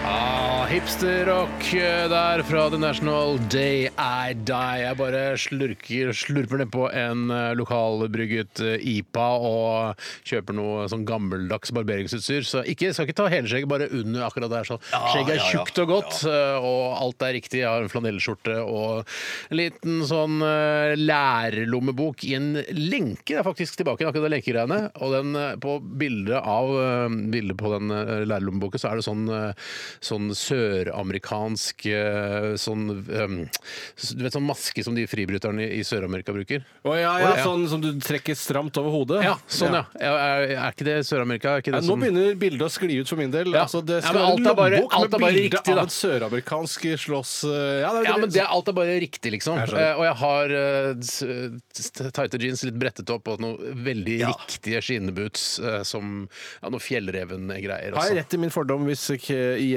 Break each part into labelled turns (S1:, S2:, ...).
S1: Ah, hipsterrock eh, der fra The National Day I Die. Jeg bare slurker, slurper nedpå en eh, lokalbrygget eh, IPA og kjøper noe sånn gammeldags barberingsutstyr. Så ikke, skal ikke ta hele skjegget, bare under akkurat der. Så skjegget er
S2: ja, ja.
S1: tjukt og godt, eh, og alt er riktig. Jeg har en flanellskjorte og en liten sånn eh, lærlommebok i en lenke. Det er faktisk tilbake til akkurat det lenkegreiene. Og den, eh, på bildet av eh, bildet på den eh, lærlommeboka, så er det sånn eh, sånn søramerikansk eh, sånn, ehm, s- Du vet sånn maske som de fribryterne i i Sør-Amerika bruker?
S2: Å ja, ja,
S1: Ja.
S2: Sånn som du trekker stramt over hodet?
S1: Ja, sånn, ja. Er, er- er ikke det Sør-Amerika? Er ikke
S2: Ja,
S1: det
S2: nå
S1: som-
S2: begynner bildet å skli ut for min del.
S1: Ja.
S2: Altså, det
S1: Ja,
S2: skal
S1: men
S2: være
S1: alt er bare-
S2: lommebok
S1: alt er
S2: med
S1: bare
S2: bilde
S1: riktig, da.
S2: av et søramerikansk slåss... eh, Ja, det er
S1: ja, men det, er- alt er bare riktig, liksom.
S2: Jeg skjønner.
S1: Eh, og jeg har eh, s- s- tighte jeans litt brettet opp og noen veldig riktige skinneboots eh, som ja, noe fjellreven-greier.
S2: Har
S1: også.
S2: jeg rett i min fordom hvis k- i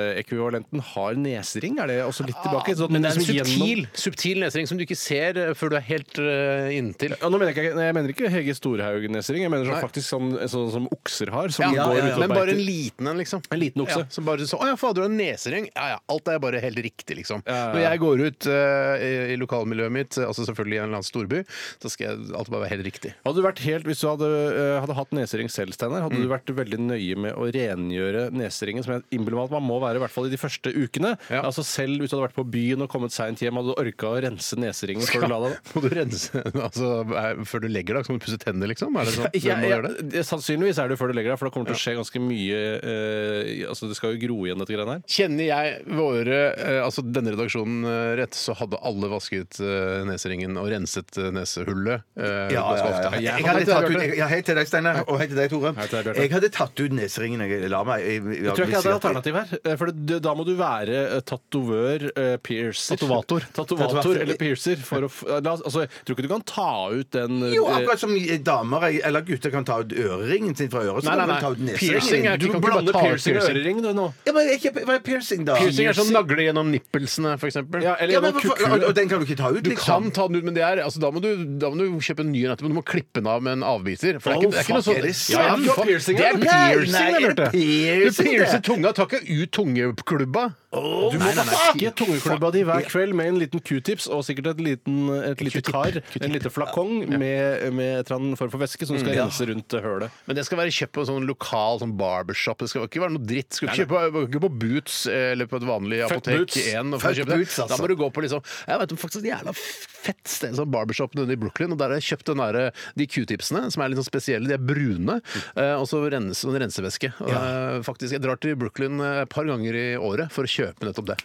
S2: kvinneekvivalenten har nesering? Er det også litt tilbake? Sånn at
S1: Ah, Men
S2: man
S1: det er en
S2: liksom gjennom-
S1: subtil, subtil lesering som du ikke ser eh, før du er helt eh, inntil.
S2: Ja, nå mener jeg, ikke, nei, jeg mener ikke Hege Storhaug-nesering. Jeg mener sånn,
S1: Nei.
S2: faktisk sånn, sånn som okser har. Som
S1: Ja,
S2: går
S1: ja, ja,
S2: ut og
S1: Men bare en
S2: beiter.
S1: liten en, liksom.
S2: En liten okse.
S1: Ja, som bare så, 'Å ja, fader, du har en nesereng'. Ja ja, alt er bare helt riktig, liksom.
S2: Ja, ja, ja.
S1: Når jeg går ut eh, i, i lokalmiljøet mitt, eh, altså selvfølgelig i en eller annen storby, så skal jeg alt bare være helt riktig.
S2: Hadde du vært helt, Hvis du hadde, eh, hadde hatt nesering selv, Steinar, hadde du vært veldig nøye med å rengjøre neseringen, som jeg innbiller meg at man må være i hvert fall i de første ukene.
S1: Ja.
S2: Altså Selv hvis du hadde vært på byen og kommet seint hjem, hadde du orka å rense neseringen før du la deg?
S1: Må du rense altså, er, før du legger deg? Så må du pusse tenner, liksom? Er det sånn?
S2: Ja,
S1: Hvem må
S2: ja,
S1: gjøre det?
S2: det- sannsynligvis er det før du legger deg, for det kommer til å skje ganske mye eh, altså Det skal jo gro igjen, dette greiene her.
S1: Kjenner jeg våre, eh, altså denne redaksjonen eh, rett, så hadde alle vasket eh, neseringen og renset eh, nesehullet. eh,
S3: Ja,
S1: ganske
S3: ja, ja.
S1: ofte.
S3: Jeg,
S1: Jeg
S3: hadde
S1: hadde
S3: tatt ut,
S1: gjort det.
S3: ja, hei til deg, Steinar. Og hei til deg, Tore.
S2: til deg, Bjarte.
S3: Jeg hadde tatt ut neseringen. Jeg la meg jeg, jeg,
S2: Jeg tror ikke jeg hadde et alternativ her. eh, For det, da må du være eh, tatovør, eh, piercer
S1: Tatovator.
S2: Tatovator
S3: Tatovator.
S2: eller piercer. For å, f- la oss- altså, jeg tror ikke du kan ta ut den eh,
S3: Jo, akkurat som damer eller gutter kan ta ut øreringen sin fra øret. Så
S1: Nei, nei,
S3: kan du ta ut
S1: nei.
S3: neseringen.
S1: Piercing er
S2: Du
S1: ikke, kan ikke
S2: blander
S1: bare ta ut
S2: piercing og
S1: piercing.
S2: ørering, du, nå.
S3: Ja, men jeg, ikke- hva er piercing, da?
S1: Piercing er sånn som nagler gjennom nippelsene, for eksempel.
S2: Ja, eller
S3: ja, men,
S2: noen
S3: hvorfor-
S2: kukkuler.
S3: og, og den kan du ikke ta ut,
S1: Du
S3: liksom?
S1: kan ta den ut, men det er, altså, da, må du, da må du kjøpe en ny en etterpå. Du må klippe den av med en avbiter. For det er ikke, det er ikke noe
S3: fuck,
S1: sånn
S3: er det
S1: Ja,
S3: sant?
S1: men faen,
S2: Piercing,
S1: det er
S3: eller? Nei,
S1: piercing,
S3: nei,
S1: jeg
S3: er det
S1: lærte.
S3: piercing,
S1: Du piercer
S3: det?
S1: tunga. Ta ikke ut tungeklubba.
S2: Du må vaske tungeklubba di hver kveld med en liten q-tips og sikkert et, liten, et lite kar, en liten flakong med, med et eller annet form for væske som skal rense rundt hølet.
S1: Men det skal være kjøpt på en sånn lokal sånn barbershop. Det skal ikke være noe dritt. Skal du kjøpe ikke på Boots eh, eller på et vanlig
S2: Fuck
S1: apotek?
S2: Boots.
S1: igjen og få
S3: Fuck
S1: kjøpe det.
S3: Boots, altså.
S1: Da må du gå på liksom Jeg vet om faktisk et jævla fett sted, sånn barbershop nede i Brooklyn, og der har jeg kjøpt den derre- de q-tipsene, som er litt sånn spesielle. De er brune, eh, og så rennes en rensevæske. Og, eh, Faktisk, Jeg drar til Brooklyn eh, et par ganger i året for å kjøpe nettopp det.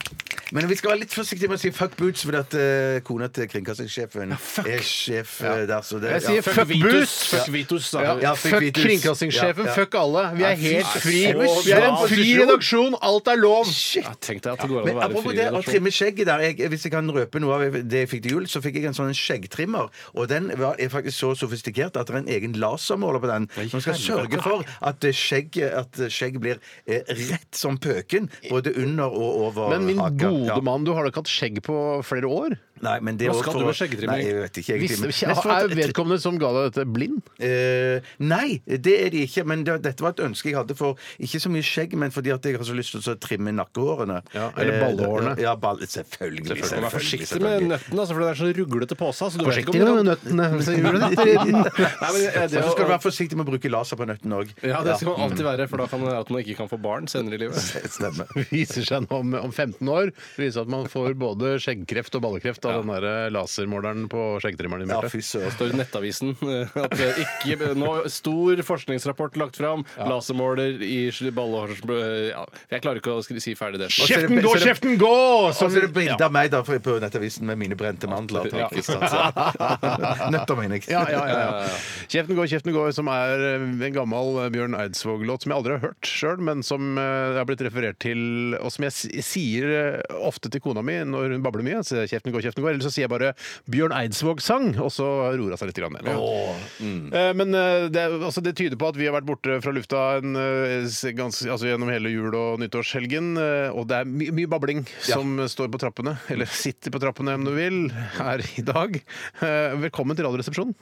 S3: Men vi skal være litt forsiktige med å si fuck boots, fordi at eh, kona til kringkastingssjefen er sjef eh, der. Så det,
S1: Jeg sier
S3: ja.
S1: fuck Boots!
S2: Fuck Vitus, da.
S1: Ja,
S3: Ja,
S1: fuck
S3: fuck Vitus.
S1: kringkastingssjefen,
S3: Ja, ja.
S1: fuck alle. Vi er helt
S3: fy
S1: fri.
S3: søren.
S1: Vi er en
S3: Så
S1: fri
S3: bra
S1: redaksjon, alt er lov!
S2: Ja, tenk deg at det går an
S3: Men
S2: å være
S3: apropos
S2: fri
S3: det å
S2: redaksjon.
S3: trimme skjegget der jeg, Hvis jeg kan røpe noe av det jeg fikk til jul, så fikk jeg en sånn skjeggtrimmer. Og den var, er faktisk så sofistikert at det er en egen lasermåler på den. Som skal sørge for at eh, skjegg, at eh, skjegg blir eh, rett som pøken, både under og over
S1: Men min
S3: haka.
S1: gode
S3: Ja.
S1: mann, du har da ikke hatt skjegg på flere år?
S3: Nei, men det er
S2: Hva
S3: også
S2: skal
S3: for
S2: du med
S3: å-
S2: skjeggtrimming?
S3: Nei, jeg vet ikke egentlig.
S1: Visste-
S3: men-
S1: Kje- Er vedkommende som ga deg dette, blind?
S3: Eh, nei, det er de ikke. Men det, dette var et ønske jeg hadde for ikke så mye skjegg, men fordi at jeg har så lyst til å trimme nakkehårene.
S1: Ja, eller ballehårene.
S3: Eh, Ja, ball, selvfølgelig.
S2: Selvfølgelig. Vær forsiktig
S3: selvfølgelig.
S2: med nøttene, altså, for det er så ruglete pose. Altså, du vet ikke om du kan-
S1: nøttene, så gjør du det.
S2: Nei, men det- det
S3: Og så skal du
S2: å-
S3: være forsiktig med å bruke laser på nøtten òg.
S2: ja, det skal man alltid være, for da kan det være at man ikke kan få barn senere i livet.
S3: Stemmer.
S1: Det viser seg nå om, om 15 år Det viser at man får både skjeggkreft og ballekreft av den der lasermåleren på skjeggtrimmeren din.
S3: Ja,
S1: Bjarte.
S3: fy søren.
S2: står i Nettavisen eh, at det ikke nå, Stor forskningsrapport lagt fram. Lasermåler i sl- ballehårs... eh, Ja, jeg klarer ikke å skri- si ferdig det.
S3: Shit!
S1: Kjeften gå, kjeften gå!
S3: Og så er det
S1: Som-
S3: bilde av meg da for- på Nettavisen med mine brente mandler.
S2: Ja.
S3: Ikke sant, så. Nøtter, mener jeg.
S1: Ja, ja, ja, ja. Kjeften går, kjeften går, som er eh, en gammel eh, Bjørn Eidsvåg-låt som jeg aldri har hørt sjøl, men som eh, har blitt referert til, og som jeg s- sier eh, ofte til kona mi når hun babler mye. Så sier jeg, kjeften går, kjeften takten går. Eller så sier jeg bare Bjørn Eidsvåg sang, og så roer hun seg litt. Grann ned. Ja.
S3: Mm.
S1: Eh, Men eh, det, er- altså, det tyder på at vi har vært borte fra lufta en, eh, s- ganske, altså, gjennom hele jul- og nyttårshelgen. eh, Og det er my mye babling som står på trappene, eller sitter på trappene om du vil, her i dag. Eh, Velkommen til Radioresepsjonen.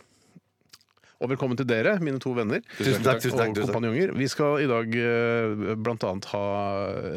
S1: Og velkommen til dere, mine to venner
S3: Tusen takk, tusen takk,
S1: og
S3: tusen takk.
S1: kompanjonger. Vi skal i dag eh, blant annet ha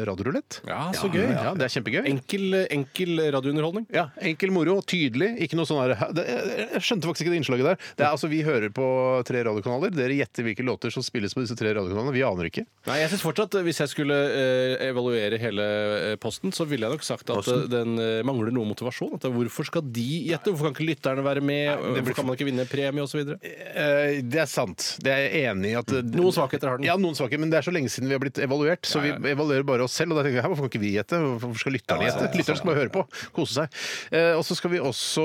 S1: radiorulett.
S2: Ja, så gøy.
S1: Ja, det er kjempegøy.
S2: Enkel, enkel radiounderholdning.
S1: Ja, Enkel moro, tydelig. Ikke noe sånn her Hæ, det, jeg- Jeg skjønte faktisk ikke det innslaget der. Det er altså, Vi hører på tre radiokanaler. Dere gjetter hvilke låter som spilles på disse tre radiokanalene. Vi aner ikke.
S2: Nei, jeg synes fortsatt eh, Hvis jeg skulle eh, evaluere hele eh, posten, så ville jeg nok sagt at eh, den eh, mangler noe motivasjon. At det er hvorfor skal de gjette? Hvorfor kan ikke lytterne være med? hvorfor kan man ikke vinne premie osv.?
S1: Eh, Det er sant. Det er jeg enig i. at
S2: Mm. Noen svakheter har den.
S1: Ja, noen svakheter, men det er så lenge siden vi har blitt evaluert, så
S2: Ja, ja.
S1: vi evaluerer bare oss selv. Og da tenker jeg, "Hæ, Hvorfor kan ikke vi gjette? Hvorfor skal lytterne gjette? Lytterne skal bare høre på, kose seg. Eh, Og så skal vi også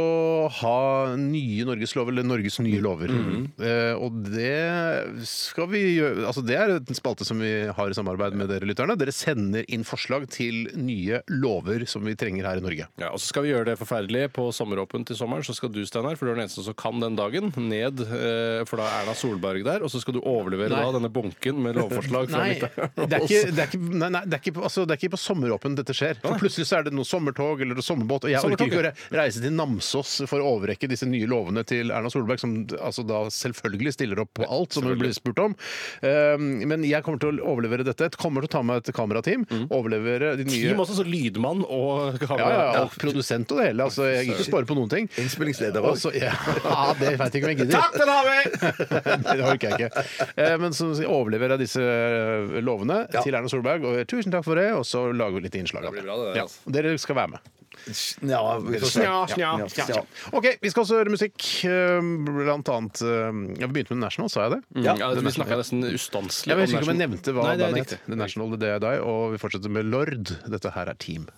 S1: ha nye Norges lover, eller Norges nye
S2: Mm.
S1: lover. Eh, Og det skal vi gjøre Altså det er en spalte som vi har i samarbeid med dere lytterne. Dere sender inn forslag til nye lover som vi trenger her i Norge.
S2: Ja, og så skal vi gjøre det forferdelige på sommeråpent til sommeren. Så skal du, Steinar, for du er den eneste som kan den dagen, ned, eh, for da er Erna Solberg der. Og så skal du overlevere
S1: Nei.
S2: da denne bunken med lovforslag fra
S1: Nei, det
S2: lytterne.
S1: er ikke, det er ikke, nei, nei, det er ikke, på- altså, det er ikke på sommeråpen dette skjer. For plutselig så er det noe sommertog eller noe sommerbåt, og jeg orker
S2: Sommertog,
S1: ikke å re- reise til Namsos for å overrekke disse nye lovene til Erna Solberg, som altså, da selvfølgelig stiller opp på alt som hun blir spurt om. Um, men jeg kommer til å overlevere dette. Jeg kommer til å ta med et kamerateam. Overlevere de nye
S2: Team også, så lydmann og
S1: ja,
S2: kamera.
S1: ja, ja, og produsent og det hele. Altså, jeg gidder ikke spare på noen ting.
S3: Innspillingsleder
S1: Og
S3: også.
S1: så- Ja, det veit jeg ikke om jeg gidder. Takk, den har vi! det orker jeg ikke. Eh, Men så overleverer jeg disse eh, lovene til Erna Solberg. Og eh, tusen takk for det, og så lager vi litt innslag av
S2: Det
S1: det.
S2: blir bra, det der,
S1: Ja,
S2: altså.
S1: og Dere skal være med.
S3: Ja, vi får se.
S1: Snja, snja,
S3: Ja,
S1: snja.
S3: snja.
S1: OK, vi skal også høre musikk. eh, Blant annet eh, ja, Vi begynte med National, sa jeg det?
S2: Mm. ja, vi snakka nesten ustanselig
S1: Jeg vet ikke om jeg
S2: National-
S1: nevnte hva
S2: Nei, det er
S1: bandet
S2: riktig.
S1: het. The National, The Day I Die, og vi fortsetter med Lord. Dette her er Team.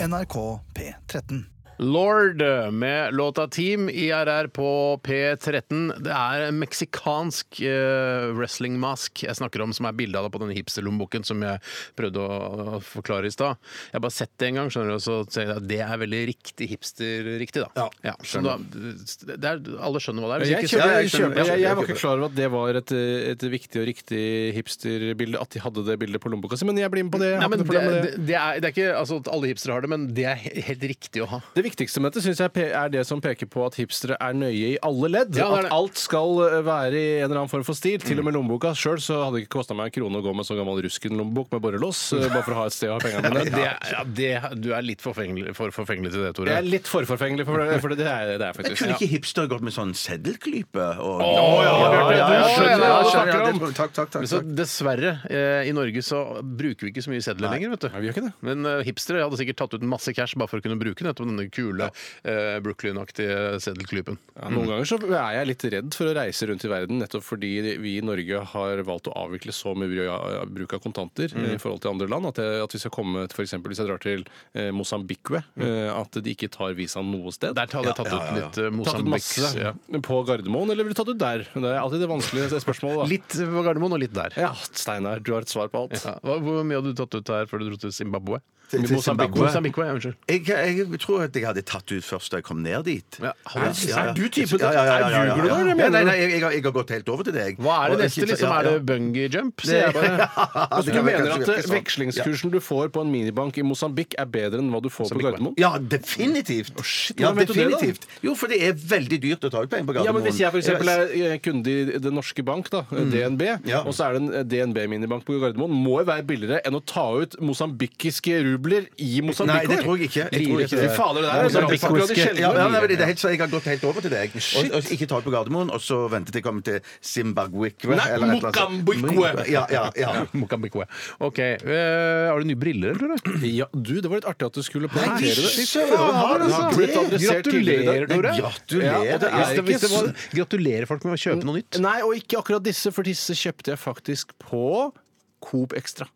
S4: NRK P13.
S1: Lord med låta Team IRR på P13. Det er en meksikansk eh, wrestlingmask jeg snakker om, som er bilde av det på denne hipsterlommeboken som jeg prøvde å, å forklare i stad. Jeg har bare sett det en gang, skjønner du, og så sier jeg at det er veldig riktig hipster-riktig, da. Ja, så da det er, alle skjønner hva det er.
S2: Jeg,
S1: Hvis ikke,
S2: kjøper,
S1: så-
S2: jeg, kjøper, jeg, jeg var
S3: kjøper.
S2: ikke klar over at det var et, et viktig og riktig hipsterbilde, at de hadde det bildet på lommeboka si, men jeg blir med på det. Jeg har
S1: Nei, men
S2: ikke
S1: det,
S2: noe problem med
S1: det, det, er, det er ikke altså, at alle hipstere har det, men det er he- helt riktig å ha.
S2: Det viktigste med dette synes jeg pe- er det som peker på at hipstere er nøye i alle ledd.
S1: Ja, det er
S2: at
S1: det. Mm.
S2: alt skal eh, være i en eller annen form for stil. Til og med lommeboka. Sjøl så hadde det ikke kosta meg en krone å gå med sånn gammel rusken-lommebok med borrelås, eh, bare for å ha et sted å ha pengene
S1: Men det,
S2: mine.
S1: er- ja, det, du er litt forfengelig, for forfengelig til det, Tore.
S2: Det er litt forforfengelig, for det, for det, er, det er
S3: Men
S2: faktisk
S3: kunne ikke hipster gått med sånn seddelklype? Og...
S1: Bjarte,
S3: ja,
S1: du
S3: ja,
S1: skjønner
S3: ja,
S1: hva du
S3: skjønner,
S1: snakker
S3: ja, det
S1: om.
S3: tror jeg. Takk, takk, takk.
S1: Men så
S3: takk.
S1: dessverre, eh, i Norge så bruker vi ikke så mye sedler lenger, vet du.
S2: Nei, vi gjør ikke det.
S1: Men eh, hipstere hadde sikkert tatt ut masse cash bare for å kunne bruke nettopp denne kule eh, Brooklyn-aktige seddelklypen.
S2: Ja, noen ganger så er jeg litt redd for å reise rundt i verden, nettopp fordi vi i Norge har valgt å avvikle så mye bru- ja, bruk av kontanter eh, i forhold til andre land. At, jeg, at hvis jeg kommer, for eksempel, hvis jeg drar til eh, Mosambikwe, eh, at de ikke tar visaen noe sted.
S1: Der hadde jeg tatt ut litt eh,
S2: Tatt ut
S1: Mosambik.
S2: masse
S1: Ja.
S2: på Gardermoen, eller ville du tatt ut der? Det er alltid det vanskelige spørsmålet. Da.
S1: Litt eh, på Gardermoen og litt der.
S2: Ja, Steinar, du har et svar på alt.
S1: Ja. Hva, hvor mye hadde du tatt ut her før du dro til Zimbabwe?
S3: Til- til
S1: Mosambik-
S3: Zimbabwe.
S1: Mosambikwe, ja, unnskyld.
S3: Jeg, jeg tror at jeg hadde tatt ut først da jeg kom ned dit.
S1: Ja, har
S3: Ja,
S1: du-
S3: ja, ja.
S2: er du typen-
S3: Ja, ja, ja, ja, ja, ja.
S2: er ljuger du da, eller
S3: Ja, Nei,
S2: mener du?
S3: nei, jeg, jeg, har, jeg har gått helt over til deg.
S1: Hva er
S3: Og
S1: det neste,
S3: ikke-
S1: liksom?
S3: ja,
S1: Er det
S3: ja.
S1: bungee jump? sier jeg bare.
S3: Ja, det
S2: Du
S3: kan være
S2: mener
S3: kanskje
S2: at
S3: virke sånn.
S2: vekslingskursen du får på en minibank i Mosambik er bedre enn hva du får på
S1: Mosambikwe.
S2: Gardermoen?
S3: Ja, definitivt. ja,
S2: hvordan vet du det, da?
S3: definitivt. Jo, for det er veldig dyrt å ta ut penger på
S2: Ja,
S3: Gardermoen.
S2: men Hvis jeg for eksempel er eh, kunde i Den norske bank, da, eh, DNB,
S3: Mm. Ja.
S2: og så er det en eh, DNB-minibank på Gardermoen, må jo være billigere enn å ta ut mosambikiske rubler i
S3: Nei,
S2: Mosambik.
S3: det tror jeg ikke. Jeg tror
S2: Lirer
S3: ikke
S2: til- Fy fader, det der er
S3: Nei,
S2: sånn
S3: det
S2: akkurat de
S3: faktisk-
S2: sjeldne
S3: Ja, ja, nei, men
S2: lirene.
S3: det er helt, så jeg har gått helt over til deg. Og, og ikke ta ut på Gardermoen, og så vente til jeg kommer til Zimbabwe.
S2: Nei,
S3: eller et eller annet sånt.
S2: Mokambikwe.
S3: Ja, ja, ja.
S1: Mosambikwe. OK. eh, har du nye briller, tror du?
S2: Ja, du, det var litt artig at du skulle
S3: Nei,
S2: poengtere det.
S3: søren, har du
S2: Det har
S3: det? sånn?
S2: blitt adressert tidligere i
S1: Gratulerer,
S2: dag.
S1: Tore.
S2: Ja, og det
S3: Gratulerer.
S2: er
S1: Hvis det-
S2: ikke
S1: hvis det var-
S2: så-
S1: Gratulerer folk med å kjøpe noe nytt.
S2: Nei, og ikke akkurat disse, for disse kjøpte jeg faktisk på Coop Extra.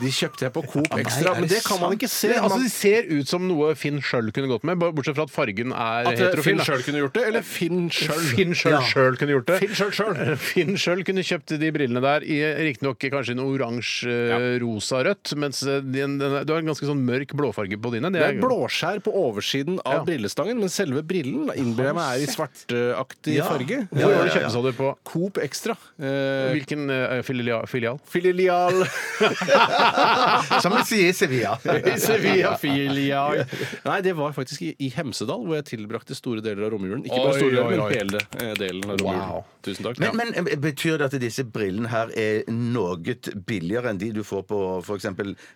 S2: De kjøpte jeg på Coop Extra, men det kan man ikke se.
S1: Det, altså,
S2: Man-
S1: de ser ut som noe Finn sjøl kunne gått med, bare bortsett fra at fargen er
S2: At eh,
S1: heterofil.
S2: Finn
S1: da.
S2: sjøl kunne gjort det, eller Finn sjøl?
S1: Finn sjøl
S3: Ja.
S1: sjøl kunne gjort det. Eh,
S2: Finn sjøl sjøl.
S1: Finn sjøl kunne kjøpt de brillene der, riktignok kanskje en oransje-rosa-rødt, mens eh, den, den, er- du har en ganske sånn mørk blåfarge på dine.
S2: Det er blåskjær på oversiden
S1: Ja.
S2: av brillestangen, men selve brillen innbiller jeg meg er i svartaktig
S3: Ja.
S2: farge.
S1: Hvor var det kjøpte du på?
S2: Coop Extra. Eh,
S1: Hvilken eh, filia- filial?
S2: filial
S3: Som vi sier i Sevilla.
S2: I Sevilla filial. Nei, det var faktisk i, i Hemsedal, hvor jeg tilbrakte store deler av romjulen. Ikke bare
S1: Oi,
S2: store deler,
S1: oi, oi.
S2: men hele eh, delen av romjulen.
S1: Wow.
S2: Tusen takk.
S3: Men, men eh, betyr det at disse brillene her er noe billigere enn de du får på f.eks.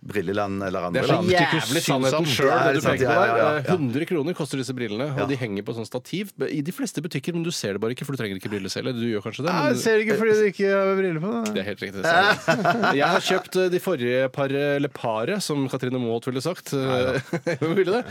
S3: Brilleland eller
S2: Det
S3: andre
S2: er så
S3: land?
S2: jævlig sannheten sjøl,
S3: Ja,
S2: det
S3: det
S2: du
S3: er sant,
S2: peker på
S3: ja, ja,
S2: der.
S3: ja.
S2: Eh, 100 kroner koster disse brillene, og de henger på sånn stativ i de fleste butikker, men du ser det bare ikke, for du trenger ikke briller selv. eller Du gjør kanskje det, men
S1: ser ikke fordi du ikke har briller på.
S2: Det er helt riktig. Steinar. Jeg har kjøpt eh, de forrige par, eller paret, som Katrine Moholt ville sagt. Eh, Hun ville det.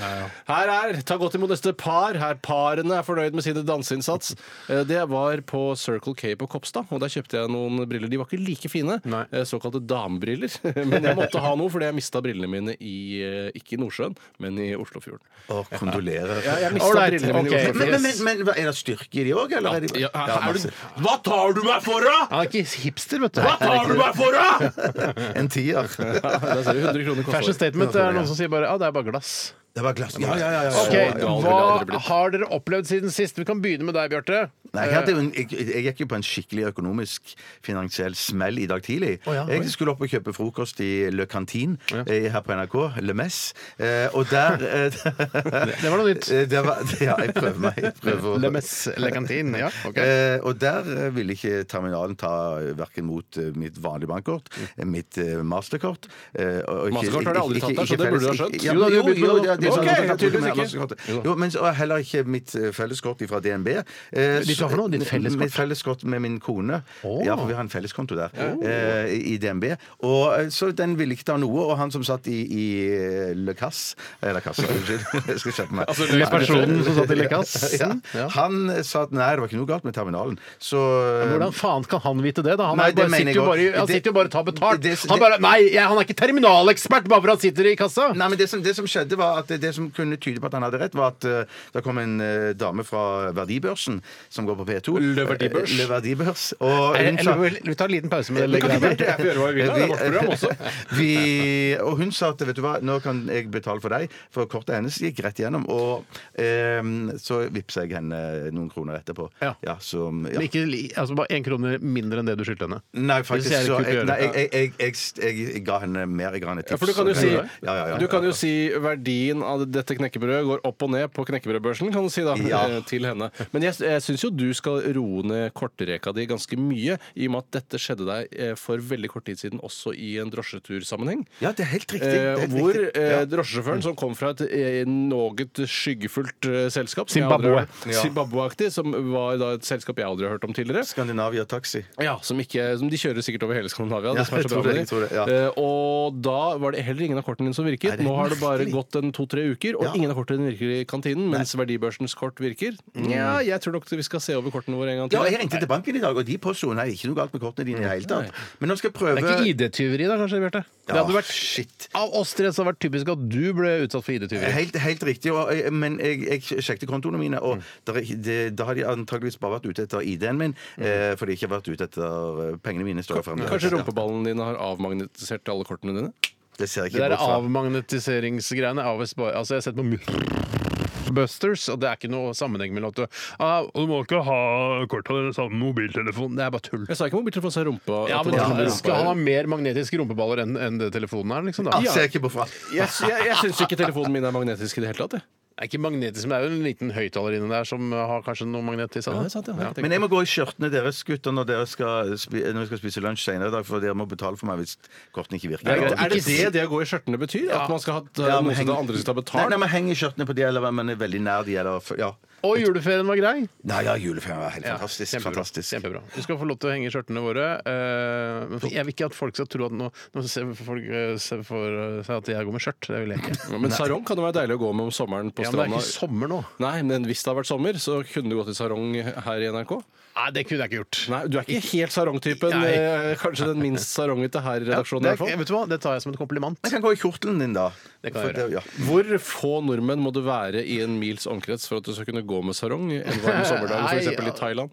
S2: Her er Ta godt imot neste par. Her parene er fornøyd med sin danseinnsats. Eh, Det var på Circle K på Kopstad, og der kjøpte jeg noen briller. De var ikke like fine,
S1: Nei.
S2: eh, såkalte damebriller. Men jeg måtte ha noe fordi jeg mista brillene mine i eh, ikke i Nordsjøen, men i Oslofjorden.
S3: Å, kondolerer.
S2: Ja, jeg mistet
S1: Ålreit,
S2: brillene mine
S1: ok.
S2: i
S3: Men, men,
S2: Oslofjorden.
S3: men, men hva- er det styrke i de òg, eller? Er de,
S2: Ja, er du-
S3: masse.
S2: Hva tar du meg for, da?!
S1: Han er ikke hipster, vet du.
S2: tar du meg for, da?!
S3: en tier.
S2: Der ser du 100 kroner
S1: Fashion
S2: koster.
S1: statement er noen som sier bare ja, det er bare glass.
S3: Det var glass. Ja, ja, ja. ja.
S1: Ok,
S2: gal ville jeg aldri
S1: Hva
S2: blitt.
S1: har dere opplevd siden sist? Vi kan begynne med deg, Bjarte.
S3: Nei, jeg, hadde jo en, jeg, jeg gikk jo på en skikkelig økonomisk finansiell smell i dag tidlig.
S1: ja, oi.
S3: jeg skulle opp og kjøpe frokost i Le Cantine eh, her på NRK, Le Mess. Eh, og der eh,
S1: Det var noe nytt.
S3: Eh, det var, ja, jeg prøver meg. Jeg prøver.
S1: Eh, Le Mess Le Cantine, ja, ok.
S3: Eh, og der eh, ville ikke terminalen ta verken mot eh, mitt vanlige bankkort, eh, mitt eh, masterkort eh, og- og ikke-
S2: Mm. Mastercard har de aldri
S3: ikke-
S2: tatt der, så
S3: ikke
S2: det burde du ha
S3: felles-
S2: skjønt.
S3: Ja,
S2: Jo da,
S3: men-
S2: du
S3: jo,
S2: bytter
S3: jo,
S2: med-
S3: ja, det er sånn sant,
S2: Ok,
S3: jeg har tatt
S2: tydeligvis
S3: med
S2: ikke.
S3: masterkortet. Jo, men så- og heller ikke mitt eh, felleskort fra DNB. Eh,
S1: Ditt hva for noe? Ditt felleskort?
S3: Mitt felleskort med min kone.
S1: Åh.
S3: Ja, for vi har en felleskonto der eh, i DNB. Og eh, så den ville ikke ta noe, og han som satt i, i eh, Le Casse Eller Casse, unnskyld. Jeg skal skjerpe meg.
S2: Altså,
S1: Eller personen som satt i lekassen.
S3: Ja. Han sa at nei, det var ikke noe galt med terminalen. Så
S1: Eh,
S3: eh,
S1: Hvordan faen kan han vite det? da? Han,
S3: Nei,
S1: er bare,
S3: det mener
S1: sitter, jo
S3: jeg
S1: bare, i-
S3: også.
S1: han
S3: Det-
S1: sitter jo bare og tar betalt.
S3: det- det-
S1: han, bare, nei, jeg, han er ikke terminalekspert bare for han sitter i kassa!
S3: Nei, men det som, det som skjedde var at det som kunne tyde på at han hadde rett, var at eh, det kom en eh, dame fra Verdibørsen, som går på P2.
S2: Le Verdibørs.
S3: Eh, Le Verdibørs. Og
S1: Er-
S3: hun sa
S1: Eh, eller, vi tar en liten pause med det.
S2: Men kan ikke
S1: greiene.
S2: Bjarte og jeg få gjøre hva vi vil? da? Det er vårt program også.
S3: vi, og hun sa at vet du hva, nå kan jeg betale for deg, for kortet hennes gikk rett igjennom. Og eh, så vippsa jeg henne noen kroner etterpå.
S1: Ja.
S3: som, ja.
S1: Men ikke li- altså bare én krone mindre enn det du skyldte henne.
S3: Nei, faktisk
S1: Det synes jeg er
S3: så
S1: kult å
S3: jeg,
S1: gjøre.
S3: nei, jeg, jeg, jeg, jeg, jeg ga henne mer. Jeg ga henne tips.
S2: Ja, for du kan jo
S3: og-
S2: si,
S3: ja, ja, ja, ja.
S2: du kan jo si verdien av dette knekkebrødet går opp og ned på knekkebrødbørsen, kan du si da,
S3: Ja.
S2: eh, til henne. Men jeg, jeg syns jo du skal roe ned kortreka di ganske mye, i og med at dette skjedde deg eh, for veldig kort tid siden også i en drosjetursammenheng.
S3: Ja, det er helt riktig. Det er
S2: Eh,
S3: helt
S2: hvor
S3: riktig.
S2: eh,
S3: Ja.
S2: drosjesjåføren som kom fra et eh, noe skyggefullt eh, selskap som jeg
S1: Zimbabwe.
S2: aldri har- Zimbabwe-aktig, som var da et selskap jeg aldri har hørt om tidligere.
S3: Skandinavia Taxi.
S2: Ja, som, ikke, som de kjører sikkert over hele
S3: Ja,
S2: Skandinavia. det som er
S3: jeg
S2: så bra
S3: tror det,
S2: med de.
S3: jeg tror det, ja.
S2: Eh, Og da var det heller ingen av kortene dine som virket.
S3: Nei, det er
S2: Nå har det bare
S3: merkelig.
S2: gått en to-tre uker, og
S3: Ja.
S2: ingen av kortene virker i kantinen, mens verdibørsens kort virker. Ja, jeg tror nok vi skal se over kortene våre en gang
S3: Mm. Ja,
S2: til.
S3: jeg ringte til banken i dag, og de påsto nei, ikke noe galt med kortene dine i det hele tatt. Men nå skal jeg prøve
S1: Det er ikke ID-tyveri da, kanskje, Bjarte? Det
S3: Ja,
S1: hadde vært
S3: shit.
S1: Av oss tre så hadde det vært typisk at du ble utsatt for ID-tyveri.
S3: Helt, helt riktig, og, jeg- men jeg, jeg sjekket kontoene mine, og
S2: Mm.
S3: der, er- det, da har de antageligvis bare vært ute etter ID-en min, eh, for de har ikke vært ute etter eh, pengene mine. Står det frem.
S2: Mm. Kanskje rumpeballene dine har avmagnetisert alle kortene dine?
S3: Det ser jeg
S1: Det
S3: ikke
S1: der
S3: bort fra.
S1: avmagnetiseringsgreiene er visst bare- Altså, jeg har sett på Mu- Busters, og det er ikke noe sammenheng mellom at du ah, Du må ikke ha kort av den samme mobiltelefonen. Det er bare tull.
S2: Jeg sa ikke mobiltelefon, sa rumpa.
S1: Ja,
S2: at
S1: men
S2: det var
S1: da-
S2: rumpa.
S1: Skal han ha mer magnetiske rumpeballer enn enn det telefonen er? liksom da?
S3: Ah, ser jeg ikke bort fra.
S2: Jeg, jeg, jeg syns ikke telefonen min er magnetisk i det hele tatt. jeg.
S1: Det er ikke magnetisk, men det er jo en liten høyttaler inni der som har kanskje noe magnet i seg.
S2: Ja,
S1: da.
S2: det er sant, ja. Jeg tenker-
S3: Men jeg må gå i skjørtene deres, gutter, når dere skal, spi når vi skal spise lunsj senere i dag, for dere må betale for meg hvis kortene ikke virker.
S2: Det er, greit.
S1: Ja,
S2: er det
S1: ikke
S2: det det å gå i skjørtene betyr? At man skal ha eh,
S3: Ja, men
S2: noe som
S3: heng-
S2: det andre skal ta
S3: Nei,
S2: betalt?
S3: nei, men heng i skjørtene på de, eller man er veldig nær de, eller ja.
S1: Og juleferien var grei.
S3: Nei, ja, juleferien var helt
S1: Ja,
S3: fantastisk.
S1: kjempebra,
S3: fantastisk.
S1: Kjempebra. Du skal få lov til å henge skjørtene våre. eh, men jeg vil ikke at folk skal tro at nå, nå ser folk eh, ser for seg at jeg går med skjørt. Det vil jeg ikke.
S2: Ja, men sarong kan det være deilig å gå med om sommeren på
S1: Ja, men det er
S2: stranda.
S1: ikke sommer nå.
S2: Nei, men hvis det har vært sommer, så kunne du gått i sarong her i NRK.
S1: Nei, det kunne jeg ikke gjort.
S2: Nei, Du er ikke helt sarongtypen.
S1: Nei.
S2: eh, Kanskje den minst sarongete her i redaksjonen. i
S1: det,
S2: hvert fall.
S1: vet du hva? det tar jeg som en kompliment.
S3: Jeg kan gå i kjortelen din, da.
S1: Det kan
S3: For
S1: jeg gjøre.
S3: ja.
S2: Hvor få nordmenn må du være i en mils omkrets for at du skal kunne gå med sarong en varm sommerdag for
S1: Nei,
S2: eksempel
S1: ja.
S2: i Thailand?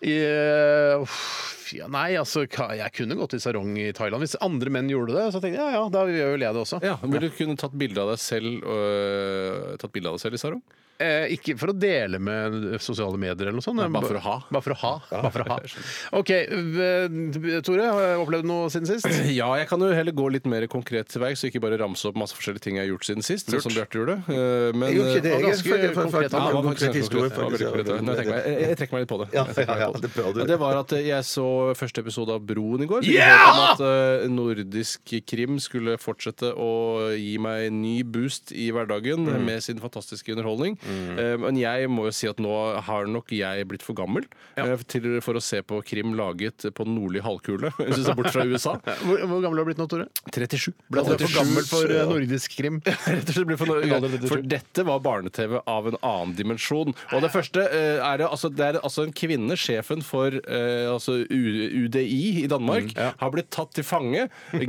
S1: Eh, uff, ja, nei, altså, ka- jeg kunne gått i sarong i Thailand. Hvis andre menn gjorde det, så tenkte jeg ja ja, da gjør vel jeg det også.
S2: Ja, Vil du kunne tatt bilde av deg selv øh, Tatt bilde av deg selv i sarong?
S1: Eh, ikke for å dele med sosiale medier eller noe sånt.
S2: Nei, bare for å ha.
S1: Bare for å ha. Bare for å ha. OK. eh, Tore, har jeg opplevd noe siden sist?
S2: Ja, jeg kan jo heller gå litt mer konkret til verks og ikke bare ramse opp masse forskjellige ting jeg har gjort siden sist. Sånn som Bjarte gjorde. Eh, Men,
S3: Jeg gjorde ikke det.
S1: Og
S3: Jeg,
S1: ganske
S3: for- for- for-
S1: konkret.
S3: for-
S1: Ja,
S2: det var
S3: konkret
S2: faktisk
S3: historie,
S2: en konkret- det var veldig
S3: faktisk.
S2: konkret. Nå trekker jeg meg- jeg- Jeg trekker meg litt på det.
S3: Ja,
S2: Jeg trekker meg
S3: ja,
S2: litt på
S3: ja, det bør du.
S2: Det var at eh, jeg så første episode av Broen i går.
S1: Ja!
S2: Om at eh, nordisk krim skulle fortsette å gi meg ny boost i hverdagen
S3: Mm.
S2: med sin fantastiske underholdning. Eh, Men jeg må jo si at nå har nok jeg blitt for gammel eh, til, for å se på krim laget på den nordlige halvkule, hvis du ser bort fra USA.
S1: Hvor, hvor gammel har du blitt nå, Tore?
S2: 37.
S1: Ble du for gammel for eh, nordisk krim?
S2: Rett og slett blir
S1: En alder
S2: for,
S1: av 37.
S2: for dette var barne-TV av en annen dimensjon. Og det første eh, er det, altså, det er altså en kvinne, sjefen for eh, altså U- UDI i
S1: Mm,
S2: Danmark, har blitt tatt til fange,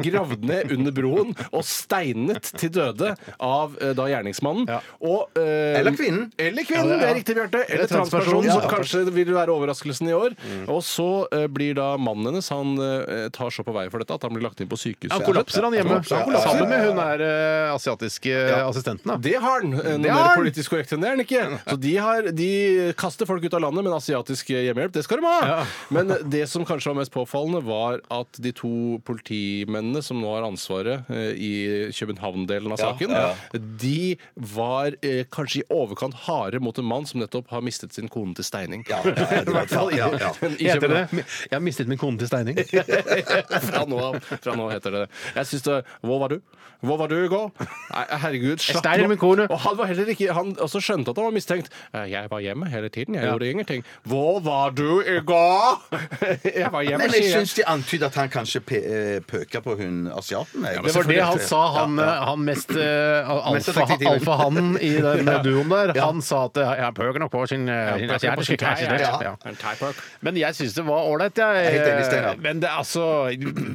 S2: gravd ned under broen og steinet til døde av eh, da gjerningsmannen.
S1: Ja.
S2: Og, eh,
S3: Eller kvinnen.
S2: Eller kvinnen,
S1: Ja, det-
S2: det,
S1: ja.
S2: er riktig, Bjarte.
S1: Eller
S2: Eller transpersonen,
S1: transpersonen,
S2: som
S1: ja. Mm.
S2: kanskje vil være overraskelsen i år. Og så eh, blir da mannen hennes, han eh, tar så på vei for dette at han blir lagt inn på sykehus.
S1: Han kollapser, han hjemme.
S3: Han kollapser.
S1: Sammen med hun der eh, asiatiske eh, assistenten. da.
S2: Det har han! Noe
S1: Det har
S2: mer
S1: han.
S2: politisk korrekt enn det er han ikke. Så de, har, de kaster folk ut av landet, men asiatisk eh, hjemmehjelp, det skal de ha!
S1: Ja.
S2: Men eh, det som kanskje var mest påfallende, var at de to politimennene som nå har ansvaret eh, i København-delen av saken, de var eh, kanskje i overkant harde mot en mann som nettopp har mistet sin kone til steining.
S3: Ja, ja, ja, det var- ja, ja.
S2: I
S1: Heter det
S2: København.
S1: Jeg har mistet min kone til steining.
S2: fra, nå av, fra nå heter det det. Jeg syns det Hvor var du? Hvor var du i går? Nei, herregud, slapp
S1: steiner min kone.
S2: Og han var heller ikke Han også skjønte at han var mistenkt. Eh, Jeg var hjemme hele tiden. Jeg
S1: Ja.
S2: gjorde ingenting. Hvor var du i går? Jeg var hjemme.
S3: Men jeg
S2: sier jeg.
S3: syns de antyder at han kanskje pe eh, pøker på hun asiaten. jeg.
S1: Det var det han sa, han, eh, han mest eh,
S3: Mest
S1: alfa,
S3: effektive.
S1: alfahannen i den eh, duoen der. Han sa at eh, jeg pøker nok på sin, eh, sin
S2: pøker på sin
S1: asiatiske
S2: tei,
S1: assistent.
S3: ja.
S1: Ja.
S2: En thaipark.
S1: Men jeg syns det var ålreit, jeg.
S3: er helt enig, Steinar.
S1: Men det, er altså,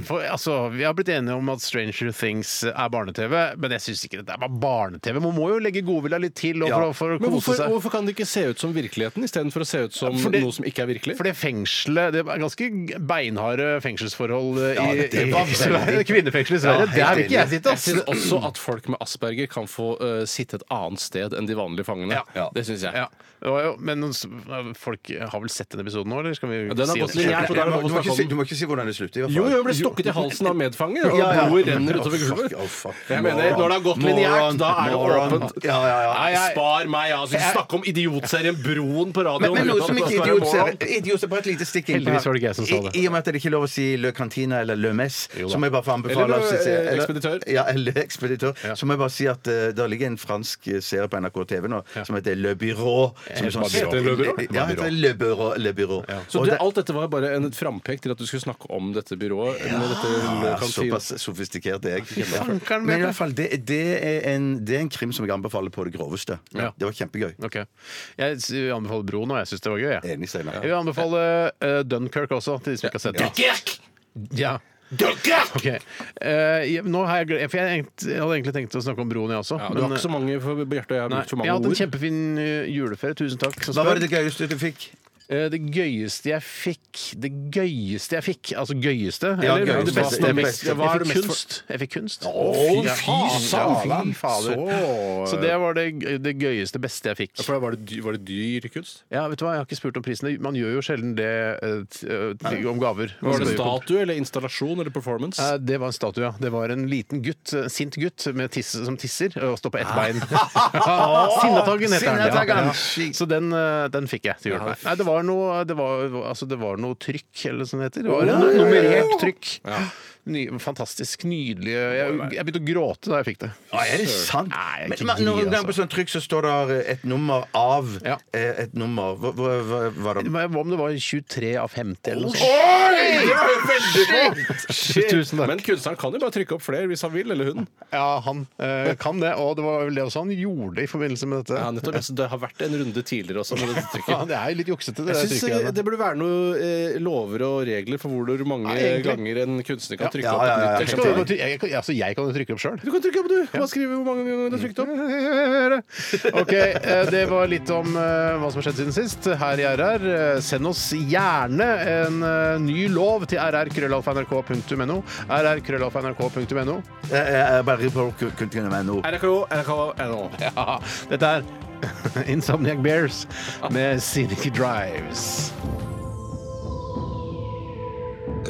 S1: for, altså Vi har blitt enige om at Stranger Things eh, er barne-TV, men jeg syns ikke det der var barne-TV. Man må jo legge godvilja litt til og
S3: Ja.
S1: for, for å
S2: Men
S1: kose
S2: hvorfor,
S1: seg.
S2: hvorfor kan det ikke se ut som virkeligheten istedenfor å se ut som
S1: For det-
S2: noe som ikke er virkelig?
S1: For det fengselet Det er ganske beinharde fengselsforhold eh,
S3: Ja,
S1: i,
S3: det er
S1: i
S3: veldig-
S1: Sverige. Kvinnefengsel i Sverige.
S3: helt
S1: Der vil ikke jeg
S3: enig.
S1: sitte,
S2: Jeg syns
S1: ass!
S2: også at folk med asperger kan få eh, sitte et annet sted enn de vanlige fangene.
S1: Ja. Ja.
S2: Det syns jeg.
S1: Ja. Det var jo, men s- folk har vel sett den episoden nå, eller skal vi
S2: den har
S1: si
S2: gått
S1: det?
S2: lineært, og da er
S3: Du
S2: det
S3: må-
S2: noe
S3: du må
S2: å
S3: ikke
S2: snakke
S3: si-
S2: om.
S3: Du må ikke si hvordan det slutter. i hvert
S2: Jo,
S3: fall.
S2: jo, ble stukket i halsen av medfanger, og
S3: Ja, ja.
S2: blodet renner utover gulvet.
S3: Fuck, oh, fuck.
S2: Jeg mener, når det har gått lineært, da er det
S3: Moron.
S2: åpent.
S3: Ja, ja, ja.
S2: Nei, jeg- spar meg, ja. Altså, snakke om idiotserien Broen på radioen.
S3: Men, men
S2: uten
S3: noe
S2: at
S3: som
S2: det
S3: ikke
S2: skal være
S3: idiot ser
S2: moron.
S3: Idiot ser bare et lite stikk inn på
S1: Heldigvis
S3: her.
S1: var det ikke jeg som sa
S3: I,
S1: det.
S3: I og med at det ikke er lov å si Le Cantina eller Le Mess,
S1: Jo da.
S3: så må jeg bare få anbefale
S2: Eller,
S3: oss å se-
S2: eh, Ekspeditør.
S3: Ja, eller Ekspeditør. Så må jeg bare si at eh, det ligger en fransk eh, serie på NRK TV nå som heter Le Bureau. Som, sånn
S1: Heter det
S2: Le Bureau?
S3: Ja, heter Le Bureau. Le Bureau.
S2: Så
S3: Og
S2: det,
S3: det-
S2: alt dette var bare en frampek til at du skulle snakke om dette byrået? med
S3: Ja,
S2: dette kantinen.
S3: såpass sofistikert er jeg.
S1: fankeren,
S3: Men i
S1: Bjarte.
S3: hvert fall, det, det, er en, det er en krim som jeg anbefaler på det groveste.
S1: Ja.
S3: Det var kjempegøy.
S1: Ok. Jeg s- anbefaler Broen, og jeg syns det var gøy. Jeg,
S3: Enig, Steinar.
S1: jeg vil anbefale eh, Dunkerque også, til de som ikke har sett det. Ja. Ok. Eh, jeg- nå har jeg, gle- for jeg, egentlig- jeg hadde egentlig tenkt å snakke om Broen, jeg også.
S2: Ja,
S1: men,
S2: du har ikke så mange for Bjarte og jeg har
S1: Nei,
S2: brukt for
S1: jeg har hatt
S2: mange
S1: en
S2: ord.
S1: kjempefin eh, juleferie. Tusen takk. som
S3: Hva
S1: spør.
S3: var det gøyeste du fikk?
S1: Eh, Det gøyeste jeg fikk Det gøyeste jeg fikk Altså gøyeste?
S3: Ja,
S1: eller
S3: gøyeste.
S1: det beste jeg fikk?
S3: Beste.
S1: Hva er det
S2: Jeg
S1: mest
S2: fikk
S1: kunst? Jeg fikk kunst.
S2: Å,
S1: Ja.
S2: fy faen.
S1: Fy fader.
S2: Så-
S1: Så det var det, gøy- det gøyeste, beste jeg fikk.
S2: For da var det dy- var det dyr kunst?
S1: Ja, vet du hva, Jeg har ikke spurt om prisen. Man gjør jo sjelden det eh, t- eh, t- om gaver.
S2: Var det
S1: Man spør jo ikke om-
S2: statue eller installasjon eller performance?
S1: Eh, Det var en statue, ja. Det var en liten gutt, eh, sint gutt med tisse, som tisser og står på ett bein. Sinnataggen heter den.
S3: Sinnataggen.
S1: Ja, ja. Så den, eh, den fikk jeg til jul. Nei, det var noe, det var, altså, det var noe trykk, eller hva det heter. Det var noe nummerert trykk. ny, fantastisk nydelige jeg, jeg begynte å gråte da jeg fikk det.
S3: Ja, er det sant?
S1: Nei, jeg er
S3: Men,
S1: ikke
S3: men
S1: gri,
S3: noen ganger
S1: altså.
S3: på sånn trykk så står det et nummer av
S1: Ja.
S3: eh, et nummer. Hva, hva, hva var det?
S1: Men Hva om det var 23 av 50 eller noe sånt?
S3: Oi! Det var jo veldig bra!
S1: Tusen takk.
S2: Men kunstneren kan jo bare trykke opp flere hvis han vil, eller hun.
S1: Ja, han eh, kan det, og det var vel det også han gjorde i forbindelse med dette.
S2: Ja, nettopp. Altså, det har vært en runde tidligere også med
S1: Ja,
S2: dette trykket.
S1: det er jo litt juksete, det
S2: Jeg synes eh,
S1: trykket.
S2: Det burde være noen eh, lover og regler for hvor mange
S1: Ja, egentlig.
S2: ganger en kunstner kan trykke
S3: Ja,
S2: opp
S3: ja, ja, ja.
S2: et nytt
S1: Ellers
S2: tekst.
S1: kan du bare ty- jeg, kan- altså, jeg kan jo trykke opp sjøl.
S2: Du kan trykke opp, du! Bare skrive hvor mange ganger du har trykt opp.
S1: OK, eh, det var litt om eh, hva som har skjedd siden sist her i RR. Eh, Send oss gjerne en eh, ny lov til rrkrøllalfa.nrk.no. rrkrøllalfa.nrk.no.
S3: Eh, eh, Bare på kunstner.no.
S2: NRK, NRK, NO.
S1: Ja, dette er Insomniac Bears med Scenic Drives.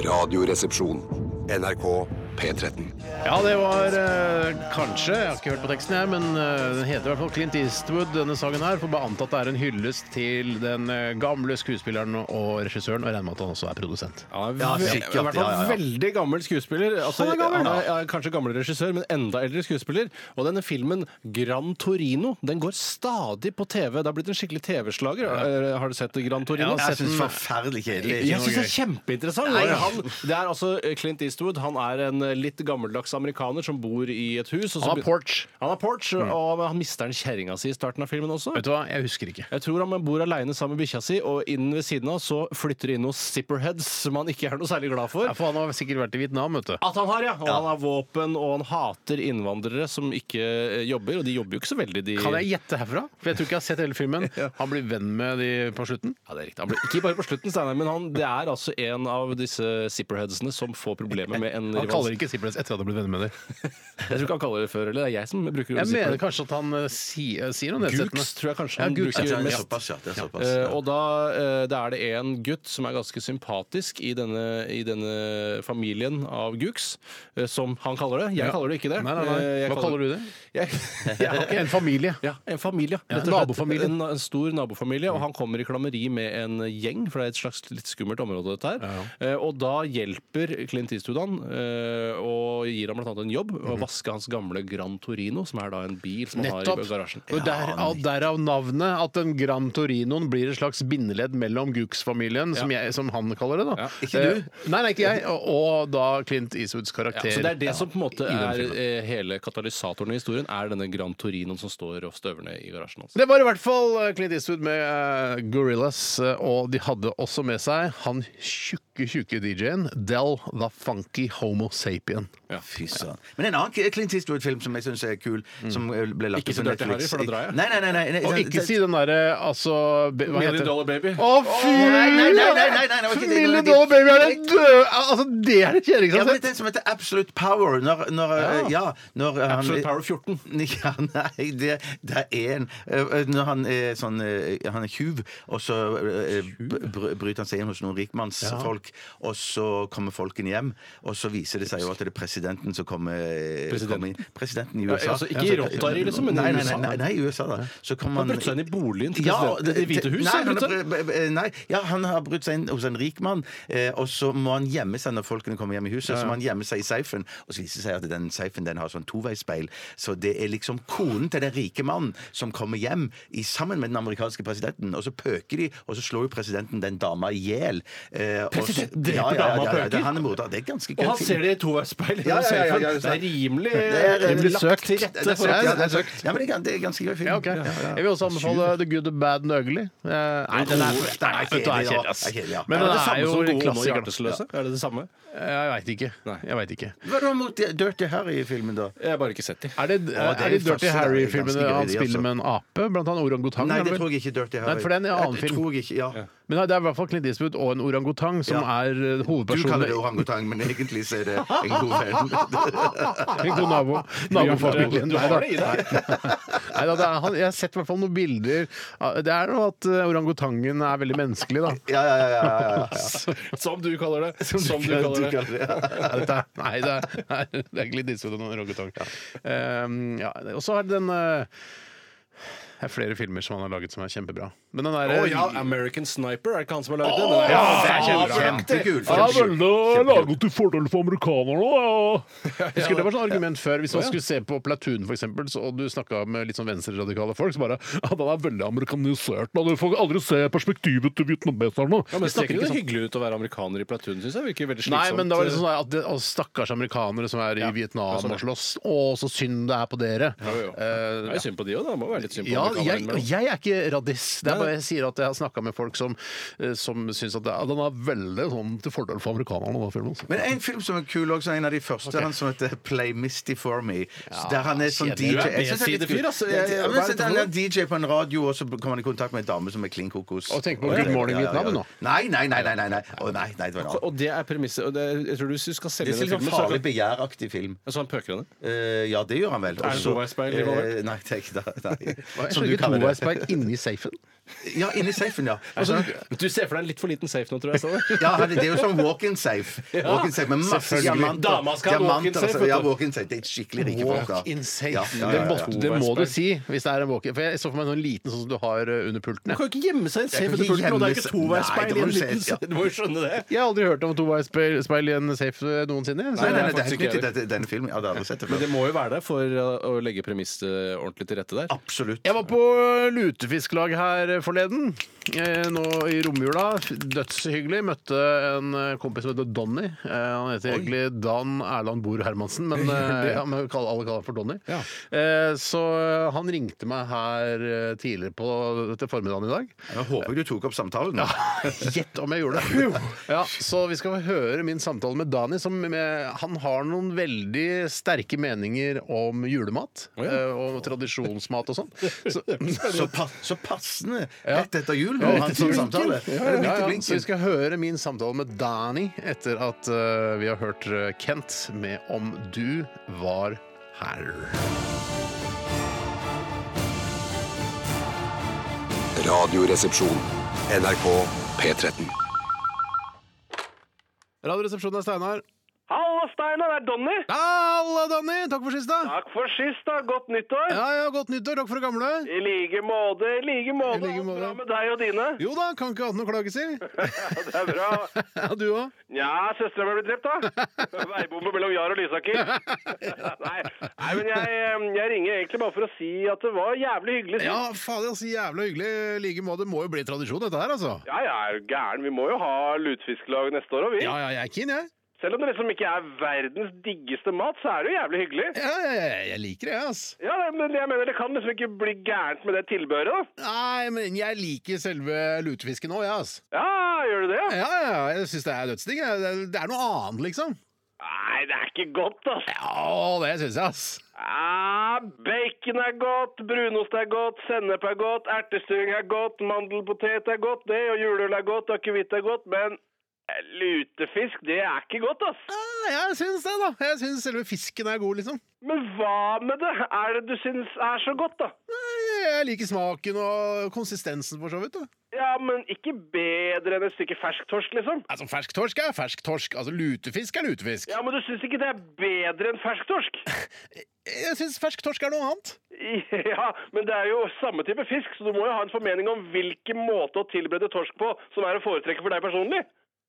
S5: Radioresepsjon. NRK P13.
S1: Ja, det var eh, kanskje Jeg har ikke hørt på teksten, her, men eh, den heter i hvert fall Clint Eastwood, denne sangen her. Får bare anta at det er en hyllest til den eh, gamle skuespilleren og regissøren, og jeg regner med at han også er produsent.
S2: Ja,
S3: Ja,
S2: ve-
S3: sikkert,
S2: I hvert fall
S3: ja, ja, ja.
S2: veldig gammel skuespiller. Altså,
S1: Han er gammel.
S2: ja, kanskje gammel regissør, men enda eldre skuespiller. Og denne filmen, Gran Torino, den går stadig på TV. Det har blitt en skikkelig TV-slager. Eh, Har du sett Gran Torino?
S1: Ja,
S3: Jeg syns forferdelig kjedelig.
S2: Jeg syns det er kjempeinteressant. Og Han, det er altså Clint Eastwood. Han er en eh, litt gammeldags amerikaner som bor i et hus. og så
S1: Han har
S2: begyn-
S1: porch. Mm.
S2: Han har porch, og han mister en kjerringa si i starten av filmen også.
S1: Vet du hva, jeg husker ikke.
S2: Jeg tror han bor aleine sammen med bikkja si, og innen ved siden av så flytter det inn noen zipperheads som han ikke er noe særlig glad for.
S1: Ja, for han har sikkert vært i Vietnam, vet du.
S2: At han har, ja. Og han har våpen, og han hater innvandrere som ikke eh, jobber. Og de jobber jo ikke så veldig, de
S1: Kan jeg gjette herfra? For jeg tror ikke jeg har sett hele filmen. Han blir venn med de på slutten.
S2: Ja, det er riktig. Han ble, ikke bare på slutten, Steinar, men han, det er altså en av disse zipperheadsene som får problemer med en
S1: Han
S2: rivals.
S1: kaller ikke Zipples etter at han har blitt venn med dem.
S2: Jeg tror ikke han kaller det før, eller det er jeg som bruker ordet
S1: Jeg mener
S2: zipperhead.
S1: kanskje at han eh, si, eh, sier noe nedsettende.
S2: Gooks tror jeg kanskje
S1: Ja,
S2: han
S1: Gooks, ja.
S2: bruker
S3: Det er
S2: mest.
S3: såpass, ja. Det er såpass.
S2: Eh,
S3: ja.
S2: og da eh, da er det en gutt som er ganske sympatisk i denne, i denne familien av Gooks, eh, som han kaller det. Jeg
S1: Ja.
S2: kaller det ikke det.
S1: Nei, nei, nei.
S2: Eh, jeg
S1: Hva kaller du det?
S2: Jeg, jeg har ikke
S1: En familie.
S2: Ja, en familie.
S1: Ja,
S2: rett og slett.
S1: nabofamilie.
S2: En, en stor nabofamilie. Og han kommer i klammeri med en gjeng, for det er et slags litt skummelt område, dette her. Eh, og da hjelper Clint Eastwood han, eh, og gir ham bl.a. en jobb. Å vaske hans gamle Gran Torino, som er da en bil som han har
S1: Nettopp.
S2: i garasjen.
S1: Og der, av, derav navnet at den Gran Torinoen blir et slags bindeledd mellom Gux-familien, som, jeg- som han kaller det. da
S3: Ikke du?
S1: Eh, nei, nei, ikke jeg. Og, og da Clint Eastwoods karakter.
S2: Så det er det som på en måte
S1: i den
S2: er
S1: filmen.
S2: eh, hele katalysatoren i historien, er denne Gran Torinoen som står og støverne i garasjen hans.
S1: Det var i hvert fall eh, Clint Eastwood med eh, Gorillaz, eh, og de hadde også med seg han tjukke, tjukke DJ-en Del The Funky Homo Sapien.
S3: Fy søren. Men en annen K- Clint Eastwood-film som jeg syns er kul, som eh, ble lagt
S2: Ikke
S3: opp på
S2: så dirty
S3: Netflix
S2: Harry, for da drar jeg.
S3: Nei, nei, nei. nei, nei
S1: Og ikke si den derre altså be- Hva
S2: Million
S1: heter
S2: Dollar Baby.
S1: Å, fy!
S3: Å, nei, nei, nei, nei, nei, nei, det var ikke det, det var
S1: Million
S3: ikke-
S1: Dollar Baby er det døde Altså, det er det kjedeligste
S3: ja,
S1: jeg har
S3: men
S1: sett.
S3: Den som heter Absolute Power. Når, når, eh, ja, når eh, han-
S2: Absolute Power 14.
S3: Ja, nei, det, det er en eh, Når han er sånn eh, Han er tjuv, og så eh, br- br- bryter han seg inn hos noen rikmannsfolk, og så kommer folkene hjem, og så viser det seg jo at det er presidenten som kommer, eh, kommer inn. Presidenten i USA.
S2: Ja, altså, ikke i
S3: Ja, så-
S2: Rotary, liksom, men i
S3: nei, nei,
S2: USA.
S3: nei, nei, nei, i USA, da. Så kommer
S2: Han brøt seg inn i boligen til presidenten i Det hvite
S3: Nei,
S2: hus,
S3: han
S2: han brøt
S3: har,
S2: seg.
S3: br- br- nei, ja, han har brutt seg inn hos en rik mann, eh, og så må han gjemme seg når folkene kommer hjem i huset. Så må han gjemme seg i safen, og så viser det seg at den safen den har sånn toveisspeil. Så det er liksom konen til den rike mannen som kommer hjem i, sammen med den amerikanske presidenten, og så pøker de, og så slår jo presidenten den dama i hjel. Eh, og så-
S2: Presidenten dreper
S3: ja, ja, ja,
S2: dama og
S3: ja, ja,
S2: pøker?
S3: det- Han er morder. Det er ganske
S2: Og han
S3: kødd.
S2: ser det i toveisspeilet.
S3: Ja, ja, ja, ja, ja,
S2: det er rimelig
S3: er- det blir
S2: lagt
S1: søkt.
S2: til
S3: Det er
S2: rette.
S3: søkt,
S2: for
S3: ja,
S2: at-
S3: det er søkt. Ja, men det er gans- det er ganske gøy film.
S1: Ja, ok. Jeg vil også anbefale The Good, The Bad and The Ugly. Eh, Nei,
S3: den er- den er
S1: vet du,
S3: kjedelig, ja.
S1: ass.
S3: Den er kjedelig, ja.
S1: Men
S2: Er det
S1: den
S2: det
S1: er
S2: samme
S1: jo
S2: som
S1: en
S2: Gode og
S1: klassiker. da.
S2: hjertesløse? Er det det samme?
S1: Jeg veit ikke. Jeg vet ikke.
S3: Hva da mot Dirty Harry-filmen, da?
S2: Jeg har bare ikke sett de.
S1: Er det,
S3: Ja, det er
S1: er det
S3: jo
S1: Dirty
S3: fast- det er
S1: Harry-filmene
S3: ganske
S1: han
S3: gøy, altså.
S1: spiller med en ape? Blant annet orangutang?
S3: Nei,
S1: er
S3: det
S1: vel?
S3: tror jeg ikke Dirty Harry.
S1: Nei, for det er en annen
S3: Jeg
S1: film.
S3: Tror jeg ikke, ja.
S1: Men det er i hvert fall Clint Eastwood og en orangutang som
S3: Ja.
S1: er eh,
S3: Du kaller det
S1: hovedpersonen.
S3: orangutang, men egentlig så er det en god venn.
S1: En god nabo. Nabofamilien.
S2: Du
S1: Nei da.
S2: har det i deg.
S1: Nei da, det er han- Jeg har sett i hvert fall noen bilder. av- Det er noe at eh, orangutangen er veldig menneskelig, da.
S3: Ja, ja, ja, ja, ja, ja.
S2: Som du kaller det. Som, du
S3: Ja,
S2: kaller det.
S3: det. ja.
S1: Nei, dette er, nei, det er, nei, Ehm, det er ikke litt disfot og noen orangutang. Um, ja, og så er det den eh, Det er flere filmer som han har laget som er kjempebra. Men den
S2: Å
S1: derre
S2: Eh, ja, American Sniper, er det ikke han som har lagd den? Den er-
S3: Kjempekul
S1: Ja, vel,
S3: film.
S1: da er laget til fordel for amerikanerne, da. Husker det var sånn argument før. Hvis man skulle se på Platoon, for eksempel, så, og du snakka med litt sånn venstreradikale folk, så bare Ja, den er veldig amerikanisert, da. Du får aldri se perspektivet til vietnameserne.
S2: Ja, men
S1: Vi ser
S2: snakker
S1: ikke
S2: det
S1: sånn.
S2: hyggelig ut å være amerikaner i platoon, syns jeg. Virker veldig
S1: Nei,
S2: slitsomt.
S1: men det var liksom sånn at det, og stakkars amerikanere som er i Vietnam
S2: sånn, ja.
S1: og slåss. Å, så synd det er på dere.
S2: Ja, jo.
S1: Eh,
S2: Det er jo synd på de òg, da. Det Må være litt synd på
S1: Ja, jeg,
S2: amerikanerne. men-
S1: jeg er ikke radis. Det er
S2: Nei.
S1: bare jeg sier at jeg har snakka med folk som, eh, som syns at det er, den er veldig sånn til fordel for amerikanerne. Den filmen, altså.
S3: Men en film som er kul også, en av de første, han som heter Play Misty For Me.
S1: Ja,
S3: der han er sånn
S1: kjedelig.
S3: DJ
S1: Du er
S3: Jeg synes det litt
S2: B-sidefyr,
S3: kult.
S2: altså.
S3: Ja,
S2: Jeg-
S3: ja,
S2: hva
S3: men
S2: er
S3: så
S2: det for
S3: Han
S2: noe?
S3: er DJ på en radio, og så kommer han i kontakt med en dame som er klin kokos.
S1: Og tenk på Good Morning Vietnam nå.
S3: Nei, nei, nei. nei, nei, nei. Å, nei, nei det var en annen.
S2: Altså, Og det er premisset. og det- Jeg tror du hvis du skal
S3: Det
S2: selge
S3: er
S2: den
S3: litt sånn
S2: filmen, så er
S3: farlig
S2: det-
S3: begjæraktig film.
S2: så han pøker henne.
S3: Eh, ja, det gjør han vel.
S2: Er det toveispeil involvert?
S3: Eh, Nei, det er ikke det. Nei.
S1: Som du
S3: kaller det.
S1: toveispeil inni safen.
S3: Ja, inni safen, ja. Altså,
S2: Du ser for deg en litt for liten safe nå, tror jeg. Så.
S3: ja, han- det er jo sånn walk-in safe. Walk-in safe Med masse
S2: selvfølgelig.
S3: diamanter.
S2: Dama skal ha
S3: Diamanter,
S2: walk-in safe,
S3: altså.
S2: vet du.
S3: Ja, walk-in safe. Det er skikkelig rike folk, da. Ja, ja,
S1: Det,
S3: ja, ja.
S1: må, det må du si hvis det er en walk For jeg så for meg en sånn liten sånn som du har eh, under pulten.
S2: Du
S1: Jeg.
S2: kan jo ikke gjemme seg i en safe
S3: kan
S2: under
S3: ikke
S2: pulten, og det er
S3: gjemme
S2: ikke
S3: seg- Nei,
S2: toveispeil
S3: det
S2: i
S3: må
S2: en
S3: du
S2: liten
S3: se, ja.
S2: safe. Du må jo skjønne det.
S1: jeg har aldri hørt om toveispeil speil i en safe eh, noensinne. jeg. Så
S3: Nei, nei, nei, det er
S2: faktisk
S3: helt nytt i
S2: ikke
S3: dette- denne filmen. Ja, det har jeg aldri sett det
S2: Men det
S3: før.
S2: må jo være der for uh, å legge premisset ordentlig til rette der.
S3: Absolutt.
S1: Jeg var på lutefisklag her forleden, eh, nå i romjula. Dødshyggelig. Møtte en eh, kompis som heter Donny. Eh, Han heter egentlig Dan Erland Bor Hermansen, men, eh, ja, men vi kaller- alle kaller han for Donny.
S2: Ja.
S1: Eh, Så han ringte meg her eh, tidligere på, til formiddagen i dag.
S3: Jeg håper du tok opp samtalen.
S1: Gjett om jeg gjorde det! Ja, så vi skal høre min samtale med Dani. Som med, han har noen veldig sterke meninger om julemat.
S2: Å ja.
S1: eh, Og tradisjonsmat og sånn. Så,
S3: Så, pa så passende
S1: Ja.
S3: rett etter jul
S1: Ja,
S3: når han
S1: rett etter
S3: tok
S1: blinken.
S3: samtale.
S1: Ja,
S3: Eller midt i
S1: ja, ja. Så vi
S3: blinken.
S1: skal høre min samtale med Dani etter at eh, vi har hørt eh, Kent med 'Om du var her'.
S5: Radioresepsjon. NRK P13.
S1: Radioresepsjonen er Steinar.
S6: Hallo, Steinar. Det er Donny.
S1: Halla, Dani! Takk for sist, da.
S6: Takk for sist, da. Godt nyttår.
S1: Ja, ja, Godt nyttår. Takk for det gamle.
S6: I like måte. I like måte.
S1: I like
S6: Alt
S1: måte.
S6: Bra med deg og dine.
S1: Jo da, kan ikke annet enn å klage, si.
S6: Det er bra.
S1: Ja, du òg.
S6: Nja, søstera mi ble drept, da. Veibombe mellom Jar og Lysaker. Nei, nei men jeg, jeg ringer egentlig bare for å si at det var jævlig hyggelig sist.
S1: Ja, fader, altså, jævla hyggelig. I like måte må jo bli tradisjon, dette her, altså.
S6: Ja, jeg er jo gæren. Vi må jo ha lutefisklag neste år òg, vi.
S1: Ja, ja, jeg er keen, jeg.
S6: Selv om det liksom ikke er verdens diggeste mat, så er det jo jævlig hyggelig.
S1: Ja, jeg, jeg- jeg liker det, ass.
S6: Ja, men jeg mener det kan liksom ikke bli gærent med det tilbehøret, da.
S1: Nei, men jeg liker selve lutefisken òg, jeg, ass.
S6: Ja, gjør du det?
S1: Ja, ja, ja, jeg syns det er dødsdigg. jeg. Det er- det er noe annet, liksom.
S6: Nei, det er ikke godt, altså.
S1: Ja, det syns jeg, ass.
S6: Ah, bacon er godt, brunost er godt, sennep er godt, ertestuing er godt, mandelpotet er godt, det, og juleøl er godt, akevitt er godt, men eh, lutefisk, det er ikke godt, ass.
S1: Ja, jeg syns det, da. Jeg syns selve fisken er god, liksom.
S6: Men hva med det? Er det du syns er så godt, da?
S1: Nei, Jeg liker smaken og konsistensen, for så vidt. da.
S6: Ja, men ikke bedre enn et stykke fersk torsk, liksom.
S1: Altså, Fersk torsk er fersk torsk. Altså, Lutefisk er lutefisk.
S6: Ja, men du syns ikke det er bedre enn fersk torsk?
S1: Jeg syns fersk torsk er noe annet.
S6: Ja, men det er jo samme type fisk, så du må jo ha en formening om hvilken måte å tilberede torsk på som er å foretrekke for deg personlig.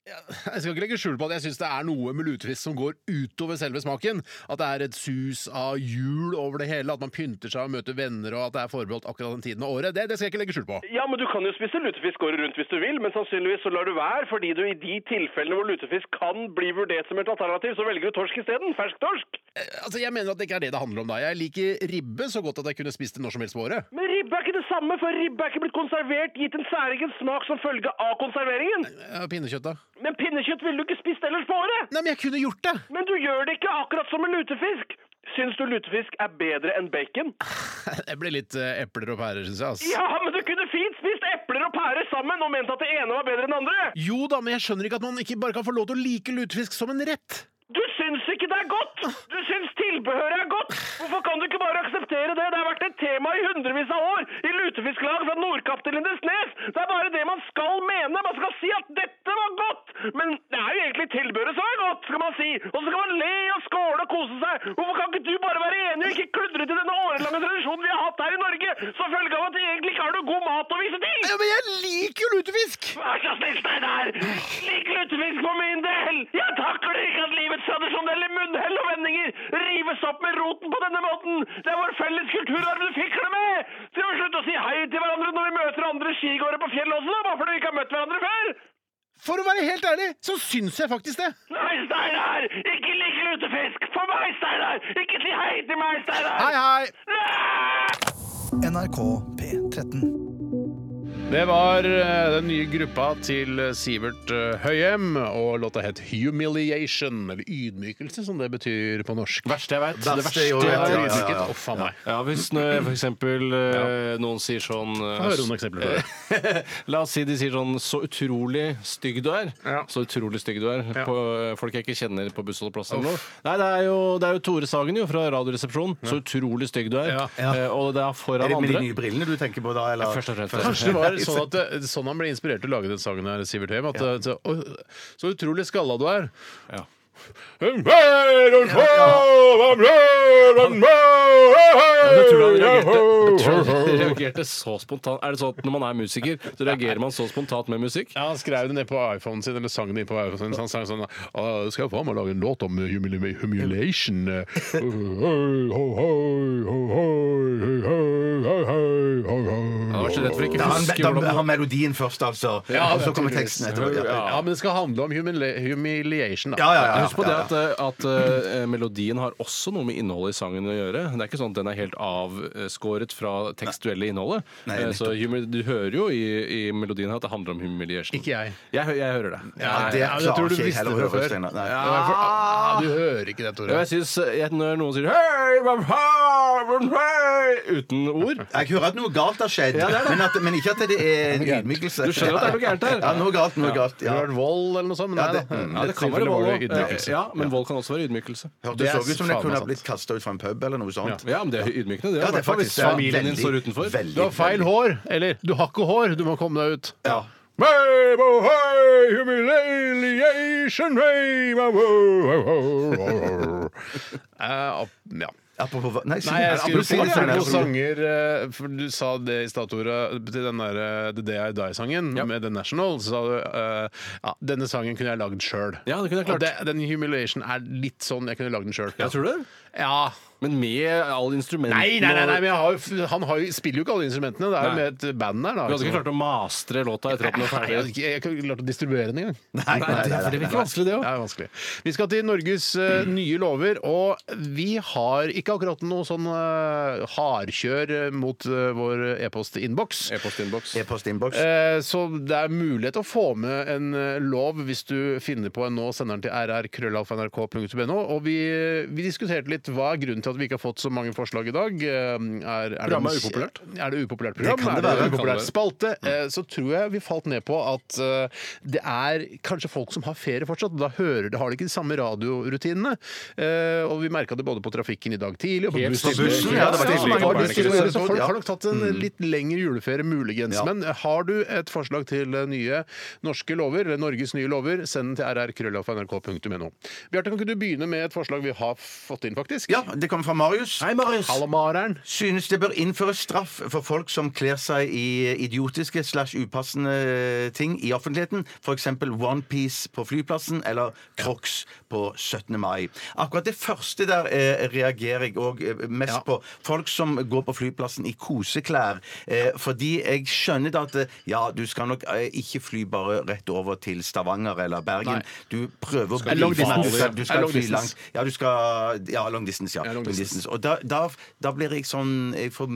S1: Jeg skal ikke legge skjul på at jeg syns det er noe med lutefisk som går utover selve smaken. At det er et sus av jul over det hele, at man pynter seg og møter venner, og at det er forbeholdt akkurat den tiden av året. Det, det skal jeg ikke legge skjul på.
S6: Ja, men du kan jo spise lutefisk året rundt hvis du vil, men sannsynligvis så lar du være, fordi du i de tilfellene hvor lutefisk kan bli vurdert som et alternativ, så velger du torsk isteden. Fersk torsk.
S1: Eh, Altså, Jeg mener at det ikke er det det handler om da. Jeg liker ribbe så godt at jeg kunne spist det når som helst på året.
S6: Men ribbe er ikke det samme, for ribbe er ikke blitt konservert, gitt en særegen smak som følge av konserveringen.
S1: Eh, Pinnekjøtt, da?
S6: Men pinnekjøtt ville du ikke spist ellers på året.
S1: Nei, men jeg kunne gjort det!
S6: Men du gjør det ikke akkurat som en lutefisk. Syns du lutefisk er bedre enn bacon?
S1: Jeg ble litt eh, epler og pærer, syns jeg. ass.
S6: Ja, men du kunne fint spist epler og pærer sammen og ment at det ene var bedre enn det andre.
S1: Jo da, men jeg skjønner ikke at man ikke bare kan få lov til å like lutefisk som en rett.
S6: Du syns ikke det er godt! Du syns tilbehøret er godt! Hvorfor kan du ikke bare akseptere det? Det har vært et tema i hundrevis av år! I lutefisklag fra Nordkapp til Lindesnes! Det er bare det man skal mene! Man skal si at dette var godt! Men det er jo egentlig fordi tilbudet så er godt, skal man si. Og så skal man le og skåle og kose seg. Hvorfor kan ikke du bare være enig og ikke kludre til denne årelange tradisjonen vi har hatt her i Norge, som følge av at vi egentlig ikke har noe god mat å vise til?
S1: Ja, men jeg liker jo lutefisk!
S6: Vær så snill, Steinar! Lik lutefisk for min del! Jeg takler ikke at livets tradisjonelle munnhell og vendinger rives opp med roten på denne måten! Det er vår felles kulturarv du fikler med! Så vi må slutte å si hei til hverandre når vi møter andre skigåere på fjellet også, da, bare fordi vi ikke har møtt hverandre før!
S1: For å være helt ærlig, så syns jeg faktisk det.
S6: Nei, Steinar! Ikke lik lutefisk! For meg, Steinar! Ikke si hei til meg, Steinar!
S1: Hei, hei!
S4: NRK P13.
S1: Det var eh, den nye gruppa til Sivert eh, Høyem, og låta het Humiliation, eller ydmykelse, som det betyr på norsk.
S2: Verste jeg vet. Det
S3: Verste jeg vet,
S2: verste jeg
S1: Ja,
S3: ja,
S2: vet.
S3: ja, ja.
S1: Å, faen meg.
S2: Ja, hvis nå, for eksempel eh, noen sier sånn eh,
S1: Få høre noen eksempler på det.
S2: La oss si de sier sånn Så utrolig stygg du er. Så utrolig stygg du er. På, eh, folk jeg ikke kjenner på bussholdeplassen nå. Nei, det er, jo, det er jo Tore Sagen jo, fra Radioresepsjonen. Så utrolig stygg du er.
S1: Ja.
S2: Eh, og det er
S3: Er
S2: foran
S3: det med de
S2: andre.
S3: nye brillene du tenker på da? Eller?
S2: Først og fremst.
S1: Kanskje det var sånn at eh, sånn han ble inspirert til å lage den sangen her, Sivert Høyem. At, eh, så, «Å, så utrolig skalla du er.
S2: Ja.
S1: Jeg tror
S2: tror du han reagerte, jeg tror han reagerte så spontant? Er det sånn at når man er musiker, så reagerer man så spontant med musikk?
S1: Ja, Han skrev det ned på iPhonen sin, eller sang det inn på iPhonen sin. Så han sang sånn «Å, Skal jeg faen meg lage en låt om humili humiliation? eh, ho, ho, ho, ho, ho, ho, ho, ho, ho,
S2: Jeg
S1: ho».
S2: var så redd for å ikke
S3: Da har
S2: huske
S3: han- da
S2: hvordan
S3: har han melodien først, altså. og så kommer teksten etterpå. Ja, ja,
S1: Ja, men det skal handle om humili humiliation, da.
S3: ja. ja, ja,
S2: Husk på
S3: ja,
S2: det
S3: ja.
S2: at, eh, at eh, melodien har også noe med innholdet i sangen å gjøre. Det er ikke sånn at den er helt avskåret fra tekstuelle innholdet.
S3: Nei,
S2: Eh, så
S3: nettopp.
S2: humi- du hører jo i, i melodien her at det handler om humiliation.
S1: Ikke jeg.
S2: Jeg, hø- jeg hører det.
S3: Ja, det
S1: Ja, jeg
S3: klarer
S1: tror du
S3: ikke jeg
S1: visste
S3: heller å
S1: det
S3: høre,
S1: fra før.
S3: Steinar. Nei.
S1: Ja, for- ah, Du hører ikke det,
S2: Og
S1: Tore.
S2: jeg synes, eh, Når noen sier «Hei, hva faen, hva faen», uten ord
S3: Jeg hører at noe galt har skjedd, Men, at, men ikke at det er en ydmykelse.
S2: Du skjønner at det er noe gærent her.
S3: Ja, noe galt, noe galt.
S1: Du
S3: Ja.
S1: har vært vold eller noe sånt? men
S3: Ja,
S1: Nei
S3: det-
S1: da.
S3: ja,
S2: ja, det kan
S1: mm.
S2: være
S1: Selvfølgelig
S2: vold
S1: var
S2: også.
S1: det ydmykelse.
S2: Ja, men vold kan også være ydmykelse.
S3: Hørtes
S1: Det er
S3: så ut som det
S1: faen
S3: kunne
S1: meg
S3: ha blitt kasta ut fra en pub eller noe sånt.
S2: Ja, men det er ydmykende. Det,
S3: Ja, det er
S2: hvertfall hvis
S3: faktisk- det er
S2: familien din
S3: veldig-
S2: står utenfor.
S3: veldig-
S1: Du har feil hår. Eller, du har ikke hår, du må komme deg ut.
S3: Ja.
S1: Wave, oh, hey, humiliation, wave, oh, oh, oh, oh, oh. Eh, opp- ja.
S3: Apropos hva- Nei,
S1: Nei, jeg skulle
S3: apropos-
S1: si det er noen
S3: apropos-
S1: sanger eh, For du sa det i stad, Tore, til den der eh, The Day I Die-sangen med The National. Så sa du eh, ja, denne sangen kunne jeg lagd sjøl.
S2: Ja, det kunne jeg klart.
S1: Den Humiliation er litt sånn jeg kunne lagd den sjøl.
S2: Ja, tror du det?
S1: Ja.
S2: Men med alle instrumentene
S1: Nei, nei, nei, nei, men
S2: og-
S1: jeg har, jo f- han har jo, spiller jo ikke alle instrumentene. Det er jo
S2: Nei.
S1: med et band der, da.
S2: Du hadde ikke klart å mastre låta etter at den var
S1: Nei, jeg hadde
S2: ferdig?
S1: ikke- jeg kunne ikke klart å distribuere den engang.
S3: Nei, nei, nei, nei, nei.
S2: virker vanskelig, det
S1: Det er vanskelig. Vi skal til Norges eh, nye lover, og vi har ikke akkurat noe sånn eh, hardkjør eh, mot eh, vår e-postinnboks.
S2: E-postinnboks.
S3: E-postinnboks.
S1: Eh, Så det er mulighet å få med en eh, lov hvis du finner på en nå, sender den til rrkrøllalfa.nrk.no. Og vi, vi diskuterte litt hva er grunnen til at vi ikke har fått så mange forslag i dag. Eh, Er, er
S2: Programmet
S1: det-
S2: er upopulært.
S1: Er det upopulært program?
S3: Det kan det være.
S1: er det
S2: Kan det
S1: upopulær
S2: være. Mm.
S1: spalte? Eh, Så tror jeg vi falt ned på at eh, det er kanskje folk som har ferie fortsatt, og da hører, har de ikke de samme radiorutinene. Eh, Og vi merka det både på trafikken i dag tidlig og på
S2: Helt
S1: bussen.
S2: på bussen, ja, det var
S1: Ja,
S2: tidlig
S1: mange
S2: på
S1: busser,
S2: Bernekrysset.
S1: Så folk
S3: Ja.
S1: har nok tatt en litt lengre juleferie, muligens.
S3: Ja.
S1: Men har du et forslag til eh, nye norske lover, eller Norges nye lover, send den til rrkrøllalfa.nrk.no. Bjarte, kan ikke du begynne med et forslag vi har fått inn, faktisk?
S3: Ja, det kommer fra Marius.
S2: Hei, Marius!
S1: Alamareren.
S3: Synes det bør innføres straff for folk som kler seg i idiotiske slash upassende ting i offentligheten. F.eks. Onepiece på flyplassen eller Crocs på 17. mai. Akkurat det første der eh, reagerer jeg òg mest
S1: Ja.
S3: på. Folk som går på flyplassen i koseklær. Eh, fordi jeg skjønner da at eh, ja, du skal nok eh, ikke fly bare rett over til Stavanger eller Bergen.
S1: Nei.
S3: Du prøver å
S1: En long
S3: bli-
S1: distance.
S3: Du skal, du
S1: En
S3: skal
S1: long
S3: fly
S1: distance.
S3: langt. Ja, du skal Ja, long distance, ja.
S1: Ja, long
S3: Long distance. Og da, da, da blir jeg sånn Jeg får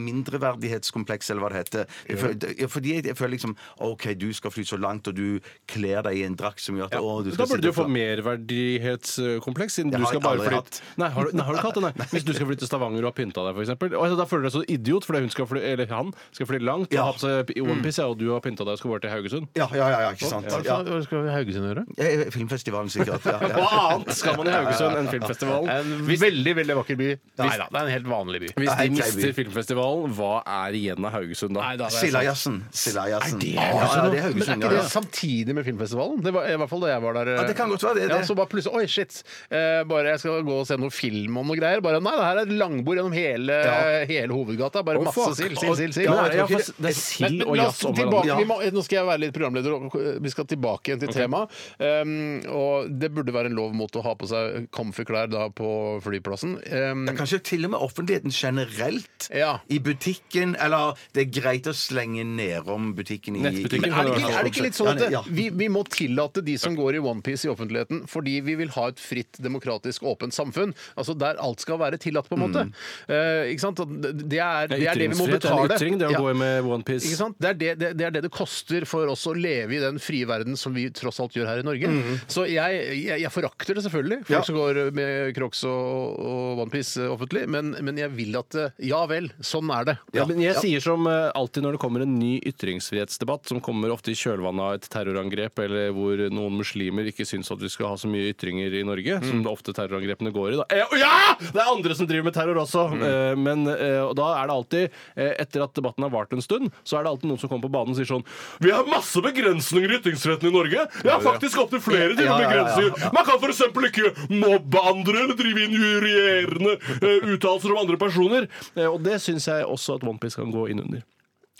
S3: mindreverdighetskompleks, eller hva det heter. Jeg føler, ja, fordi jeg, jeg føler liksom OK, du skal fly så langt, og du kler deg i en drakt som gjør at å, du
S2: Da
S3: skal
S2: burde du jo
S3: sitte
S2: få
S3: fra-
S2: merverdighetskompleks. Siden
S3: Det
S2: du
S3: har
S2: skal
S3: jeg
S2: bare
S3: aldri
S2: flytte Nei, har du, nei, har du ikke hatt det? Nei. Hvis du skal flytte til Stavanger og har pynta deg, f.eks. Altså, da føler du deg så idiot fordi hun skal fly, eller han skal fly langt og
S3: Ja. Mm.
S2: har på seg i onepiece, ja, og du har pynta deg og skal bare til Haugesund.
S3: ja, ja, ja, ja, ikke sant.
S1: Hva
S3: Ja.
S1: hva skal vi i Haugesund gjøre?
S3: Eh, Filmfestivalen, sikkert. Ja, ja.
S2: Hva annet skal man i Haugesund enn filmfestivalen?
S1: En veldig veldig veldig vakker by. Nei da, det er en helt vanlig by.
S2: Hvis
S3: Nei,
S2: de
S3: Kleiby.
S2: mister filmfestivalen, hva er igjen av Haugesund da?
S1: Nei da, det er sant.
S3: Sillajazzen. Sillajazzen.
S1: Er det
S3: Ja,
S1: Haugesund
S3: ja,
S1: nå?
S3: det er
S1: altså, Men er
S3: Haugesund,
S1: ikke
S3: ja,
S1: det
S3: ja.
S1: samtidig med filmfestivalen? Det var i hvert fall da jeg var der.
S3: Ja, det kan godt være det,
S1: Ja,
S3: det.
S1: så bare plutselig Oi, shit. Eh, bare jeg skal gå og se noe film om noe greier. Bare nei, det her er et langbord gjennom hele, hele hovedgata. Bare
S2: Å,
S1: masse
S2: fuck.
S1: sild, sild, sild. sild.
S2: Ja,
S1: Nei,
S2: det
S1: jeg
S2: er-
S1: tror
S2: ja,
S1: ikke-
S2: for det er
S1: Men,
S2: sild
S1: men
S2: og
S1: la oss
S2: jazz om hverandre.
S1: tilbake, vi må, Nå skal jeg være litt programleder, og vi skal tilbake igjen til temaet. Um, og det burde være en lov mot å ha på seg comfy klær da på flyplassen. Um,
S3: Ja, Kanskje til og med offentligheten generelt.
S1: Ja.
S3: I butikken. Eller det er greit å slenge nedom butikken i
S2: Nettbutikken
S3: i-
S1: Men er det, ikke, er det ikke litt sånn at det,
S3: Ja, ja.
S1: vi, vi må tillate de som går i onepiece i offentligheten fordi vi vil ha et fritt, demokratisk, åpent samfunn? Altså Der alt skal være tillatt, på en måte. Eh, ikke sant? Og Det det er det, er det vi må
S2: Mm. Ytringsfrihet er
S1: betale.
S2: en ytring, det å
S1: Ja.
S2: gå med
S1: Ikke
S2: onepiece.
S1: sant? Det, er det, det, det er det det koster for oss å leve i den frie verden som vi tross alt gjør her i Norge. Så jeg, jeg, jeg forakter det selvfølgelig, folk
S3: Ja.
S1: som går med Crocs og, og onepiece eh, offentlig, men, men jeg vil at eh, Ja vel, sånn er det.
S2: Ja, men jeg sier som eh, alltid når det kommer en ny ytringsfrihetsdebatt, som kommer ofte i kjølvannet av et terrorangrep, eller hvor noen muslimer ikke syns at vi skal ha så mye ytringer i Norge, som det ofte terrorangrepene går i. Da. Eh, Ja! Det er andre som driver med terror også! Eh, Men eh, og da er det alltid, eh, etter at debatten har vart en stund, så er det alltid noen som kommer på banen og sier sånn Vi har masse begrensninger i ytringsretten i Norge! Jeg har faktisk opptil flere til
S3: Ja, ja, ja, ja.
S2: begrensninger! Man kan f.eks. ikke mobbe andre eller drive injurierende eh, uttalelser om andre personer. Eh, og det syns jeg også at OnePiece kan gå inn under.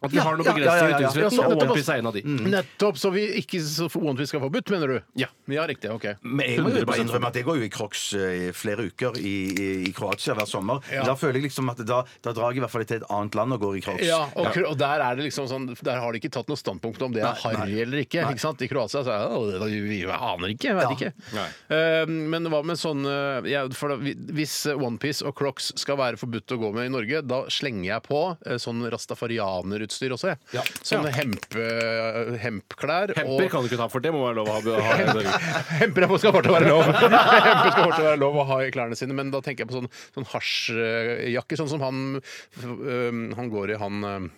S2: At vi har noen
S3: ja, ja, ja,
S2: begrensninger i
S3: ja.
S2: ytringsfretten,
S1: Ja, så
S2: og
S1: nettopp
S2: OnePiece er en av
S3: Mm.
S2: de.
S1: Nettopp, så vi ikke så OnePiece skal forbudt, mener du?
S2: Ja.
S1: ja riktig. ok
S3: Men jeg må jo bare
S2: 100%
S3: innrømme at jeg går jo i crocs eh, i flere uker i, i, i Kroatia hver sommer. Da føler jeg liksom at da, da drar jeg i hvert fall til et annet land og går i crocs.
S1: Ja, og, og der er det liksom sånn Der har de ikke tatt noe standpunkt om det er harry eller ikke. ikke sant? I Kroatia så er det «Å, det- Vi aner ikke, jeg vet ikke. Eh, men hva med sånn eh, ja, for da, vi- Hvis OnePiece og Crocs skal være forbudt å gå med i Norge, da slenger jeg på eh, sånn rastafarianerutstyr også, jeg. Sånne hempe, hempklær.
S2: Hemper kan du ikke ta for det, må være lov å ha. ha i Norge.
S1: Hemper er på- skal fortsatt være lov. Hemper skal fortsatt være lov å ha i klærne sine, men da tenker jeg på sånn, sånn hasjjakker, sånn som han øhm, Han går i, han øhm,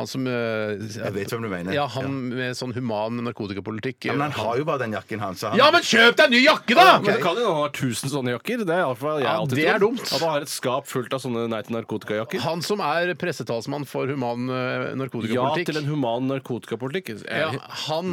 S1: Han som Jeg
S3: Jeg vet hvem du mener.
S1: Ja, han med sånn human narkotikapolitikk.
S3: Ja, men han har jo bare den jakken hans. så Han,
S1: Ja, men kjøp deg en ny jakke, da!
S2: Men det kan jo hende han har 1000 sånne jakker. Det er, i alle fall jeg
S1: Ja,
S2: alltid
S1: det er
S2: trodd.
S1: dumt.
S2: At han har et skap fullt av sånne nei til narkotikajakker.
S1: Han som er pressetalsmann for human øh,
S2: Ja
S1: narkotikapolitikk.
S2: til en human narkotikapolitikk. Jeg-
S1: Ja, han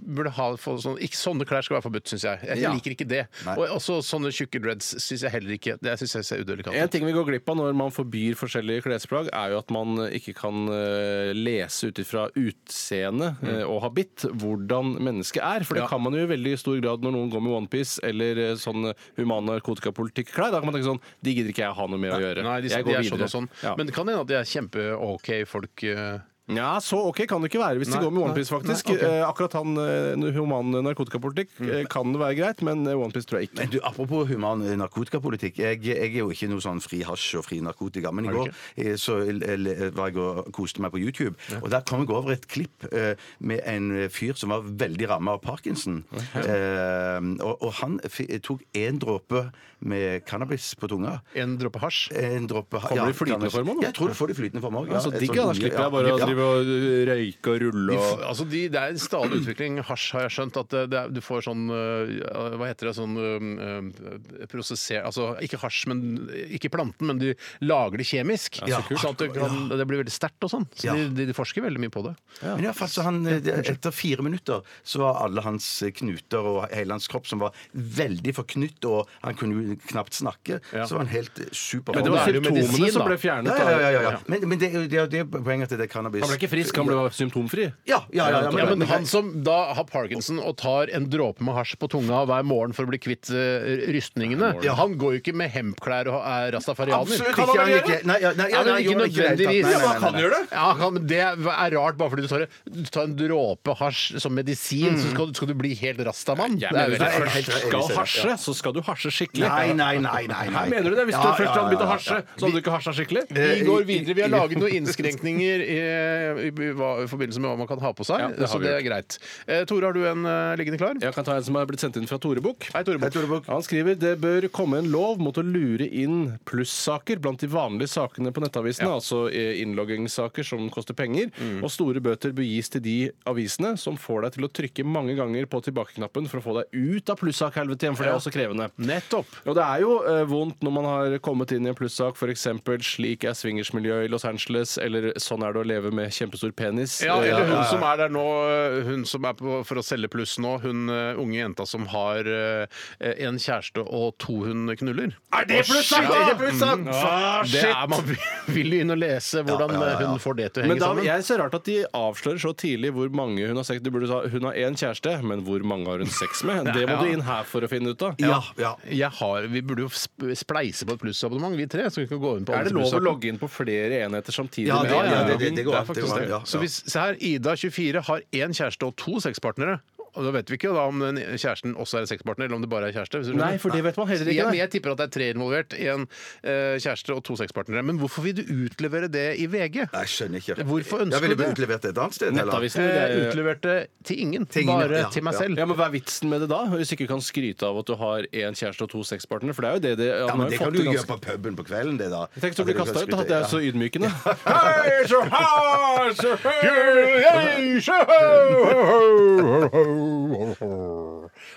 S1: burde ha fått sånn, ikke, Sånne klær skal være forbudt, syns jeg. Jeg
S2: Ja.
S1: liker ikke det. Og også sånne tjukke dreads syns jeg heller ikke. Det syns jeg ser udelikat ut.
S2: En ting vi går glipp av når man forbyr forskjellige klesplagg, er jo at man ikke kan eh, lese ut ifra utseende eh, og habitt hvordan mennesket er. For det
S1: Mm. Ja.
S2: kan man jo i veldig stor grad når noen går med onepiece eller eh, sånn human narkotikapolitikk-klær. Da kan man tenke sånn De gidder ikke jeg ha noe med å gjøre.
S1: Nei, de,
S2: jeg
S1: de
S2: går
S1: er sånn
S2: videre.
S1: og sånn.
S2: Ja.
S1: Men det kan hende at de er kjempe-OK folk. eh.
S2: Ja, så ok kan det ikke være hvis
S1: Nei,
S2: de går med onepiece,
S1: nei,
S2: faktisk.
S1: nei, ok. Mm.
S2: Eh, akkurat han eh, human narkotikapolitikk eh, kan det være greit, men eh, onepiece tror jeg ikke.
S3: Men du, Apropos human eh, narkotikapolitikk. Jeg, jeg er jo ikke noe sånn fri hasj og fri narkotika. Men i går eh, så l- l- var jeg og koste meg på YouTube, og der kom jeg over et klipp eh, med en fyr som var veldig ramma av parkinson. Eh, og, og han fi, tok én dråpe med cannabis på tunga.
S1: En dråpe hasj.
S3: En dråpe
S2: Kommer det i flytende
S3: cannabis.
S2: form også, da?
S3: Jeg tror du får det i flytende form òg.
S2: Ja, så digg, da. Da slipper jeg bare å drive og røyke og
S1: De,
S2: rulle
S1: f-
S2: og
S1: altså de, det er en stadig utvikling. Hasj har jeg skjønt. At det, det er, du får sånn eh, Hva heter det? Sånn eh, eh, prosesser... Altså ikke hasj, men eh, ikke planten, men de lager det kjemisk.
S3: Ja, så kult.
S1: Sånn at du kan, det blir veldig sterkt og sånn. Så
S3: Ja.
S1: de, de, de forsker veldig mye på det.
S3: Men i hvert fall så han, eh, etter fire minutter så var alle hans eh, knuter og hele hans kropp som var veldig forknytt, og han kunne jo knapt snakke. Så var han helt eh, super.
S1: Men
S2: Det var
S1: Da er det jo
S2: symptomene
S1: medisin,
S2: som
S1: da.
S2: ble fjernet.
S3: ja,
S2: da.
S3: ja, ja, ja, ja. Men, men det, er jo- det, er jo- det er poenget til det er cannabis.
S2: Han ble ikke frisk, han ble symptomfri.
S3: Ja, ja, ja, ja,
S1: Ja, men Han som da har parkinson og tar en dråpe med hasj på tunga hver morgen for å bli kvitt eh, rystningene, han går jo ikke med hempklær og er rastafarianer.
S3: Absolutt ikke.
S2: Kan han
S3: Han
S2: gjøre
S3: ikke. Nei, ja, nei, ja,
S1: Ja, men
S3: nei,
S1: ikke
S3: gjorde det i det hele tatt.
S1: nødvendigvis.
S3: Nei, nei, nei, nei.
S1: Ja, kan, men det er rart, bare fordi du tar, du tar en dråpe hasj som medisin, så skal, du- skal du bli helt rastamann.
S2: Jeg
S1: Mm. Det er
S2: mener,
S1: jo
S2: hvis
S1: helt-
S2: du
S3: helt- helt-
S2: først skal
S3: helt-
S2: hasje, så skal du hasje skikkelig.
S3: Nei, nei, nei, nei, nei.
S2: Her mener du det? Hvis
S3: Ja,
S2: du
S3: ja, Eh,
S2: først hadde begynt
S3: ja,
S2: å
S3: ja,
S2: hasje,
S3: ja.
S2: så hadde du ikke hasja skikkelig?
S1: vi går videre. Vi har laget noen innskrenkninger i, eh, i, i, hva- i forbindelse med hva man kan ha på seg.
S2: Ja, det har
S1: så
S2: vi
S1: det er greit. Eh, Tore, har du en eh, liggende klar?
S2: Jeg kan ta en som er blitt sendt inn fra Tore Bukk.
S1: Hei, Tore Bukk.
S3: Tore Bukk.
S2: Han skriver det bør komme en lov mot å lure inn plussaker blant de vanlige sakene på nettavisene, altså eh, innloggingssaker som koster penger,
S3: Mm.
S2: og store bøter bør gis til de avisene som får deg til å trykke mange ganger på tilbakeknappen for å få deg ut av plussak-helvetet igjen, for det er også krevende.
S1: Nettopp.
S2: Og det er jo eh, vondt når man har kommet inn i en plussak, f.eks. slik er swingersmiljøet i Los Angeles, eller sånn er det å leve med kjempestor penis.
S1: Ja,
S2: Eh,
S1: eller hun som er der nå, eh, hun som er på, for å selge pluss nå, hun eh, unge jenta som har eh, en kjæreste og to hun knuller.
S2: Er det
S1: Å,
S2: plussak,
S1: shit!
S2: da? Er det plussak?
S1: Mm.
S2: Ah,
S1: Det er, man vil jo inn og lese hvordan eh, hun får det til å
S2: Men
S1: henge
S2: da,
S1: sammen.
S2: jeg ser rart at de avslører så tidlig hvor mange hun har sex Du burde sa hun har én kjæreste, men hvor mange har hun sex med? Det må
S1: Ja.
S2: du inn her for å finne ut av.
S3: Ja, ja.
S1: Jeg har, vi burde jo sp- spleise på et plussabonnement, vi tre. Så vi kan gå inn på
S2: Er
S1: alle
S2: det lov å
S1: plussabonnementene.
S2: logge inn på flere enheter samtidig?
S3: Ja,
S2: med
S3: det-
S2: en
S3: ja,
S2: gang?
S3: det- det går
S2: er
S3: an, det
S2: faktisk
S3: går an,
S2: det.
S3: ja.
S1: Så hvis, se her, Ida 24 har én kjæreste og to sexpartnere. Og Da vet vi ikke da om den kjæresten også er sexpartner, eller om det bare er kjæreste. hvis du skjønner.
S2: Nei, for det vet man heller
S1: jeg,
S2: ikke.
S1: men
S2: nei.
S1: jeg tipper at det er tre involvert i en eh, kjæreste og to sexpartnere. Men hvorfor vil du utlevere det i VG?
S3: Jeg skjønner ikke.
S1: Hvorfor
S3: ja,
S1: ønsker
S3: Ville
S1: du
S3: bli
S1: det?
S3: utlevert et annet sted? eller?
S2: Nettavisen
S1: Eh,
S2: vil det-
S1: utleverte til ingen,
S3: Til ingen,
S1: bare
S3: ja,
S1: til meg
S3: ja.
S1: selv.
S2: ja, men Hva er vitsen med det da, hvis ikke du kan skryte av at du har én kjæreste og to sexpartnere? For det er jo det det
S3: Ja,
S2: han har
S3: men Det
S2: jo
S3: kan
S2: fått
S3: du
S2: det
S3: gjøre
S2: ganske-
S3: på puben på kvelden, det da.
S2: Tenk å bli kasta ut, da. Det er så ydmykende.
S3: Hei, så hard, så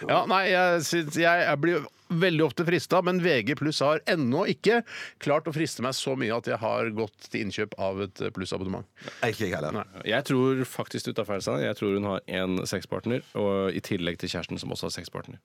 S1: Ja, nei, jeg, syns- jeg, jeg blir veldig ofte frista, men VG pluss har ennå ikke klart å friste meg så mye at jeg har gått til innkjøp av et eh, plussabonnement.
S3: Ikke jeg heller.
S2: Jeg tror faktisk du tar feil, Steinar. Jeg tror hun har én sexpartner, og i tillegg til kjæresten som også har sexpartner.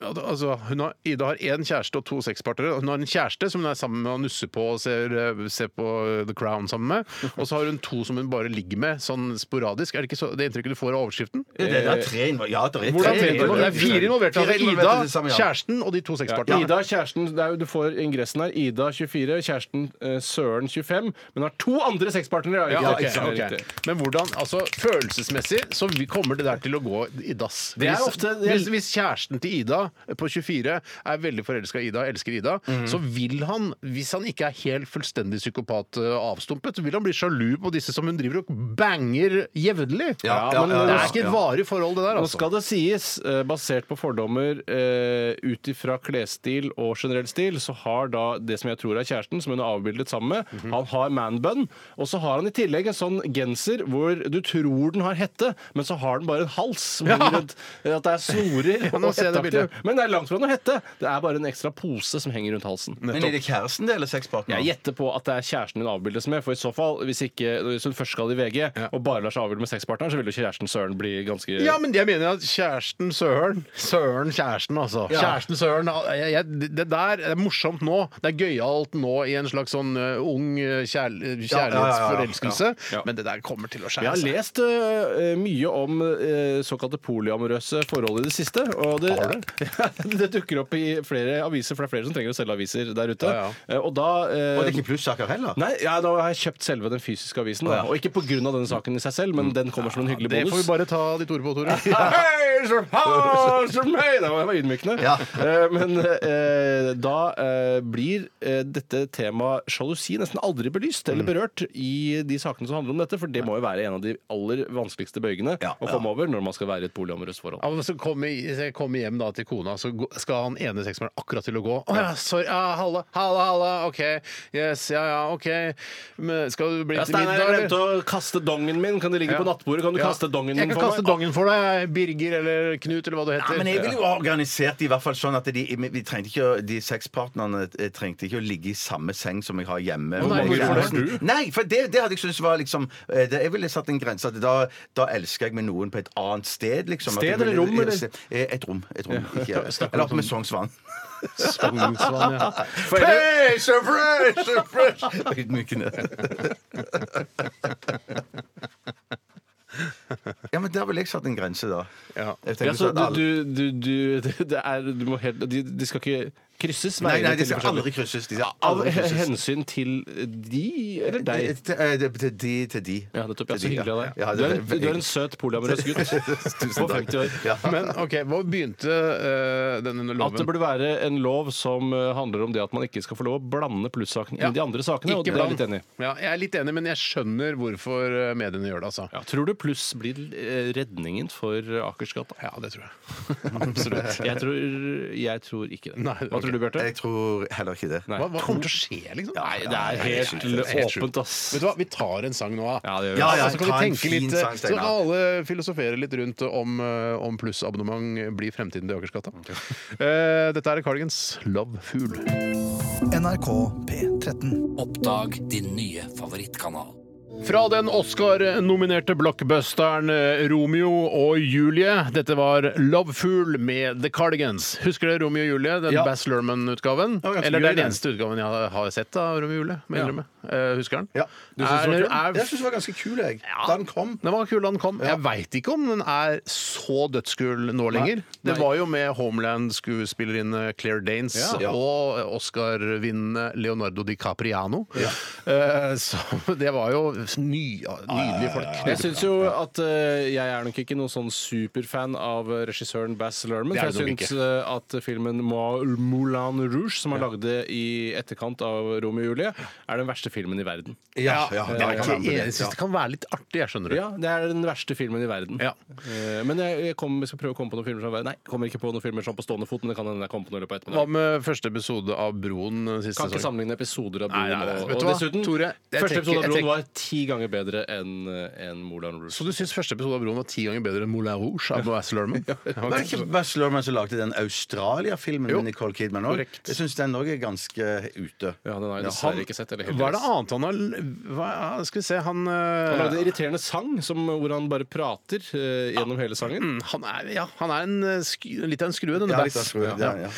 S1: Ja, da- Altså, hun har, Ida har én kjæreste og to sexpartnere. Hun har en kjæreste som hun er sammen med og nusser på og ser, eh, ser på The Crown sammen med. Og så har hun to som hun bare ligger med sånn sporadisk. Er det ikke så, det inntrykket du får av overskriften?
S3: Det, det, det er tre involvert. Ja, det er
S1: Hvordan
S3: tre
S1: tenker du? Det er fire involverte.
S3: Fire
S1: Altså,
S3: involverte
S1: Ida,
S3: til sammen, ja.
S1: kjæresten og de to sexpartnerne.
S2: Ida, kjæresten, det er, jo- Du får ingressen her. Ida 24, kjæresten eh, Søren 25, men har to andre sexpartnere.
S1: Ja, ok,
S2: ikke sant?
S1: ok.
S2: Riktig.
S1: Men hvordan, altså følelsesmessig så vi kommer det der til å gå i dass.
S2: Det er
S1: Hvis-
S2: ofte- det er-
S1: hvis, hvis kjæresten til Ida på 24 er veldig forelska i Ida, elsker Ida,
S2: Mhm.
S1: så vil han, hvis han ikke er helt fullstendig psykopat eh, avstumpet, så vil han bli sjalu på disse som hun driver og banger jevnlig.
S3: Ja,
S2: ja,
S1: men
S2: ja,
S1: det
S2: ja.
S1: er ikke et varig forhold, det der.
S2: Nå
S1: Altså.
S2: skal det sies, eh, basert på fordommer eh, ut ifra klesstil og generell stil, så har da det som jeg tror er kjæresten, som hun er avbildet sammen med,
S1: Mhm.
S2: han har manbun, og så har han i tillegg en sånn genser hvor du tror den har hette, men så har den bare en hals som
S1: Ja.
S2: henger rundt. eh, At det er snorer
S1: Ja, nå
S2: og
S1: ser jeg det
S2: hetteaktig.
S1: bildet.
S2: Men det er langt fra noe hette. Det er bare en ekstra pose som henger rundt halsen.
S3: Men er det kjæresten det, eller sexpartneren?
S2: Jeg gjetter på at det er kjæresten hun avbildes med. For i så fall, hvis, ikke, hvis hun først skal i VG og bare lar seg avbilde med sexpartneren, så vil jo kjæresten Søren bli ganske
S1: Ja, men jeg mener at kjæresten Søren Søren kjæresten, altså. Kjæresten Søren, jeg, jeg, Det der er morsomt nå. Det er gøyalt nå i en slags sånn eh, ung eh, kjærl kjærlighetsforelskelse.
S2: Ja.
S1: Men det der kommer til å
S2: Jeg
S1: skjære
S2: har
S1: seg.
S2: lest øh, mye om øh, såkalte polyamorøse forhold i det siste. Og det, det dukker opp i flere aviser, for det er flere som trenger å selge aviser der ute.
S1: Ja,
S2: Eh, Og da øh,
S3: Og det er ikke plussaker heller?
S2: Nei, ja, da har jeg kjøpt selve den fysiske avisen. da. Og ikke pga. denne saken i seg selv, men den kommer som en hyggelig
S1: Det
S2: bonus.
S1: får vi bare ta ditt ord på, Tore.
S2: Hei, så faen, så meg! Det var det var ydmykende. Eh, Men eh, da eh, blir eh, dette temaet sjalusi nesten aldri belyst
S3: Mm.
S2: eller berørt i de sakene som handler om dette, for det må jo være en av de aller vanskeligste bøygene
S3: Ja,
S2: å komme over når man skal være i et polyamorøst forhold.
S1: Ja, men så kommer jeg kommer hjem da til kona, så gå- skal han ene sexmannen akkurat til å gå. Å ja, sorry. Ja, halla, halla, halla. OK. Yes, ja, ja, OK. Men skal du bli
S2: Ja,
S1: til
S2: Steinar,
S1: middag,
S2: jeg
S1: eller?
S2: glemte å kaste dongen min. Kan det ligge
S1: Ja.
S2: på nattbordet? Kan du
S1: Ja.
S2: kaste dongen
S1: Jeg
S2: min
S1: kan
S2: for
S1: kaste
S2: meg?
S1: dongen for deg. Birger eller Knut eller hva du heter.
S3: Ja, men jeg ville jo organisert det i hvert fall sånn at de, vi trengte ikke, å- de sexpartnerne eh, trengte ikke å ligge i samme seng som jeg har hjemme.
S1: nei,
S3: Med
S1: hvorfor
S3: kjæresten. Nei, for det, det hadde jeg syntes var liksom eh, det, Jeg ville satt en grense at da, da elsker jeg med noen på et annet sted. Liksom, At jeg
S2: Sted eller
S3: ville-
S2: rom, eller?
S3: Eh, Et rom. Et rom. Ikke, eller
S2: sånn-
S3: opp med Sognsvann.
S1: Sognsvann, ja.
S3: Hey, so fresh, so fresh! Ydmykende. Ja, men der ville jeg satt en grense, da.
S1: Ja.
S3: Jeg tenker
S2: Ja, så
S3: sånn
S2: du,
S3: at alle-
S2: du, du, du, det er, du må helt, de, de skal ikke krysses?
S3: Nei,
S2: veiene
S3: nei, de
S2: til
S3: skal
S2: forskjellige-
S3: aldri krysses. De skal
S2: Av
S3: aldri krysses.
S2: hensyn til de eller deg?
S3: Til, eh, det- til de. Til de.
S2: Ja, nettopp.
S3: Til
S2: Ja, så
S3: de,
S2: hyggelig av deg.
S3: Ja,
S2: du,
S3: det-
S2: er en, du er en søt polyamorøs gutt på 50 år.
S3: Ja.
S1: Men OK, hvor begynte eh, denne
S2: At det
S1: loven?
S2: burde være en lov som eh, handler om det at man ikke skal få lov å blande plussakene inn i de andre sakene. og det er jeg litt enig i.
S1: Ja, jeg er litt enig, men jeg skjønner hvorfor eh, mediene gjør det, altså.
S2: Ja, tror du pluss blir eh, redningen for eh, Akersgata?
S1: Ja, det tror jeg. Absolutt.
S2: Jeg tror, jeg tror ikke det.
S1: Nei,
S2: Hva tror du, Bjarte?
S3: Jeg tror heller ikke det.
S1: Hva, hva kommer til å skje, liksom?
S2: Nei, det er helt
S1: sjukt.
S2: åpent, ass.
S1: Vet du hva, vi tar en sang nå, da.
S2: Ja, det gjør vi.
S3: Ja, ja,
S1: så
S3: ta
S1: kan vi
S3: en
S1: tenke
S3: fin
S1: litt eh,
S3: sang,
S1: Så kan
S3: Steinar.
S1: alle filosofere litt rundt om, eh, om plussabonnement blir fremtiden til Akersgata.
S3: Mm,
S1: Eh, Dette er Cardigans Love Fool.
S4: NRK P13.
S7: Oppdag din nye favorittkanal.
S1: Fra den Oscar-nominerte blockbusteren eh, Romeo og Julie. Dette var Love Fool med The Cardigans. Husker dere Romeo og Julie? Den
S3: Ja.
S1: Bass Lerman-utgaven?
S3: Ja, ganske
S1: Eller det
S3: gøy,
S1: er den
S3: den.
S1: eneste utgaven jeg har sett av Romeo og Julie. må jeg innrømme. Eh, Husker den?
S3: Ja. synes det
S1: Du
S3: var
S1: Er-
S3: kul?
S1: er-
S3: Eh, Jeg syns den var ganske kul, jeg. Da den kom.
S1: Den var kul da den kom. Jeg veit ikke om den er så dødskul nå lenger. Det var jo med Homeland-skuespillerinne Claire Danes
S3: Ja.
S1: og Oscar-vinnende Leonardo DiCapriano. Eh, Så det var jo ny, nydelige folk.
S2: Jeg syns jo at eh, jeg er nok ikke noen sånn superfan av eh, regissøren Bass Lerman.
S1: Det er du
S2: For jeg
S1: nok
S2: syns at filmen Mo- Moulin Rouge, som han lagde i etterkant av Romeo og Julie, er den verste filmen i verden.
S3: Ja, ja,
S1: Jeg er
S3: jeg kan
S1: ikke
S3: være med
S1: enig.
S3: det.
S1: Jeg syns det kan være litt artig, jeg skjønner det.
S2: Ja, det er den verste filmen i verden.
S1: Ja.
S2: Eh, Men jeg, jeg, kom, jeg skal prøve å komme på noen filmer som Nei, jeg kommer ikke på noen filmer som på stående fot, men det kan hende jeg kommer på noe i løpet av
S1: Hva
S2: ettermiddagen.
S1: med første episode av Broen eh, siste
S2: Kan ikke
S1: sesong?
S2: sammenligne episoder av
S1: Nei,
S2: Broen
S1: nei, nei.
S2: og,
S1: Vet du
S2: og
S1: hva,
S2: dessuten.
S1: Tore, jeg
S2: første
S1: tenker-
S2: episode av
S1: jeg
S2: Broen var ti ganger bedre enn en Moulin Rouge.
S1: Så du syns første episode av Broen var ti ganger bedre enn Moulin Rouge av Bass Lerman?
S3: Var det ikke Baz Luhrmann som lagde den Australia-filmen
S1: Jo.
S3: med Nicole Kidman òg?
S1: Korrekt.
S3: Jeg syns den òg er ganske ute.
S2: Ja, den har jeg
S1: Han-
S2: dessverre ikke sett. Eller
S1: Hva er det
S2: heldigvis.
S1: annet han har l- hva, Skal vi se, han eh,
S2: Han lagde en irriterende sang som, hvor han bare prater eh, gjennom hele sangen.
S1: Mm, Han er, ja, han er en, eh, sku- litt av en skrue, denne
S3: Ja,
S1: Bass.
S3: da tror jeg-
S1: Ja.
S3: ja, ja, ja.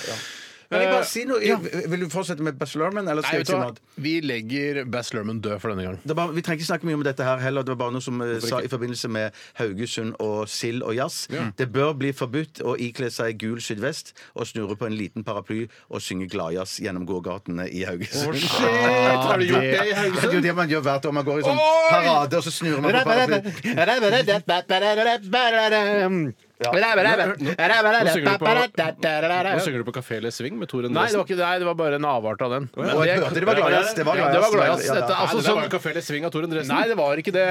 S3: Men jeg
S2: Eh,
S3: bare si noe. Jeg- Vil du fortsette med Baz Luhrmann, eller
S1: Nei,
S3: skal jeg
S1: vet
S3: si
S1: du
S3: noe
S1: hva?
S3: annet?
S1: Vi legger Bass Lerman død for denne gang.
S3: Det er bare, vi trenger ikke snakke mye om dette her heller. Det var bare noe som eh, sa
S2: ikke?
S3: i forbindelse med Haugesund og sild og jazz. Det bør bli forbudt å ikle seg gul sydvest og snurre på en liten paraply og synge gladjazz gjennom gågatene i Haugesund.
S1: Har du gjort det i
S3: Det er jo det man gjør hvert år. Man går i sånn parade, og så snurrer man på paraply.
S2: Nå synger du på Kafé eller Sving med Tor
S1: Nei, det
S2: Endresen.
S1: var ikke nei, det var bare en avart av den. Men
S3: jeg hørte det var Gladias, det var
S1: Ja, det var
S3: Gladias.
S1: Gladias.
S3: Ja,
S1: Dette,
S3: ja.
S1: altså,
S2: det der var jo
S1: sånn,
S2: Kafé eller Sving av Tor Endresen.
S1: nei, det var ikke det.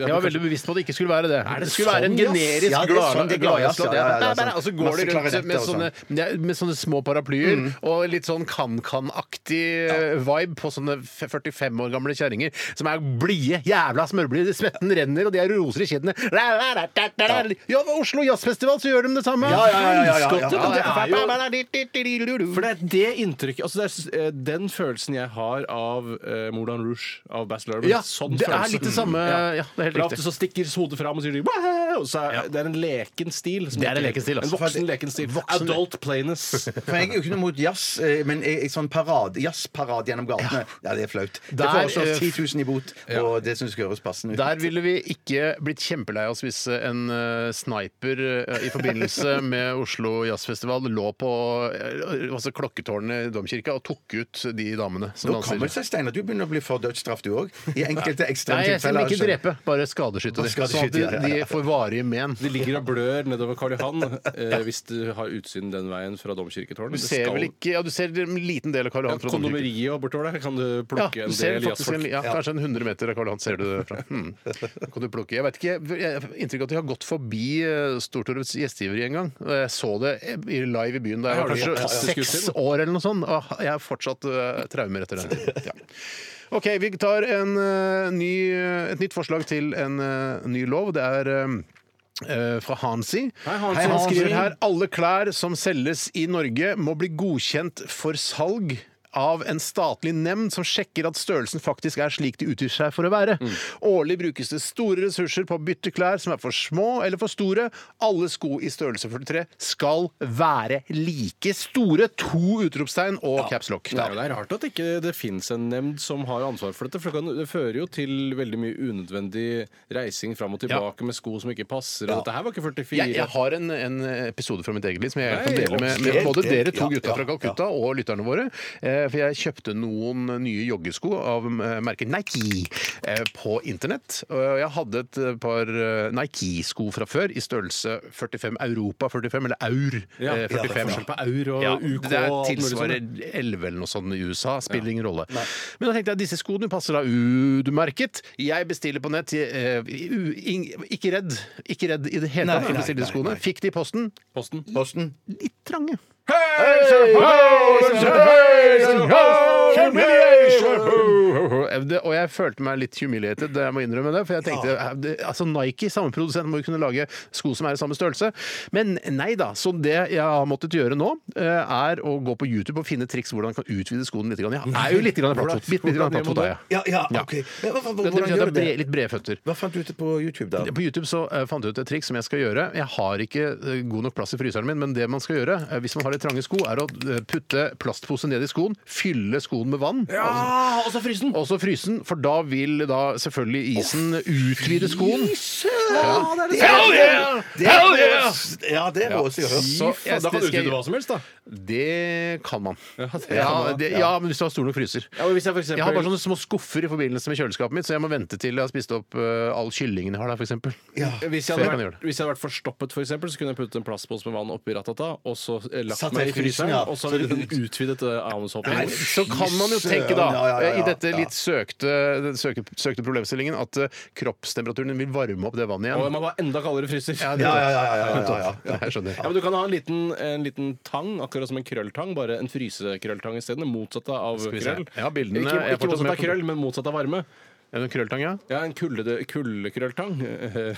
S1: Jeg var veldig bevisst på at det ikke skulle være det. Det skulle være en
S3: sånn,
S1: generisk
S3: ja? Ja, det er sånn det er Gladias,
S1: gladjazz.
S3: ja, ja, ja, det er sånn.
S1: Og så altså, går de
S3: Masse
S1: rundt med
S3: klarinetter og sånn. Mm.
S1: sånne, det er med sånne små paraplyer og litt sånn kan-kan-aktig eh, vibe på sånne f- 45 år gamle kjerringer som er blide, jævla smørblide. Svetten renner, og de har roser i kinnene. Ja, ved Oslo Jazzfestival så gjør de det samme!
S3: Ja, ja, ja, ja, ja, ja.
S1: Skotter, men det er jo-
S2: For det er det inntrykket altså det er, eh, Den følelsen jeg har av eh, Moulin Rouge av Bass Lerman.
S1: Ja,
S2: sånn
S1: det er
S2: følelse.
S1: litt det samme- ja, det er helt
S2: For
S1: riktig.
S2: Ofte så stikker hodet fram og sier de, «Wah!» og så er, Det er en leken stil. som
S1: Det er en
S2: ikke-
S1: leken stil, altså.
S2: En voksen leken stil. Adult plainness.
S3: For jeg er jo ikke noe mot jazz, eh, men jeg, jeg, sånn parad, jazzparad gjennom gatene, ja. det er flaut.
S1: Der,
S3: Det foreslås
S1: eh,
S3: 10 000 i bot, og det syns jeg skal høres passende ut.
S1: Der ville vi ikke blitt kjempelei oss hvis en eh, sniper eh, i forbindelse med Oslo Jazzfestival lå på eh, altså klokketårnet i domkirka og tok ut de damene som
S3: Nå kommer det
S1: danser.
S3: seg, Steinar, du begynner å bli for dødsstraff, du òg. I enkelte
S1: Nei,
S3: ekstreme
S1: jeg skal
S3: tilfeller.
S1: ikke drepe, bare skadeskyte
S3: Bare
S1: dem. Sånn at
S3: skadeskyte,
S1: de,
S3: ja, ja,
S1: de
S3: ja.
S1: får varige men.
S2: De ligger og blør nedover Karl Johan eh, hvis du har utsyn den veien fra domkirketårnet.
S1: Du ser vel ikke Ja, du ser en liten del av Karl
S2: ja,
S1: Johan fra domkirka.
S2: Kondomeriet og bortover der kan du
S1: Ja, du
S2: plukke en
S1: ser
S2: del
S1: faktisk en,
S2: jazzfolk.
S1: ja, kanskje en 100 meter av Karl Johan ser du det fra. Hmm. Da Kan du plukke. Jeg vet ikke, jeg har inntrykk av at jeg har gått forbi eh, Stortorvets gjestgiveri en gang. og Jeg så det i- live i byen da jeg
S2: Ja,
S1: var
S2: det er
S1: kanskje
S2: fantastisk
S1: seks
S2: utsyn.
S1: år eller noe sånt. Og jeg har fortsatt eh, traumer etter den. Ja. OK, vi tar en, eh, ny, et nytt forslag til en eh, ny lov. Det er eh, eh, fra Hansi.
S2: Hei, Hansi.
S1: Han
S2: Hansi.
S1: skriver her alle klær som selges i Norge må bli godkjent for salg av en statlig nemnd som sjekker at størrelsen faktisk er slik de utgir seg for å være.
S2: Mm.
S1: Årlig brukes det store ressurser på å bytte klær som er for små eller for store. Alle sko i størrelse 43 skal være like store. To utropstegn og caps lock.
S2: Det er, jo- det er rart at ikke det fins en nemnd som har ansvar for dette. For det, kan, det fører jo til veldig mye unødvendig reising fram og tilbake med sko som ikke passer. Og dette her var ikke 44.
S1: Jeg, jeg har en, en episode fra mitt eget liv som jeg
S2: Hei,
S1: kan dele med, med
S3: helt,
S1: både
S3: helt,
S1: dere to
S3: ja,
S1: gutta
S3: ja,
S1: fra Calcutta og lytterne våre. Eh, eh, for jeg kjøpte noen nye joggesko av eh, merket Nike eh, på internett. Og jeg hadde et par eh, Nike-sko fra før i størrelse 45 Europa 45, eller Aur
S2: Ja,
S1: eh,
S2: det er
S1: 45.
S2: forskjell på Aur og
S1: ja,
S2: UK
S1: Det er
S2: og alt mulig
S1: tilsvarer
S2: sånt.
S1: 11 eller noe sånt i USA. Spiller ingen rolle. Men da tenkte jeg disse skoene passer da U-merket. Jeg bestiller på nett. eh, u- ing- Ikke redd. Ikke redd i det hele
S3: Nei,
S1: tatt. Jeg
S3: nei,
S1: bestiller
S3: nei,
S1: skoene.
S3: nei.
S1: Fikk de i posten.
S2: Posten.
S3: Posten.
S1: Litt trange. Det- Og jeg følte meg litt humiliated, jeg må innrømme det. For jeg tenkte eh, det- altså Nike, samme produsent, må jo kunne lage sko som er i samme størrelse. Men nei da. Så det jeg har måttet gjøre nå, eh, er å gå på YouTube og finne triks hvordan jeg kan utvide skoen litt. grann. Jeg er jo litt grann
S2: Hvordan-
S1: platt, bitte litt grann
S2: hvordan gjør man
S1: platt, er jeg.
S3: Ja, ja,
S1: Ja.
S3: OK. Ja, hva, hva, hvordan
S1: Det betyr at jeg
S3: gjør du
S1: har
S3: det?
S1: bre- litt brede føtter.
S3: Hva fant du ut på YouTube, da?
S1: På YouTube så eh, fant jeg ut et triks som jeg skal gjøre. Jeg har ikke eh, god nok plass i fryseren min, men det man skal gjøre eh, hvis man har litt trange sko, er å eh, putte plastpose ned i skoen, fylle skoen med vann.
S2: Ja, og så frysen!
S1: Og så fryse den, for da vil da selvfølgelig isen utvide skoen.
S3: Ja, det
S1: Hell yeah!
S3: Det er
S1: Hell yeah!
S3: rås- Ja, det er rås jeg har hørt.
S1: Så jeg-
S2: da kan du
S1: skal jeg-
S2: utvide hva som helst, da.
S1: Det kan man.
S2: Ja, det kan
S1: Ja,
S2: man,
S1: det, ja, men hvis du har stor nok fryser.
S2: Ja, og hvis jeg for eksempel-
S1: Jeg har bare sånne små skuffer i forbindelse med kjøleskapet mitt, så jeg må vente til jeg har spist opp eh, all kyllingen jeg har der, f.eks.
S3: Ja.
S2: Hvis
S1: Så
S2: jeg,
S1: jeg
S2: hadde
S1: kan
S2: vært,
S1: gjøre
S2: hvis jeg hadde vært forstoppet, for eksempel, så kunne jeg puttet en plastpose med vann oppi ratata og så eh, lagt
S3: Satt
S2: meg
S3: det
S2: i fryseren,
S3: ja.
S2: og så ville den utvidet eh,
S1: Nei,
S2: avnshoppingen.
S1: så kan man jo tenke, da,
S3: Ja, ja, ja, ja.
S1: i dette litt søkte, den søke, søkte problemstillingen, at eh, kroppstemperaturen vil varme opp det vannet
S2: Og
S1: igjen.
S2: man var enda kaldere fryser. Ja,
S3: Ja, ja, ja, ja, ja, ja, ja.
S1: Jeg skjønner.
S2: men Du kan ha en liten, en liten tang, akkurat som en krølltang, bare en frysekrølltang isteden. Motsatt av
S1: vi se.
S2: krøll.
S1: Ja, bildene
S2: ikke
S1: er fortsatt
S2: ikke motsatt
S1: med
S2: av
S1: på-
S2: krøll, men motsatt av varme.
S1: En krølltang, ja.
S2: Ja, En kulde- kuldekrølltang.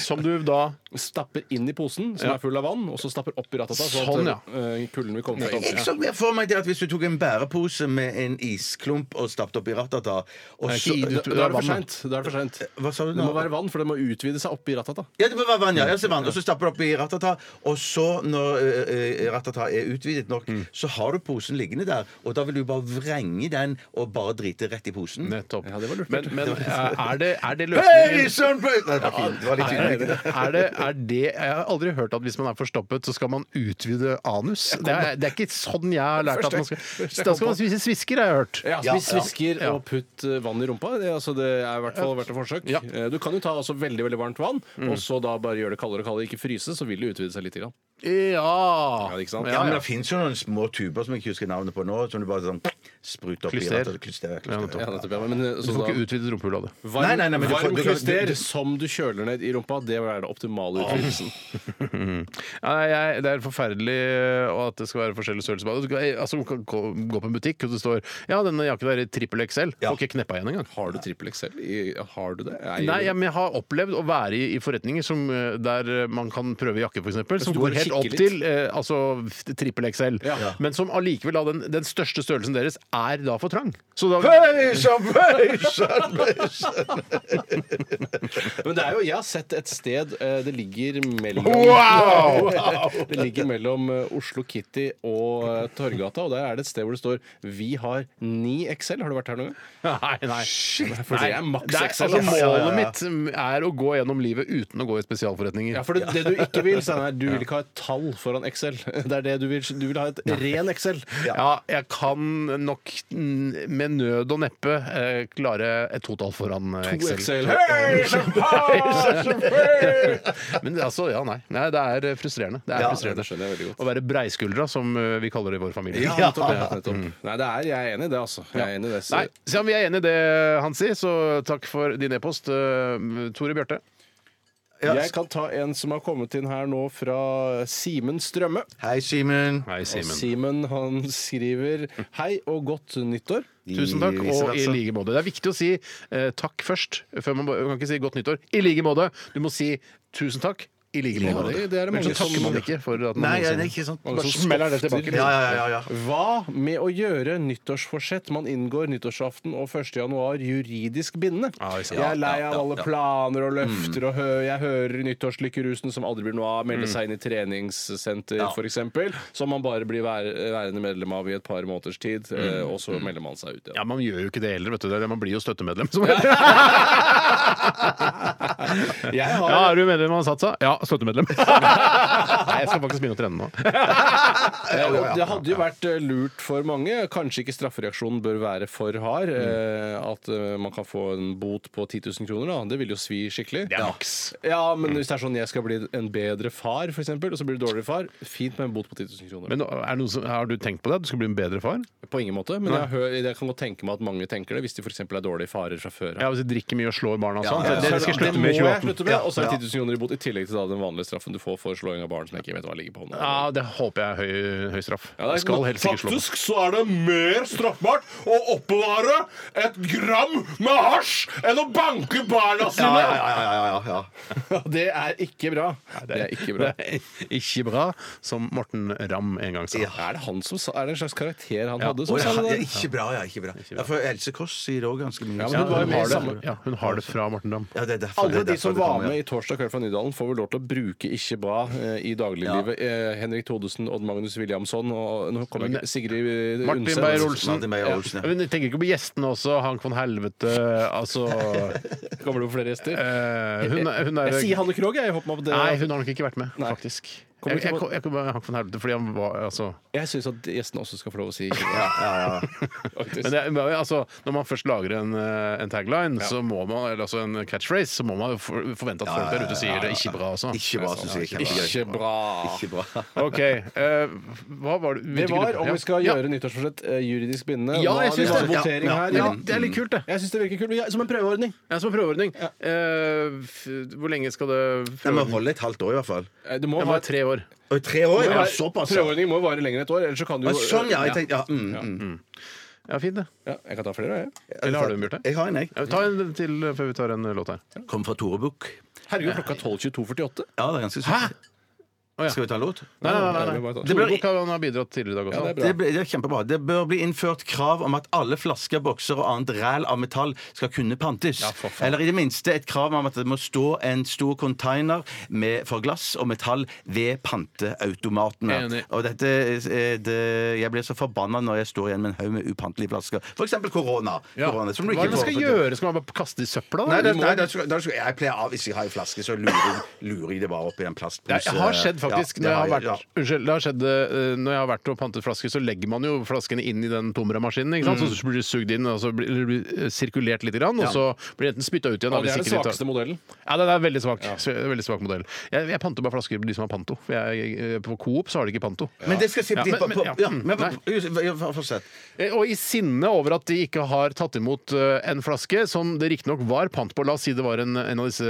S1: Som du da
S2: stapper inn i posen, som
S1: Ja.
S2: er full av vann, og så stapper opp i ratata. Så
S1: Sånn,
S2: at
S1: ja.
S2: eh, kulden vil komme fra
S3: Jeg
S2: toppen.
S3: så mer for meg det at hvis du tok en bærepose med en isklump og stappet oppi ratata og
S1: Nei,
S3: så,
S1: ikke i-
S2: Da,
S1: du-
S2: da er
S1: vann,
S2: det for
S1: da.
S2: seint. Da er det for sent.
S3: Hva sa du
S2: Det
S3: nå?
S2: må være vann, for det må utvide seg oppi ratata.
S3: Ja, det må være vann, ja. Jeg ser vann. Og så stapper du oppi ratata, og så, når eh, eh, ratata er utvidet nok, så har du posen liggende der, og da vil du bare vrenge den og bare drite rett i posen.
S1: Nettopp.
S2: Ja, det var lurt.
S1: Men, men eh, er det, er det
S3: Hei,
S1: løsningen?
S3: søren brøy- Nei, det var fint. Det var litt
S1: Er
S3: tydelig.
S1: det, er det, jeg har aldri hørt at hvis man er forstoppet, så skal man utvide anus. Det er, det er ikke sånn jeg har lært at man skal Da skal man spise svisker, har jeg hørt.
S2: Ja,
S3: Ja,
S2: Spis
S3: ja.
S2: svisker og putt eh, vann i rumpa. Det, altså, det er i hvert fall verdt et forsøk.
S1: Ja.
S2: Eh, Du kan jo ta altså, veldig veldig varmt vann,
S3: Mm.
S2: og så da bare gjøre det kaldere og kaldere. Ikke fryse, så vil det utvide seg litt. Grann.
S1: Ja.
S2: Ja, ikke sant?
S3: Ah. Ja, men det fins jo noen små tuber som jeg ikke husker navnet på nå, som du bare sånn spruter oppi
S1: Klyster.
S3: ratata. Klyster.
S1: Ja,
S3: klyster.
S1: nettopp.
S2: Ja, nettopp, ja. Men, eh,
S1: Du
S2: så
S1: får
S2: da,
S1: ikke utvidet rumpehullet av det.
S2: varm
S3: Nei, nei, nei, men du får-
S2: varm
S3: du kan- du- Ah.
S2: klyster
S3: du-
S2: som du kjøler ned i rumpa, det er det optimale utvidelsen.
S1: Mhm. Ja, nei, jeg, det er forferdelig øh, og at det skal være forskjellig størrelse på det. Du kan- Altså, du kan gå, gå på en butikk, og det står Ja, denne jakken er i trippel XL. Får ikke kneppa igjen engang.
S2: Har du trippel XL? I- Har du det? Jeg-
S1: Nei, jeg, men jeg har opplevd å være i, i forretninger som, øh, der øh, man kan prøve jakke, f.eks., som
S2: du
S1: går
S2: går og
S1: helt
S2: kikker
S1: opp
S2: litt?
S1: til eh, altså f- trippel XL,
S2: Ja.
S1: men som allikevel da, den, den største størrelsen deres er da for trang. Så da
S3: Hei, søren brøy- søren brøy-
S2: Men det er jo, jeg har sett et sted eh, Det ligger mellom Det ligger mellom eh, Oslo Kitty og eh, Torgata, og der er det et sted hvor det står 'Vi har 9 XL'. Har du vært her noen gang?
S1: Nei, nei.
S2: For det er maks
S1: Nei,
S2: XL.
S1: altså,
S2: ass.
S1: målet
S3: Ja, ja, ja.
S1: mitt mm, er å gå gjennom livet uten å gå i spesialforretninger.
S2: Ja, for det, det du ikke vil, Steinar, du vil ikke ha et tall foran Excel. Det er det du vil. Du vil ha et ren Excel.
S1: Ja. jeg kan nok mm, med nød og neppe eh, klare et totall foran eh,
S2: To
S1: Excel.
S2: Excel.
S1: Men det- altså, ja, nei. nei. Det er frustrerende. Det er
S3: Ja,
S1: frustrerende.
S2: det skjønner jeg veldig godt.
S1: Å være breiskuldra, som eh, vi kaller det i vår familie.
S2: Ja, nettopp. Ja, nettopp. Nei, det er, jeg er enig i det, altså. Jeg er enig i det. Så,
S1: Mm. Nei, så vi er enig i det han sier, så takk for din e-post, eh, Tore Bjarte.
S2: jeg kan ta en som har kommet inn her nå fra Simen Strømme.
S3: Hei, Simen.
S1: Hei,
S2: Og Simen han skriver Hei og godt nyttår.
S1: Tusen takk, og i like måte. Det er viktig å si eh, takk først. Før man, bare- man kan ikke si godt nyttår. I like måte. Du må si tusen takk. I like måte.
S2: det- det er det
S1: Men så
S2: mange som-
S1: takker man ikke for at man
S3: Nei, ja, det er ikke
S2: sånn.
S3: sant.
S1: Bare smeller det tilbake.
S3: Ja, ja, ja, ja.
S2: Hva med å gjøre nyttårsforsett man inngår nyttårsaften og 1. januar juridisk bindende? jeg er lei av alle planer og løfter og hø jeg hører nyttårslykke-rusen som aldri blir noe av, melde seg inn i treningssenter for f.eks., som man bare blir vær værende medlem av i et par måneders tid, eh, og så melder man seg ut igjen.
S1: Ja, Man gjør jo ikke det heller, vet du. Det er det Man blir jo støttemedlem. Som heter. Jeg har... Ja,
S2: Ja,
S1: Er du medlem av Satsa? Ja, støttemedlem. Nei, jeg skal faktisk begynne å trene nå.
S2: Eh, og Det hadde jo vært eh, lurt for mange. Kanskje ikke straffereaksjonen bør være for hard.
S1: Mm.
S2: eh, At eh, man kan få en bot på 10 000 kroner. Da. Det vil jo svi skikkelig.
S1: Det er maks. Mm.
S2: Ja, men hvis det er sånn jeg skal bli en bedre far, for eksempel, og så blir du dårligere far, fint med en bot på 10 000 kroner.
S1: Men er det noen som, har du tenkt på det? At du skal bli en bedre far?
S2: på ingen måte. Men jeg, hører, jeg kan godt tenke meg at mange tenker det, hvis de for eksempel er dårlige farer fra før av.
S1: Ja, Hvis du drikker mye og slår barna og sånn.
S2: Ja,
S1: så Det, det skal jeg slutte med i
S2: må jeg
S1: 2018.
S2: slutte med, Og så er det 10 000 kroner i bot, i tillegg til da, den vanlige straffen du får for slåing av barn som jeg ikke vet hva ligger på hånda.
S1: Ja, det håper jeg er høy, høy straff.
S2: Ja, det er
S1: Jeg skal
S2: ikke-
S1: helst ikke slå.
S8: Faktisk så er det mer straffbart å oppbevare et gram med hasj enn å banke barna sine!
S3: ja, ja, ja, ja, ja, ja.
S2: Det er ikke bra. Det er ikke bra.
S1: Det er ikke bra, som Morten Ramm en gang sa.
S2: Er det han som sa Er det en slags karakter han hadde?
S3: Å,
S2: Som
S3: ja,
S2: sa
S3: ja,
S2: det der?
S3: ikke bra, ja. ikke bra. Ja, for Else Kåss sier det òg ganske mye.
S2: Ja, men
S1: Ja,
S2: hun var
S1: hun,
S2: jo med i
S1: har det,
S2: samme-
S1: ja, hun har det fra Morten Ramm.
S3: Ja, det er derfor,
S2: Alle
S3: det er
S2: de
S3: derfor
S2: som
S3: det
S2: var
S3: kommer, ja.
S2: med i 'Torsdag kveld fra Nydalen', får vel lov til å bruke 'ikke bra' eh, i dagliglivet. Eh, Henrik Thodesen, Odd Magnus Williamson og nå kommer jeg ikke Sigrid eh,
S1: Martin
S2: Undset.
S1: Beyer-Olsen.
S3: Martin Beyer-Olsen, ja.
S1: Ja, Men jeg tenker ikke på gjestene også. Hank von Helvete, altså
S2: Kommer det opp flere gjester?
S1: eh, hun, er- hun er
S2: Jeg sier Hanne Krogh, jeg. jeg. Håper meg på det.
S1: Nei, hun har nok ikke vært med,
S2: Nei.
S1: faktisk.
S2: Kommer
S1: Jeg,
S2: ikke
S1: jeg,
S2: på-
S1: jeg, kom på Hank von Helvete fordi han var altså,
S2: Jeg syns at gjestene også skal få lov å si 'ikke bra'. Faktisk.
S1: men det, men altså Når man først lager en, eh, en tagline, så må man, eller altså en catchphrase, så må man jo for- forvente at folk der ute sier det er ikke bra altså. også.
S3: Ikke bra, syns jeg. er
S2: Ikke
S3: Kjempegøy.
S2: bra.
S3: Ikke bra.
S1: OK. eh, hva var det
S2: Det
S1: hvilken
S2: var,
S1: gruppe?
S2: om
S1: Ja.
S2: vi skal
S1: Ja.
S2: gjøre nyttårsforsett eh, juridisk bindende
S1: Ja,
S2: Nå
S1: jeg syns
S2: har vi hatt
S1: det.
S2: votering
S1: Ja,
S2: her.
S1: ja. Ja, det er litt kult, det.
S2: Jeg syns det virker kult. men jeg- Som en prøveordning.
S1: Ja, som en prøveordning. Eh, f- hvor lenge skal det
S3: Jeg må
S1: prøveordning?
S3: holde et halvt år, i hvert fall.
S2: Eh, Det må
S1: Jeg må ha
S2: være
S1: tre år.
S3: Og i tre år?
S2: må
S3: Ja,
S2: være-
S3: såpass. ja.
S2: Prøveordning må jo vare lenger enn et år, ellers så kan du
S3: Å,
S2: jo
S3: Sånn, ja. Jeg tenkte, ja, mm, mm.
S1: Ja, fint det.
S2: Ja, jeg kan ta flere, jeg.
S1: Eller har du en, Bjarte?
S3: Jeg har en, jeg.
S1: Ja, Ta en til eh, før vi tar en eh, låt her.
S3: Kom fra Tore Buch.
S2: Herregud, klokka er 12.22,48.
S3: Ja, det er ganske sykt.
S1: Å, ja.
S3: Skal vi ta en låt?
S1: Nei, nei, nei, nei.
S2: Det
S1: Det
S3: blir-
S1: Han har bidratt tidligere i dag også.
S2: Ja, det er bra.
S3: Det, ble, det er kjempebra. Det bør bli innført krav om at alle flasker, bokser og annet ræl av metall skal kunne pantes. Eller i det minste et krav om at det må stå en stor container med, for glass og metall ved panteautomatene.
S1: Enig.
S3: Og dette er det, Jeg blir så forbanna når jeg står igjen med en haug med upantelige flasker. F.eks. korona.
S1: Ja.
S3: korona som du
S1: Hva er
S3: ikke
S1: det man
S3: får-
S1: skal gjøre? Skal man bare kaste i søpla? da?
S3: Nei, det,
S1: Du må-
S3: nei, det skal, da skal, jeg pleier av Hvis jeg har en flaske, så lurer jeg, lurer jeg det bare opp i en plastpose.
S1: Det har skjedd
S3: Ja,
S1: faktisk når
S3: det
S1: jeg har vært
S3: ja.
S1: Unnskyld, det har skjedd eh, når jeg har vært og pantet flasker, så legger man jo flaskene inn i den tomremaskinen, ikke sant? Så blir det sugd inn, og så blir det blir, eh, sirkulert litt, grann, og så blir det enten spytta ut igjen da,
S2: er
S1: hvis
S2: den
S1: ikke de tar-
S2: svakeste modellen.
S1: Ja, den er veldig svak. Sve- Veldig svak modell. Jeg, jeg panter bare flasker de som har panto. For jeg, eh, på Coop så har de ikke panto.
S3: Men det skal jeg si
S1: Ja,
S3: på-
S1: men- men-
S3: på-
S1: ja.
S3: ja, men på-
S1: Nei.
S3: ja, for- Fortsett.
S1: Eh, Og i sinne over at de ikke har tatt imot eh, en flaske som det riktignok var pant på. La oss si det var en, en av disse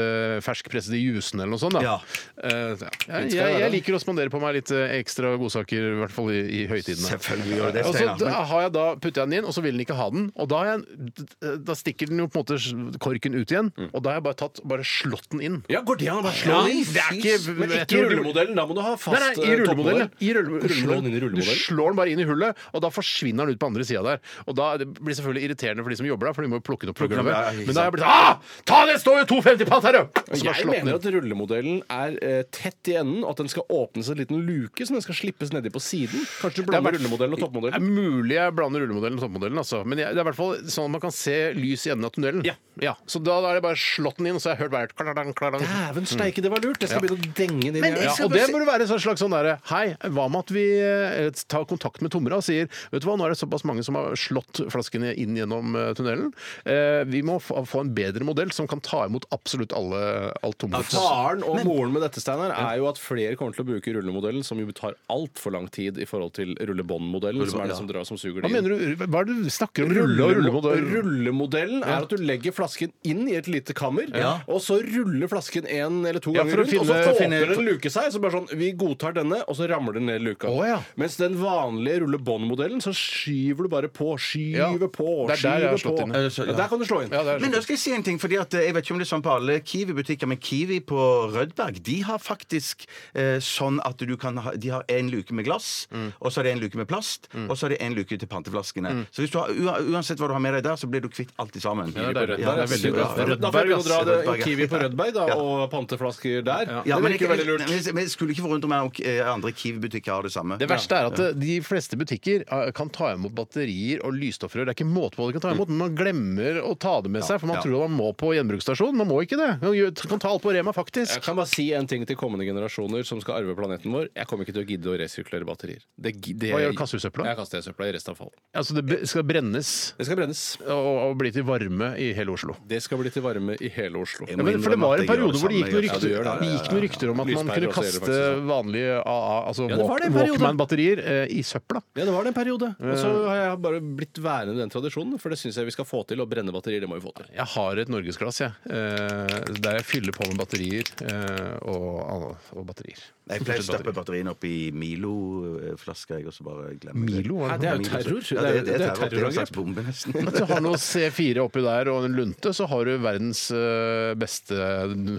S1: ferskpressede jusene eller noe sånt. Da.
S3: Ja.
S1: Eh, ja. jeg, jeg, jeg liker å spandere på meg litt eh, ekstra godsaker, i hvert fall i, i høytidene.
S3: Selvfølgelig gjør det det,
S1: Og så
S3: Steinar.
S1: da
S3: Men-
S1: har jeg da putter jeg den inn, og så vil den ikke ha den. Og da, har jeg, eh, da stikker den jo på en måte korken ut igjen, og da har jeg bare tatt bare slått den inn.
S2: Ja, går det an å bare
S1: Ja,
S2: den inn?
S1: det er ikke-
S2: Men
S1: jeg
S2: ikke i
S1: tror-
S2: rullemodellen. Da må du ha fast
S1: Nei, nei, i
S2: eh,
S1: rullemodellen.
S2: toppmodell.
S1: I rulle-
S2: Slå den inn i
S1: rullemodellen. Du
S2: rullemodellen.
S1: slår den bare inn i hullet, og da forsvinner den ut på andre sida der. Og da det blir det selvfølgelig irriterende for de som jobber der, for de må jo plukke den opp.
S3: den opp, ja, ja,
S1: programmet.
S3: ikke
S1: Men da har jeg blitt sånn Ah! Ta det! Står jo 2,50 pant her, jo! Og så bare
S2: Jeg
S1: slått den
S2: mener
S1: ut.
S2: at rullemodellen er eh, tett i enden, og at den skal åpnes en liten luke som den skal slippes nedi på siden. Kanskje du
S1: Det er
S2: blander
S1: hvert-
S2: rullemodellen og
S1: Det er
S2: toppmodellen.
S1: mulig jeg blander rullemodellen og toppmodellen, altså. men jeg, det er i hvert fall sånn at man kan se lys i enden av tunnelen.
S2: Ja.
S1: Så da, da er det bare slått den inn, og så har jeg hørt hvert klarang, klarang.
S2: Dæven steike, det var lurt! Jeg skal begynne å denge den inn.
S3: Men
S2: i-
S3: jeg
S1: Ja,
S2: Ja,
S3: skal
S1: og
S3: bare
S1: det
S3: si-
S1: burde være en slags sånn derre Hei, hva med at vi eh, tar kontakt med Tomra og sier Vet du hva, nå er det såpass mange som har slått flaskene inn gjennom eh, tunnelen. Eh, vi må få få en bedre modell som kan ta imot absolutt alle, alt tomgods.
S2: Faren og moren med dette Steinar, er jo at flere kommer til å bruke rullemodellen, som jo tar altfor lang tid i forhold til rullebåndmodellen, som er det som drar som suger
S1: Hva
S2: det inn.
S1: mener du? Hva er det du snakker om? Rulle og rullemodell?
S2: Rullemodellen er at du legger flasken inn i et lite kammer, og så ruller flasken en eller to
S1: Ja,
S2: ganger
S1: for å
S2: rundt,
S1: finne-
S2: og så
S1: finne-
S2: åpner en luke seg. Så bare sånn, Vi godtar denne, og så ramler den ned i luka.
S1: Å, ja.
S2: Mens den vanlige rullebåndmodellen, så skyver du bare på,
S1: Ja.
S2: skyver på,
S1: Det er der jeg har
S2: skyver
S1: slått
S2: på.
S1: inn.
S2: Ja, Der kan du slå inn.
S1: Ja, det er
S3: Men nå skal jeg si en ting, fordi at eh, jeg vet ikke om det er sånn på alle Kiwi-butikker, men Kiwi på Rødberg de har faktisk eh, sånn at du kan ha De har en luke med glass,
S2: Mm.
S3: og så er det en luke med plast, og så er det en luke til panteflaskene. Så hvis du har, ua- uansett hva du har med deg der, så blir du kvitt alt i sammen.
S2: det er det.
S3: Ja,
S2: Der det er veldig bra.
S3: Ja,
S2: Da får jeg begynne å dra det
S3: Rødberg, ja.
S2: Kiwi på Rødberg da,
S3: Ja.
S2: og panteflasker der.
S3: Ja,
S2: det
S3: men,
S2: virker veldig lurt.
S3: men, men jeg skulle ikke forundre meg om eh, andre Kiwi-butikker har det samme.
S1: Det verste er at eh, de fleste butikker eh, kan ta imot batterier og lysstoffrør. Det er ikke måte på hva de kan ta imot, men man glemmer å ta det med seg, for man
S3: ja.
S1: tror man må på gjenbruksstasjon. Man må ikke det. Man gjør- kan ta alt på Rema,
S2: Jeg
S1: faktisk.
S2: kan bare si en ting til kommende generasjoner som skal arve planeten vår. Jeg kommer ikke til å gidde å resirkulere batterier. Det, gi- det,
S1: Hva gjør du? Kaster du søpla?
S2: Jeg kaster søpla i restavfall.
S1: Altså, det be- skal brennes
S2: Det skal brennes.
S1: og, og bli til varme i hele Oslo.
S2: Det skal bli til varme i hele Oslo.
S3: Jeg
S1: Ja,
S3: må
S1: men, for det
S3: innrømme
S1: var
S3: at
S1: en
S3: jeg gjør
S1: periode hvor det gikk noen
S3: samme.
S2: du
S1: rykter,
S2: gjør det.
S1: det gikk noen rykter om at man
S2: Lyspærer
S1: kunne
S2: også gjør det
S1: kaste
S2: faktisk, ja.
S1: vanlige AA, altså
S2: Ja, det var det en
S1: Walk-
S2: periode.
S1: Walkman-batterier eh, i søpla. Eh,
S2: Ja, det var det en periode. Og så har jeg bare blitt værende i den tradisjonen, for det syns jeg vi skal få til. Å brenne batterier, det må vi få til.
S1: Jeg har et norgesglass, jeg. eh, Der jeg fyller på med batterier eh, og, og batterier.
S3: Jeg pleier å
S1: Fortsatt
S3: stappe
S1: batterier.
S3: batteriene opp i Milo-flaska, jeg, og så bare glemmer jeg
S1: Milo, var
S2: Hæ,
S1: det
S2: det er
S1: noe?
S2: jo
S3: Ja,
S2: terror. altså.
S3: Det er, det er terror. Det er en slags
S2: terrorangrep.
S3: bombe, nesten.
S1: Hvis du har noe C4 oppi der og en lunte, så har du verdens eh, beste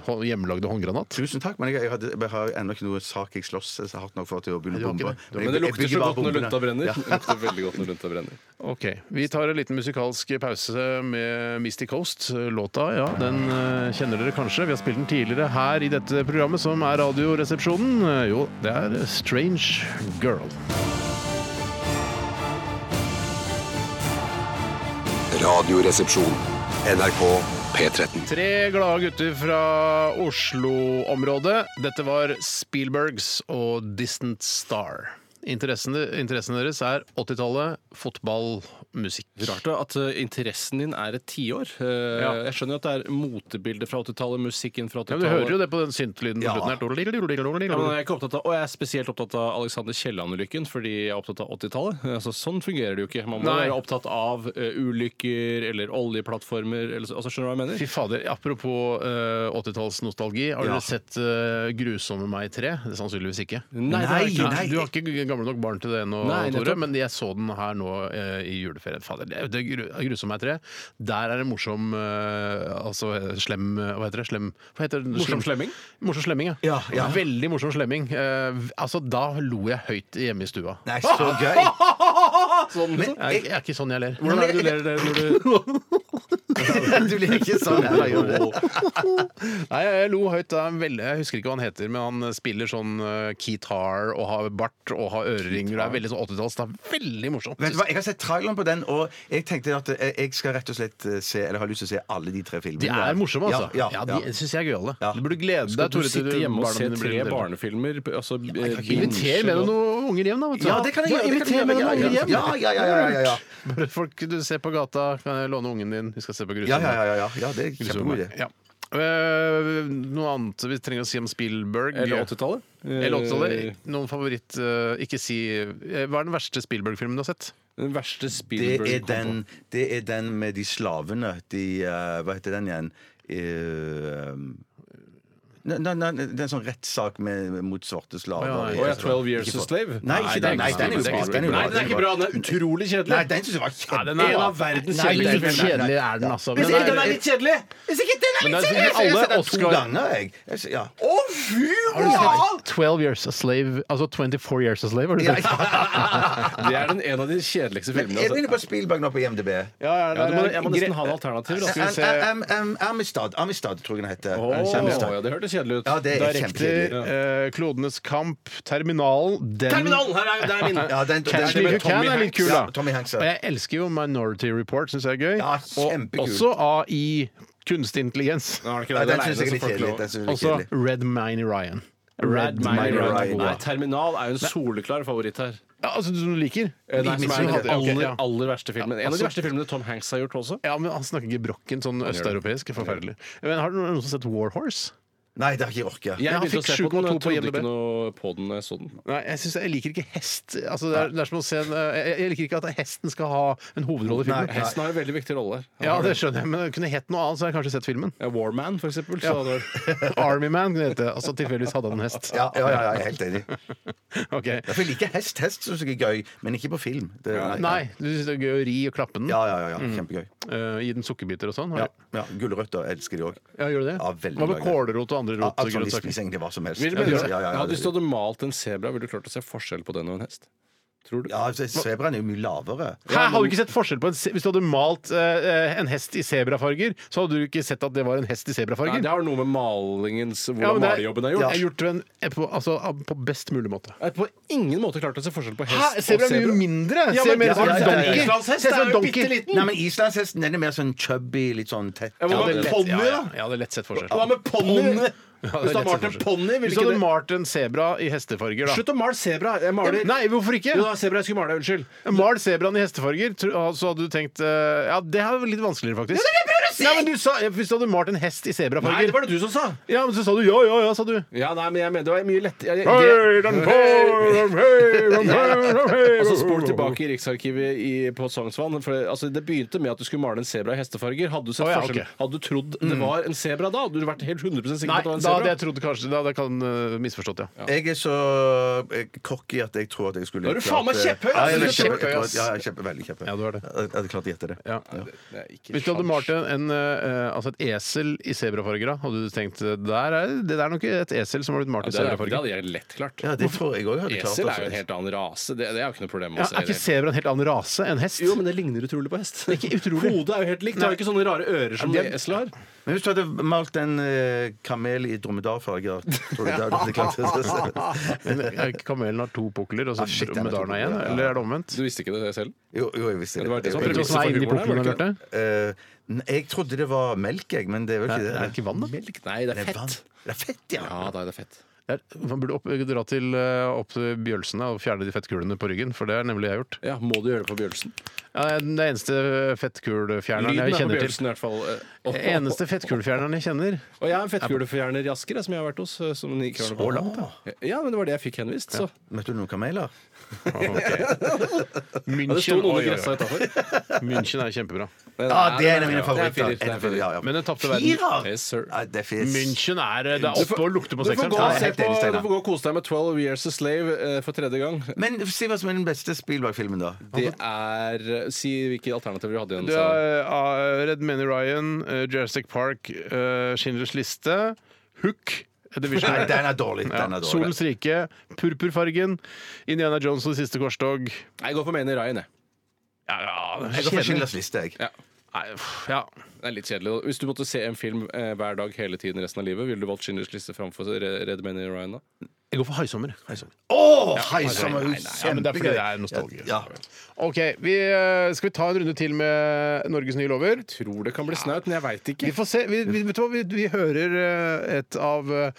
S1: hå- hjemmelagde håndgranat.
S3: Tusen takk, men jeg, jeg, hadde, jeg har ennå ikke noe sak jeg slåss så hardt nok for til å begynne
S1: Nei,
S3: å
S1: du har ikke
S3: bombe.
S1: det.
S2: Men det
S3: jeg- jeg
S2: lukter
S3: bygger
S2: så
S3: bare
S2: godt når
S3: bombene.
S2: lunta brenner.
S3: Ja.
S2: Det lukter veldig godt når lunta brenner.
S1: Ok, Vi tar en liten musikalsk pause med Misty Coast. Låta ja, den eh, kjenner dere kanskje. Vi har spilt den tidligere her i dette programmet, som er Radioresepsjonen. Eh, Jo, det er Strange Girl.
S5: Radioresepsjon. NRK P13.
S1: Tre glade gutter fra Oslo-området. Dette var Spielbergs og Distant Star. Interessen, interessen deres er 80-tallet, fotball, musikk.
S2: Rart da, at eh, interessen din er et tiår. Eh,
S1: Ja.
S2: Jeg skjønner jo at det er motebilder fra 80-tallet, musikken fra
S1: Ja, men
S2: 80-tallet.
S1: Du hører jo det på den syntlyden på
S3: Ja.
S1: slutten
S2: Ja, men
S1: her.
S2: jeg er ikke opptatt av, og jeg er spesielt opptatt av Alexander Kielland-ulykken, fordi jeg er opptatt av 80-tallet. Altså, sånn fungerer det jo ikke. Man må
S1: Nei.
S2: være opptatt av eh, ulykker eller oljeplattformer. Eller, så- altså, skjønner du hva jeg mener?
S1: Fy fader, Apropos eh, 80-tallsnostalgi. Har
S3: Ja.
S1: dere sett eh, 'Grusomme meg 3'? Det er sannsynligvis ikke.
S2: det er
S3: Nei,
S2: ikke-
S3: nei.
S1: Du har ikke gamle nok barn til det ennå,
S2: Nei,
S1: Tore,
S2: nettopp.
S1: men jeg så den her nå eh, i juleferien. Fader, det, det gru- grusom meg tre. Der er det morsom eh, Altså eh, slem eh, Hva heter det? Slem, hva heter det?
S2: Morsom slemming?
S1: Morsom slemming, ja.
S3: Ja, ja.
S1: Veldig morsom slemming. Eh, v- altså, da lo jeg høyt hjemme i stua.
S3: Nei, så gøy!
S2: Sånn,
S3: Men
S1: Jeg, jeg er ikke sånn jeg ler.
S2: Hvordan er det du ler det når du
S3: du blir ikke sånn heller, gjør du det?
S1: Nei, jeg lo høyt. Det er en veldig, jeg husker ikke hva han heter, men han spiller sånn eh, guitar og har bart og har øreringer. og er veldig sånn 80-talls. Det er veldig morsomt.
S3: Vet du hva, Jeg har sett traileren på den, og jeg tenkte at jeg jeg skal rett og slett eh, se Eller har lyst til å se alle de tre filmene.
S1: De er morsomme, altså.
S3: Ja,
S1: Ja,
S3: ja, ja.
S1: De syns jeg er gøyale.
S3: Ja.
S1: Du burde glede deg.
S2: Skal
S1: Tore,
S2: du
S1: til
S2: sitte hjemme og
S1: barna
S2: se
S1: dine blir
S2: tre
S1: eldre.
S2: barnefilmer? Altså, eh,
S1: Inviter
S2: binge-
S1: med deg noen unger hjem, da. Vet du.
S3: Ja, det kan jeg
S1: Bare
S3: gjøre. det kan
S1: Inviter
S3: jeg
S1: med deg
S3: gjøre.
S1: noen unger hjem.
S3: Ja, ja, ja, ja, ja, ja, ja.
S1: Bare folk du ser på gata, kan jeg låne ungen din. Vi skal se på grusomme.
S3: Ja, ja, ja, ja, ja. ja, det er en
S1: Grusomme.
S3: kjempegod idé.
S1: Ja. Eh, noe annet vi trenger å si om Spielberg?
S2: Eller 80-tallet?
S1: Eller 80-tallet?
S2: Eh,
S1: Noen favoritt eh, Ikke si eh, Hva er den verste Spielberg-filmen du har sett?
S2: Den verste
S3: Det
S2: Spielberg
S3: er,
S2: kom på.
S3: den, det er den med de slavene. De eh, Hva heter den igjen? Eh, Uh, den, er en sånn rettssak med- mot svarte slaver.
S1: Å, ja,
S2: Å ja,
S1: jeg
S2: 12 Years a Slave?
S3: Nei, ikke den. Nei, den er jo
S2: Spielberg.
S3: bra. Den er jo
S2: Nei,
S3: bra.
S2: den er ikke bra. Den er utrolig kjedelig.
S3: Nei, den syns jeg var kjempe...
S2: En av verdens
S1: Nei,
S2: kjedeligste
S1: litt
S2: filmer.
S1: kjedelig er den, altså.
S3: Jeg
S1: Men
S3: synes
S1: den
S3: den er
S1: er-
S3: litt kjedelig! Jeg synes ikke den er
S1: Men
S3: litt
S1: den-
S3: kjedelig! Jeg synes jeg
S1: alle
S3: har sett den
S1: Oscar-
S3: to ganger, jeg. jeg synes, ja.
S8: Å, fy!
S1: Har du sett 12 Years a Slave Altså 24 Years a Slave, har du
S3: Ja,
S1: sett?
S2: Det er den, en av de kjedeligste
S3: Men er
S2: filmene.
S3: vi
S2: Altså.
S3: inne på Spielberg nå på IMDb?
S1: Ja, ja,
S2: Ja,
S1: det
S2: du
S1: er-
S2: må, jeg må nesten ha en alternativ. Da.
S3: Am- Am- Am- Amistad, Amistad tror jeg den heter.
S2: Åh,
S3: Amistad.
S2: ja, det hørtes kjedelig ut.
S3: Ja, det er kjempekjedelig.
S1: Direkte eh, Klodenes kamp, Terminalen den,
S2: Terminalen! Her er, der er min!
S3: Ja, den- den-
S1: Catch Me If You Can er litt kul, da.
S3: Ja, Tommy Hanks, ja.
S1: Og jeg elsker jo Minority Report, syns jeg er gøy.
S3: Ja,
S1: og
S3: kjempekul.
S1: også AI, kunstig intelligens.
S3: Nei, den syns jeg er litt kjedelig. Den synes jeg er litt
S1: Også
S3: kjedelig.
S1: Red Mine Ryan.
S2: Red
S3: Mine
S2: Mine
S3: Ryan.
S2: Ryan. Nei, Terminal er jo en soleklar favoritt her.
S1: Ja, altså, som du liker?
S2: Eh, Nei, som
S1: Mitt
S2: er
S1: som
S2: den
S1: hadde- ok,
S2: aller,
S1: ja.
S2: aller verste filmen. En av de
S1: altså-
S2: verste filmene Tom Hanks har gjort også.
S1: ja, men Han snakker gebrokken, sånn østeuropeisk. Forferdelig. Men Har du noen som har sett War Horse?
S3: Nei, det har jeg ikke orka.
S2: Jeg
S1: Ja, han
S2: begynte å
S1: fikk
S2: se på den, og
S1: 7,2 på
S2: trodde
S1: IMDb.
S2: ikke noe på den eh, sånn. da jeg så den.
S1: Nei, jeg, synes jeg liker ikke hest. Altså, det, er, det er som å se en, eh, jeg, jeg liker ikke at hesten skal ha en hovedrolle i filmen.
S2: Hesten har en veldig viktig rolle her.
S1: Ja, det skjønner jeg, men det kunne hett noe annet, så hadde jeg kanskje sett filmen.
S2: Ja, Warman, for eksempel. Så hadde det vært-
S1: Army Man kunne det hete. Altså tilfeldigvis hadde han en hest.
S3: Ja, ja, ja, ja, jeg er helt enig.
S1: Ok.
S3: Ja, for Jeg liker hest. Hest syns jeg er gøy, men ikke på film. Det,
S1: Nei, du syns det er gøy å ri og klappe den?
S3: Ja, ja, ja, ja. Kjempegøy.
S1: Eh, gi den sukkerbiter og sånn?
S3: Ja,
S1: har du-
S3: ja. Gulrøtter elsker de òg.
S1: ja, gjør du det?
S3: Ja, veldig
S1: Hva
S3: glad
S1: med
S3: i det.
S1: kålrot og andre
S3: Ja,
S1: rot? og
S3: alt sånn, de
S1: grønnsaker?
S3: spiser egentlig hva som helst.
S1: Vil du mene det?
S3: ja, ja, ja,
S2: Hadde du
S3: ja.
S2: stått og malt en sebra, ville du klart å se forskjell på den og en hest. Tror du?
S3: Ja, altså, Sebraen er jo mye lavere.
S1: Hæ, hadde du ikke sett forskjell på en, se- Hvis du hadde malt eh, en hest i sebrafarger, så hadde du ikke sett at det var en hest i
S2: Nei,
S1: sebrafarger.
S2: det har noe med malingens
S1: Ja,
S2: Hvordan
S1: men det er-
S2: malejobben er gjort.
S1: Jeg har gjort det en, eh, på, altså, av- på best mulig måte.
S2: Jeg har på ingen måte klart å se forskjell på hest
S1: Hæ, sebra er mye mindre!
S2: Ja,
S1: Ser
S2: men-
S1: mer ut som
S3: Ja,
S1: en
S3: ja, ja, ja.
S1: donkey.
S2: Islandshest
S1: Ser ut som
S2: er
S1: en
S2: jo
S1: donkey.
S2: bitteliten.
S3: Nei, men islandshesten den er mer sånn chubby, litt sånn tett.
S2: Ja, hva
S1: Ja,
S2: med
S1: det er lett-
S2: ponni,
S1: ja, ja.
S2: da?
S1: Jeg hadde lett sett forskjell.
S2: Hva med ponni?
S1: Ja, det er
S2: Hvis du
S1: lett
S2: har malt en
S1: sett forskjell.
S2: ponni, vil
S1: Hvis du
S2: ikke
S1: hadde
S2: det
S1: malt en sebra i hestefarger, da
S2: Slutt å male sebra! Jeg
S1: Ja,
S2: maler
S1: men- Nei, hvorfor ikke?
S2: Jo da, sebra jeg skulle male, unnskyld.
S1: Mal sebraen i hestefarger, tro- så hadde du tenkt eh, Ja, det er litt vanskeligere, faktisk. Nei, men du sa, Hvis du hadde malt en hest i
S2: Nei,
S1: sebrafarger
S2: det var det du som sa!
S1: Ja, men så sa du ja, ja, ja, sa du.
S2: Ja, nei, men jeg mener det var mye lett jeg, det- Og så spol
S1: Hei!
S2: tilbake i Riksarkivet i, på Sognsvann. For det, altså, det begynte med at du skulle male en sebra i hestefarger. Hadde du sett
S1: Å, ja,
S2: forskjell?
S1: ok. Mm.
S2: Hadde du trodd det var en sebra da? Hadde du vært helt 100 sikker
S1: Nei,
S2: på at det var en
S1: da hadde
S2: sebra?
S1: jeg trodd kanskje Da hadde jeg kan eh, misforstått, ja.
S3: Jeg er så eh, cocky at jeg tror at jeg skulle
S2: Da er du faen meg
S3: klart, eh,
S2: kjepphøy,
S3: Ja, jeg er
S1: ass. Du er
S3: kjepphøy, jeg
S1: kjepphøy,
S3: tror
S1: ass.
S3: at- ja, jeg er kjempe, veldig kjepphøy.
S1: Ja, du er det.
S3: Jeg hadde klart å gjette det.
S1: ja.
S2: Det er ikke
S1: Hvis du hadde
S2: sjans.
S1: malt en, en, eh, altså et esel i sebrafarger, da, hadde du tenkt eh, der er, det der er nok et esel som har blitt malt
S2: ja,
S1: i
S2: det, hadde- det
S1: sebrafarger.
S2: hadde jeg lett klart.
S3: Ja, det tror jeg altså. òg.
S2: Esel er jo en helt annen rase. Det, det er jo ikke noe problem med
S1: altså. Ja,
S2: å
S1: er
S2: se
S1: ikke sebra en helt annen rase enn hest?
S2: Jo, men det ligner utrolig på hest.
S1: Ikke utrolig.
S2: Hodet er jo helt likt. Det har jo ikke sånne rare ører som
S1: Ja, det-
S2: esel har.
S3: Men hvis du hadde malt en eh, kamel i dromedarfarger, tror du da hadde du klart det?
S1: Men er ikke Kamelen har to pukler, og så
S3: Ah, shit, det er
S1: med darna
S3: to
S1: igjen?
S3: pukler, ja.
S1: Eller er det omvendt?
S2: Du visste ikke det selv?
S3: Jo, jo, jeg visste
S2: Det var det som var
S1: Er det
S3: Jeg-
S1: noe som er inni pukkelen? har du hørt det?
S3: Eh, nei, jeg trodde det var melk, jeg, men det er vel
S1: Nei,
S3: ikke det.
S1: er det ikke vann, da?
S2: Melk? Nei, det
S3: Det
S2: er
S3: er vann.
S2: fett.
S3: Det er fett, ja.
S2: Ja, da er det fett.
S1: Det er- Man burde opp, dra til, eh, opp til Bjølsene og fjerne de fettkulene på ryggen, for det er nemlig jeg gjort.
S2: Ja, Må du gjøre det på Bjørnsen?
S1: Ja, det er den eneste fettkulefjerneren
S2: Lyden er
S1: jeg
S2: på
S1: kjenner til.
S2: Bjørnsen i hvert fall. Eh,
S1: Eneste fettkulefjerneren jeg kjenner.
S2: Og jeg er en fettkulefjerner i Asker jeg, som jeg har vært hos. eh, Som ikke har noe problem. Ja, men det var det jeg fikk henvist. Så.
S3: Møtte du noen kameler?
S2: Ja, det sto
S1: München,
S2: noen
S1: oi,
S2: og
S1: oi,
S2: gressa
S1: oi.
S2: utafor.
S1: München er kjempebra.
S3: Ja, det er en av mine
S2: Det
S3: favoritter.
S2: er
S3: En av
S2: firer.
S3: mine- ja, ja.
S1: Men den tapte verden.
S3: Firer?
S2: Yes, sir.
S3: Ja, det er fis.
S1: München er eh, Det er
S2: Du får-
S1: oppe og lukter på
S2: Du får
S1: sekseren.
S2: gå
S1: Ja,
S2: og
S1: det er
S2: se
S3: helt
S1: helt-
S3: enig,
S2: på-
S3: Steinar.
S2: du får gå og kose deg med 12 Years a Slave eh, for tredje gang.
S3: Men si hva som er den beste Spielberg-filmen, da.
S2: Det er eh, Si hvilke alternativer du hadde igjen.
S1: Du
S2: Steinar.
S1: har eh, Red Many Ryan, eh, Jurassic Park, eh, Schindlers liste, Hook The Vision.
S3: Nei, den er dårlig. Den er
S1: Ja,
S3: dårlig.
S1: Solens rike, Purpurfargen, Indiana Jones og Det siste korstog.
S2: Jeg går for Mani Ryan, jeg.
S1: Ja, ja,
S3: Jeg går for Schindlers liste, jeg.
S2: Ja.
S1: Nei, pff, ja.
S2: Det er litt kjedelig. Hvis du måtte se en film eh, hver dag hele tiden resten av livet, ville du valgt Schindlers liste framfor Re- Red Mani Ryan da?
S1: Jeg går for Haisommer.
S3: Å, hei sann!
S1: Ja, men det er fordi det er nostalgi. Ok, vi, eh, Skal vi ta en runde til med Norges nye lover?
S2: Tror det kan bli snaut, men jeg veit ikke.
S1: Vi får se. Vi, vi, vet du hva? Vi, vi hører eh, et av eh,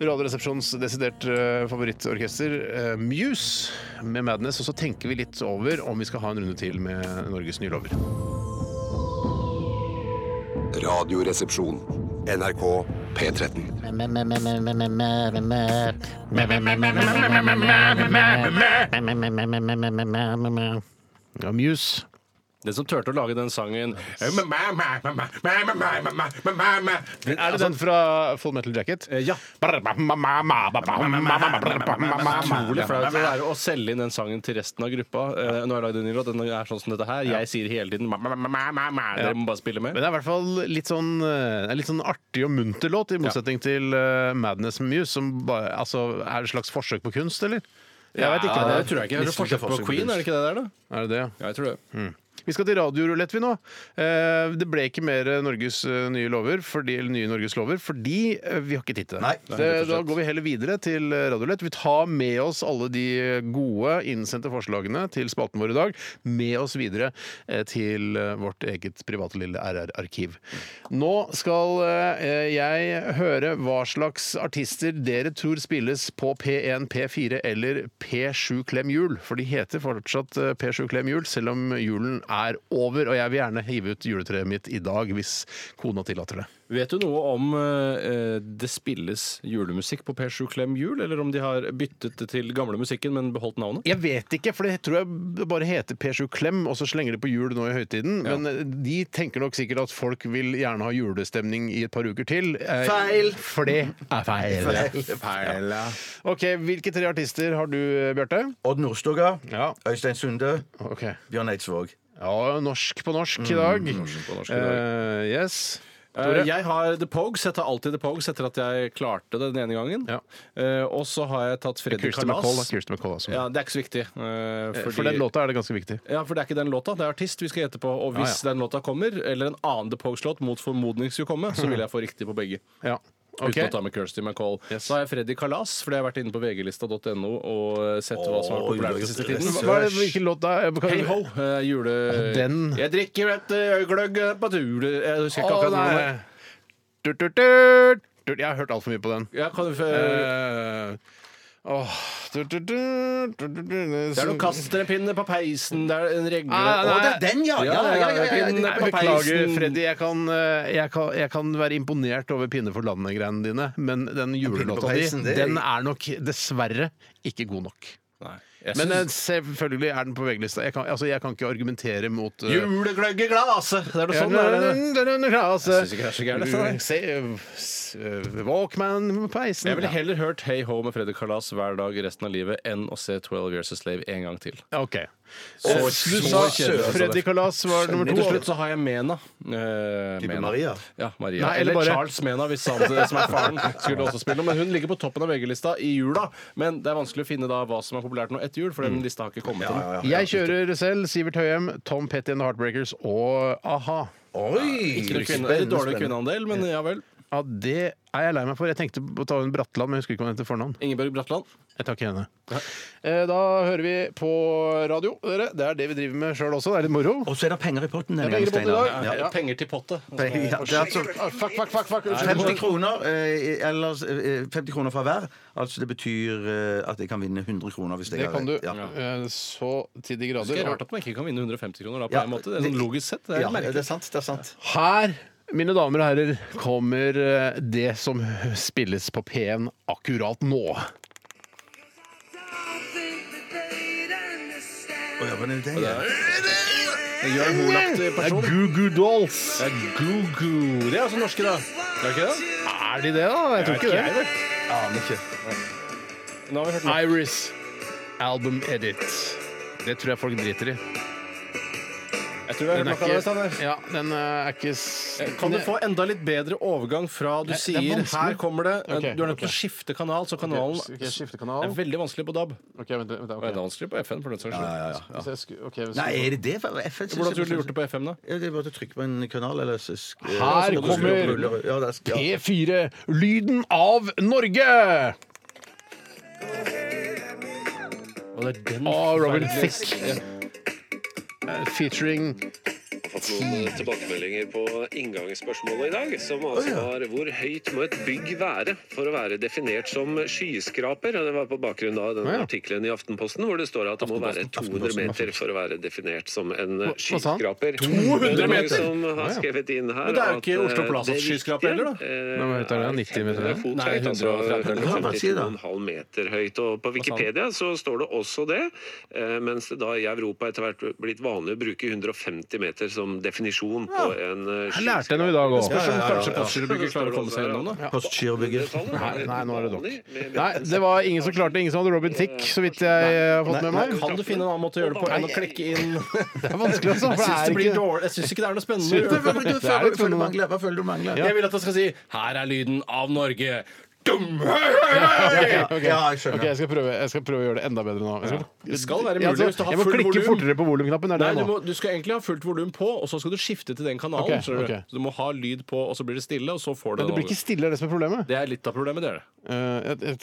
S1: Radioresepsjonens desidert eh, favorittorkester, eh, Muse, med 'Madness'. Og så tenker vi litt over om vi skal ha en runde til med Norges nye lover.
S5: Radioresepsjon. NRK P13.
S1: Ja, Muse.
S2: Den som turte å lage den sangen Er
S1: Er
S2: Altså-
S1: det den fra Full Metal Jacket?
S2: eh, Ja. Utrolig flaut det er å selge inn den sangen til resten av gruppa. Eh, Nå har jeg lagd en ny låt, den er sånn som dette her. Jeg sier hele tiden Dere må bare spille med.
S1: Men det er i hvert fall litt sånn, eh, en litt sånn artig og munter låt, i motsetning til eh, Madness med Muse, som bare, altså, er et slags forsøk på kunst, eller? Jeg vet ikke.
S2: Ja, det
S1: det
S2: tror jeg ikke. Er det forskjell på Mm. Queen, er det ikke det der, da?
S1: er det det?
S2: Ja, jeg tror det.
S1: Vi skal til radiorulett, vi nå. Eh, Det ble ikke mer Norges eh, nye lover, fordi, eller nye Norges lover, fordi eh, vi har ikke tid til det.
S3: Nei,
S1: det da går vi heller videre til eh, radiorulett. Vi tar med oss alle de eh, gode innsendte forslagene til spalten vår i dag, med oss videre eh, til eh, vårt eget private lille RR-arkiv. Nå skal eh, jeg høre hva slags artister dere tror spilles på P1, P4 eller P7 Klem Jul, for de heter fortsatt eh, P7 Klem Jul, selv om julen er over, og jeg vil gjerne hive ut juletreet mitt i dag, hvis kona tillater det.
S2: Vet du noe om eh, det spilles julemusikk på P7 Klem Jul, eller om de har byttet det til gamle musikken, men beholdt navnet?
S1: Jeg vet ikke, for det tror jeg bare heter P7 Klem, og så slenger de på jul nå i høytiden. Men eh, de tenker nok sikkert at folk vil gjerne ha julestemning i et par uker til. Eh,
S3: Feil!
S1: For det er feil. Ok, Hvilke tre artister har du, eh, Bjarte?
S3: Odd Nordstoga,
S1: Ja.
S3: Øystein Sunde,
S1: Ok.
S3: Bjørn Eidsvåg.
S1: Ja, Mm, norsk på norsk i dag.
S2: norsk på norsk i dag.
S1: Eh, yes.
S2: Eh, Jeg har The Pogues. Jeg tar alltid The Pogues etter at jeg klarte det den ene gangen.
S1: Ja.
S2: Eh, og så har jeg tatt Freddy
S1: Kirsten McCall, da.
S2: Kalas.
S1: Kirsten McCall altså.
S2: Ja, det er ikke så viktig. eh, fordi-
S1: For den låta er det ganske viktig.
S2: Ja, for det er ikke den låta, det er artist vi skal gjette på. Og hvis
S1: Ah, Ja, ja.
S2: den låta kommer, eller en annen The Pogues-låt mot formodning skulle komme, så vil jeg få riktig på begge.
S1: Ja.
S2: Uten å ta med Kirsty McCall.
S1: Yes.
S2: Så har jeg Freddy Kalas, fordi jeg har vært inne på vglista.no og eh, sett hva som har vært populært den siste tiden.
S1: Hva er det, hvilken låt da? Jeg kan-
S2: Hey ho, eh, jule...
S1: Den.
S2: Jeg drikker et eh, gløgg eh, på tule Jeg husker ikke
S1: Å,
S2: akkurat hvordan det
S1: nei. Tut, tut, tut, tut. Jeg har hørt altfor mye på den.
S2: Ja, kan du få...
S1: Eh, åh, tut, tut, tut, tut, tut, tut.
S2: det er noen kastrepinner på peisen, det er en
S1: Nei,
S2: regle
S1: nei,
S2: Å,
S1: Ah, nei.
S2: det er den, ja! ja, ja, ja, ja, ja,
S1: Nei,
S2: ja.
S1: beklager,
S2: Peisen.
S1: Freddy. Jeg kan, eh, jeg, kan, jeg kan være imponert over Pinne for landet-greiene dine, men den
S3: på
S1: julelåta di,
S3: peisen, det er-
S1: den er nok dessverre ikke god nok.
S2: Nei, jeg
S1: Men eh,
S2: synes-
S1: selvfølgelig er den på VG-lista. Jeg, kan- altså, jeg kan ikke argumentere mot eh,
S2: Julegløgg i glasset! Det er noe sånn, er det.
S1: altså.
S2: Jeg synes ikke det er så gærent, dette, nei.
S1: gærent. eh, Walkman på peisen.
S2: Jeg ville heller hørt Hey Ho med Freddy Kalas hver dag resten av livet enn å se 12 Years a Slave en gang til.
S1: Ja, OK. Eh,
S2: Så, altså
S1: Du sa Freddy Kalas var nummer
S2: Til
S1: to.
S2: slutt så har jeg Mena. Eh, Mena.
S3: Maria.
S2: Ja, Maria.
S1: Nei,
S2: eller
S1: eller bare-
S2: Charles Mena, hvis han eh, som er faren skulle også spille. Men hun ligger på toppen av VG-lista i jula. Men det er vanskelig å finne da hva som er populært nå etter jul, for den lista har ikke kommet ennå.
S1: Jeg kjører selv Sivert Høyem, Tom Petty and the Heartbreakers og a-ha.
S3: Oi!
S2: Ikke noe kvinne- eller Dårlig kvinneandel, men ja vel.
S1: Ja, det er jeg lei meg for. Jeg tenkte på å ta en Bratland, men jeg husker ikke hva hun heter til fornavn.
S2: Ingeborg Bratland.
S1: Jeg tar ikke henne. Eh, Da hører vi på radio, dere. Det er det vi driver med sjøl også. Det er litt moro.
S3: Og så er det penger i potten denne gangen,
S1: penger i potten i
S3: Steinar.
S1: dag.
S3: Ja.
S1: Ja.
S2: Eh, Penger til pottet.
S3: Penger, ja, det er altså-
S1: Ah, Fuck, fuck, fuck. fuck. unnskyld.
S3: 50 kroner, eh, ellers, eh, 50 kroner fra hver. Altså Det betyr eh, at jeg kan vinne 100 kroner. Hvis jeg
S1: Det
S3: har
S1: kan du
S3: rett. Ja.
S1: eh, så til de
S2: Det er
S1: grader.
S2: rart at man ikke kan vinne 150 kroner da, på
S3: Ja,
S2: en måte. Det er sånn
S3: det-
S2: logisk sett. Det er
S3: Ja,
S2: merkelig.
S3: det er sant. det er sant
S1: Her, mine damer og herrer, kommer eh, det som spilles på P1 akkurat nå.
S3: Å, ja, men det er det.
S2: Jørn
S1: Det
S2: Holaktig
S1: er
S2: person.
S1: Goo Goo Dolls.
S2: Det er Gugu. Det er altså norske, da. Er det ikke det?
S1: Er de det, da? Jeg tror ikke det.
S3: Aner ikke.
S2: Nå har vi hørt noe.
S1: Iris album edit. Det tror jeg folk driter i.
S2: Jeg tror vi har
S1: Den er
S2: hørt nok av det. Steinar.
S1: ikke, ja, den eh, er ikke s-
S2: Eh, Kan du få enda litt bedre overgang fra du
S1: Nei, det er
S2: sier
S1: vanskelig.
S2: 'her kommer det'?
S1: Ok,
S2: du er nødt til
S1: ok.
S2: å skifte kanal, så kanalen
S1: Ok, skal jeg skifte kanal?
S2: Det er veldig vanskelig på DAB.
S1: Ok, vent, vent,
S2: Det er
S1: ok.
S2: vanskelig på FN, for den saks skyld.
S1: Hvis jeg sku- ok, hvis-
S3: Nei, er det det? for FN synes
S2: Hvordan
S3: jeg-
S2: tror du du gjorde det på FM, da?
S3: Ja, det er bare å trykke på en kanal, eller så sk-
S1: Her
S3: så må du skru
S1: kommer
S3: opp ruller. ja, det er, ja.
S1: P4, lyden av Norge!
S2: Og det er den
S1: Av Robin
S2: forferdelige-
S1: Thicke. Eh, Featuring
S9: fått noen tilbakemeldinger på inngangsspørsmålet i dag, som altså var hvor høyt må et bygg være for å være definert som skyskraper? Og det var på bakgrunn av den
S1: Å, ja.
S9: artikkelen i Aftenposten hvor det står at det må være 200 meter for å være definert som en eh,
S1: hva sa han?
S9: skyskraper.
S2: 200
S9: Det er
S2: meter?
S9: mange som
S1: Å, ja.
S9: har skrevet inn her
S2: Men det er jo
S9: at, eh,
S2: ikke Oslo Plazas
S9: det viktige,
S2: skyskraper heller, da.
S9: eh,
S1: Nei, men vet du, det er 90 meter,
S9: det er fot
S2: Nei,
S9: høyt, altså
S2: 130.
S9: 152,5 meter høyt. Og på Wikipedia så står det også det, eh, mens det da i Europa etter hvert blitt vanlig å bruke 150 meter som definisjon på en eh,
S1: Jeg lærte noe i dag òg.
S2: Spørs om kanskje Postgirobygget klarer å komme seg gjennom, da.
S3: Postgirobygger.
S1: Nei, nei, nå er det dere. Nei, det var ingen som klarte det. Ingen som hadde Robin Thicke, så vidt jeg eh, har fått med meg.
S2: Kan du finne en annen måte å gjøre det på enn å klikke inn
S1: Det er vanskelig, altså. For
S2: Jeg
S1: det
S2: syns det
S1: er
S2: blir
S1: ikke
S2: dårlig. Jeg syns ikke det er noe spennende. å
S1: Synes
S2: gjøre
S1: du-
S3: Hva føler du-
S1: Det er litt
S3: hva føler du
S1: sånn-
S3: mangler? Hva føler du mangler?
S2: Jeg vil at han skal si 'Her er lyden av Norge'. Dum!
S3: Ja,
S1: Ok.
S3: ja, jeg skjønner.
S1: Ok, jeg skal, prøve, jeg skal prøve å gjøre det enda bedre nå. Jeg skal,
S2: Det skal være
S1: Jeg
S2: mulig hvis du har
S1: jeg må
S2: full
S1: klikke
S2: volum.
S1: fortere på volumknappen. Er det
S2: Nei, du,
S1: nå?
S2: må, du skal egentlig ha fullt volum på, og så skal du skifte til den kanalen.
S1: Ok,
S2: skjønner du?
S1: ok.
S2: Så du må ha lyd på, og så blir det stille, og så får du
S1: Men det
S2: den
S1: blir ikke stille, er det som er problemet.
S2: Det er litt av problemet, det er det.
S1: Eh, jeg, jeg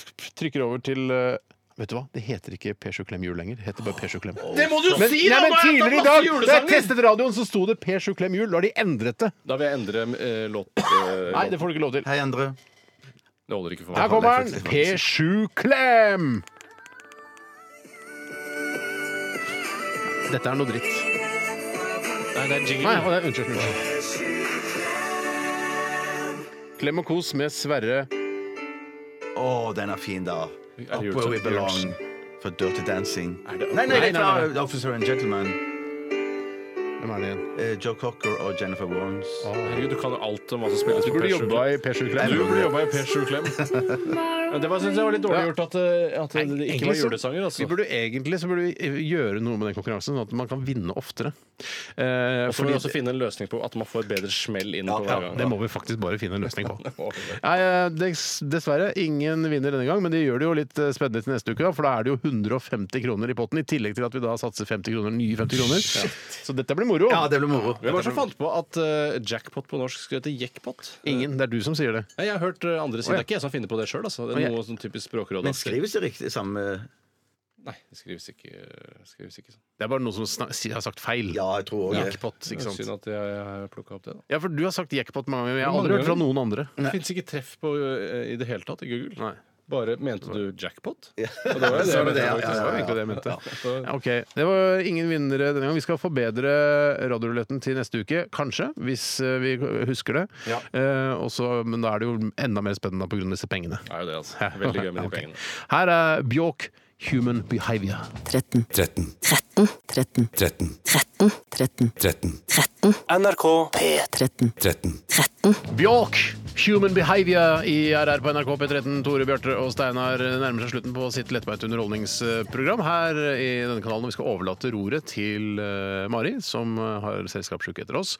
S1: trykker over til eh, Vet du hva, det heter ikke P. Sjuklem Jul lenger. Det heter bare P. Sjuklem.
S2: Det må du
S1: Men, nei, men tidligere i dag, da jeg testet radioen, så sto det P. Sjuklem Jul. Da har de endret det.
S2: Da vil jeg endre eh, låt... eh,
S1: Nei, det får du ikke lov til.
S3: Hei, Endre.
S2: Det holder ikke for meg.
S1: Her kommer den. P7 Klem. Dette er noe dritt.
S2: Nei, det er
S1: Nei,
S2: jingle.
S1: å, det er, unnskyld. unnskyld. Klem og kos med Sverre.
S3: Å, den er fin, da. Up
S2: det
S3: where we
S2: Jørgensen?
S3: belong. For Dirty Dancing.
S2: det-
S3: Nei, nei, det
S1: Nei, nei,
S3: er Officer and Gentleman.
S1: Men Hvem er det igjen?
S3: Eh, Joe Cocker og Jennifer Warnes.
S2: Herregud, du kan jo alt om hva som spilles
S1: Du burde jobba i P7 Klem.
S2: Du burde jobba i P7 Klem. Ja, Det var, synes jeg var litt dårlig gjort at, eh, at det ikke var
S1: Egentlig så-
S2: julesanger.
S1: Vi
S2: Altså.
S1: burde, egentlig så burde vi eh, gjøre noe med den konkurransen, sånn at man kan vinne oftere. Eh,
S2: Og så må
S1: fordi-
S2: vi også finne en løsning på at man får bedre smell inn på hver
S1: ja,
S2: gang.
S1: det må vi faktisk bare finne en løsning på.
S2: må vi.
S1: Nei, eh, dess- dessverre, ingen vinner denne gang, men det gjør det jo litt eh, spennende til neste uke. da, For da er det jo 150 kroner i potten, i tillegg til at vi da satser 50 kroner, nye 50 kroner. Så dette blir moro.
S3: Ja, det blir moro.
S2: Hvem var det som fant på at eh, jackpot på norsk skulle hete jekkpot?
S1: Ingen. Det er du som sier det.
S2: Nei, Jeg har hørt eh, andre si
S1: Å,
S2: det.
S1: ja.
S2: er ikke jeg som finner på det sjøl. Altså. Det
S1: Å, ja.
S2: er noe sånn typisk språkråd.
S3: Men skrives det riktig samme
S2: Nei, det skrives ikke, skrives ikke sånn.
S1: Det er bare noen som snak- si- har sagt feil.
S3: Ja, jeg tror òg det.
S1: Jackpot, ikke sant?
S2: Synd at jeg, jeg har plukka opp det. da
S1: Ja, for du har sagt jackpot mange ganger, men jeg har
S2: Mange
S1: aldri hørt fra
S2: ganger.
S1: noen andre.
S2: Det fins ikke treff på eh, i det hele tatt i Google.
S1: Nei.
S2: Bare mente du jackpot?
S3: Ja.
S2: Og det var jo det,
S3: Så
S2: jeg
S3: er det
S2: mente,
S3: det, ja,
S2: faktisk.
S1: Det var egentlig det jeg mente. Ja, Ok, Det var ingen vinnere denne gang. Vi skal forbedre radioruletten til neste uke, kanskje, hvis eh, vi husker det. Eh, også, men da er det jo enda mer spennende pga. disse pengene.
S2: Det er jo det, altså. Veldig gøy med de
S1: Ok.
S2: pengene.
S1: Her er Bjork, 'Human Behavior'.
S10: 13,
S5: 13.
S10: 13, 13,
S5: 13.
S10: 13, 13,
S5: 13.
S10: 13,
S7: NRK
S10: P13,
S5: 13.
S10: 13.
S1: Bjork, 'Human Behavior' i RR på NRK P13. Tore Bjarte og Steinar nærmer seg slutten på sitt lettbeinte underholdningsprogram her i denne kanalen. og Vi skal overlate roret til eh, Mari, som har selskapssjuk etter oss.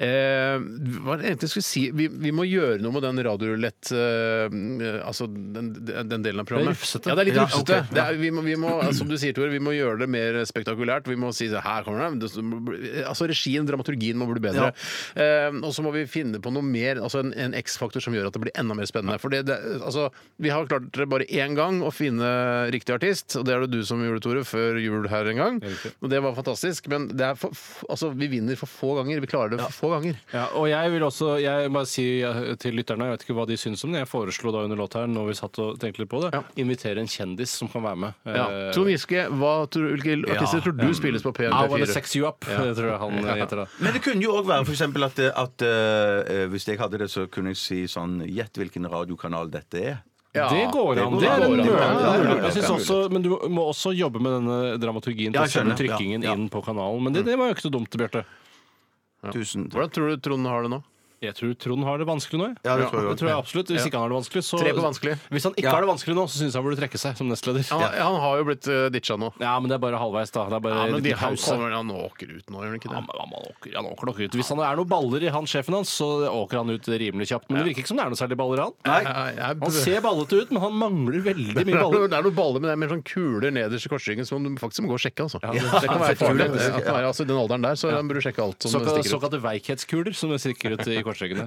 S1: Eh, hva er det jeg egentlig skulle si? Vi, vi må gjøre noe med den radiorulett... Eh, altså den, den delen av programmet.
S2: Det er rufsete.
S1: Ja, det er litt
S3: Ja,
S1: rufsete.
S3: ok,
S1: Det er, vi, må, vi må, som du sier, Tore, vi må gjøre det mer spektakulært. Vi må si så her kommer det. det altså Regien, dramaturgien må bli bedre. Eh, og så må vi finne på noe mer, altså en, en X-faktor som gjør at det blir enda mer spennende. For det, det, altså, vi har klart det bare én gang å finne riktig artist, og det er det du som gjorde, Tore, før jul her en gang. Og det var fantastisk, men det er for, f- altså, vi vinner for få ganger. Vi klarer det for få ganger.
S2: Ja, og jeg vil også jeg må bare si eh, til lytterne, jeg vet ikke hva de syns om det, jeg foreslo da under låta her, når vi satt og tenkte litt på det,
S1: Ja.
S2: invitere en kjendis som kan være med.
S1: Ja.
S2: Eh,
S1: Trond Giske, hva tror, hvilke artister tror du
S2: ja.
S1: spilles på
S2: I wanna
S1: PNP4?
S2: sex you up,
S1: Ja.
S2: det tror jeg han eh, heter da.
S3: Men det kunne jo òg være for eksempel at, at eh, hvis jeg hadde det, så kunne jeg si sånn Gjett hvilken radiokanal dette er.
S1: Ja.
S2: det går an.
S3: det
S2: Det er
S3: går
S2: en
S3: an.
S2: mulighet.
S3: Ja, ja, ja, ja.
S2: Jeg synes også, men du må også jobbe med denne dramaturgien til
S3: Ja,
S2: å
S3: jeg
S2: sende
S3: skjønner.
S2: trykkingen
S3: Ja, Mm. ja.
S2: inn på kanalen. Men det, det var jo ikke så dumt, Bjarte.
S3: Tusen takk.
S1: Hvordan tror du Trond har det nå?
S2: Jeg tror Trond har det vanskelig nå. jeg.
S3: Ja, det tror jeg
S2: det
S3: også.
S2: tror jeg absolutt. Hvis ikke han har det vanskelig, så
S1: Tre på vanskelig.
S2: Hvis han ikke har det vanskelig nå, så syns jeg han burde trekke seg som nestleder.
S1: Han, han har jo blitt uh, ditcha nå.
S2: Ja, men det er bare halvveis, da. Det er bare
S1: Ja,
S2: en
S1: men de,
S2: liten
S1: han
S2: pause.
S3: sånn.
S1: kommer han åker ut nå, gjør han ikke
S2: Ja,
S1: det?
S2: men han åker, han åker nok ut. Hvis han er noen baller i han sjefen hans, så åker han ut rimelig kjapt. Men det virker ikke som det er noe særlig baller i han.
S3: Nei,
S1: Jeg- jeg-
S2: Han ser ballete ut, men han mangler veldig
S1: det er
S2: mye
S1: noe-
S2: baller.
S1: det er noen baller, men det er mer sånn kuler nederst i korsryggen som du faktisk må gå og sjekke. Altså.
S3: Ja,
S1: det kan være
S3: jeg tror
S1: farlig.
S3: det.
S1: Det kan være, altså, I den alderen der så burde du sjekke alt som
S2: Såkalte,
S1: stikker ut.
S2: såkalte veikhetskuler som det stikker ut i korsryggene.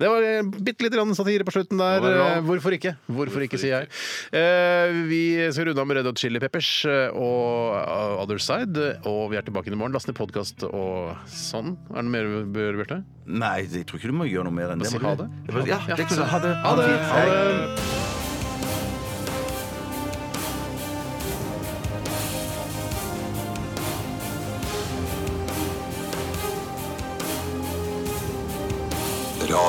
S1: Det var eh, bitte lite grann satire på slutten der.
S2: Det var bra.
S1: Eh, Hvorfor ikke? Hvorfor ikke, sier jeg. Eh, Vi skal runde av med Red Hot Chili Peppers eh, og eh, Other Side, og vi er tilbake inn i morgen. Last ned podkast og sånn. Er det noe mer vi bør gjøre, Bjarte?
S3: nei, jeg tror ikke du må gjøre noe mer enn det.
S1: Si
S3: må du?
S1: ha det.
S3: Ja, det kan du. Ha det.
S1: Ha det!
S3: fint.
S1: Ha
S3: Hei.
S1: det.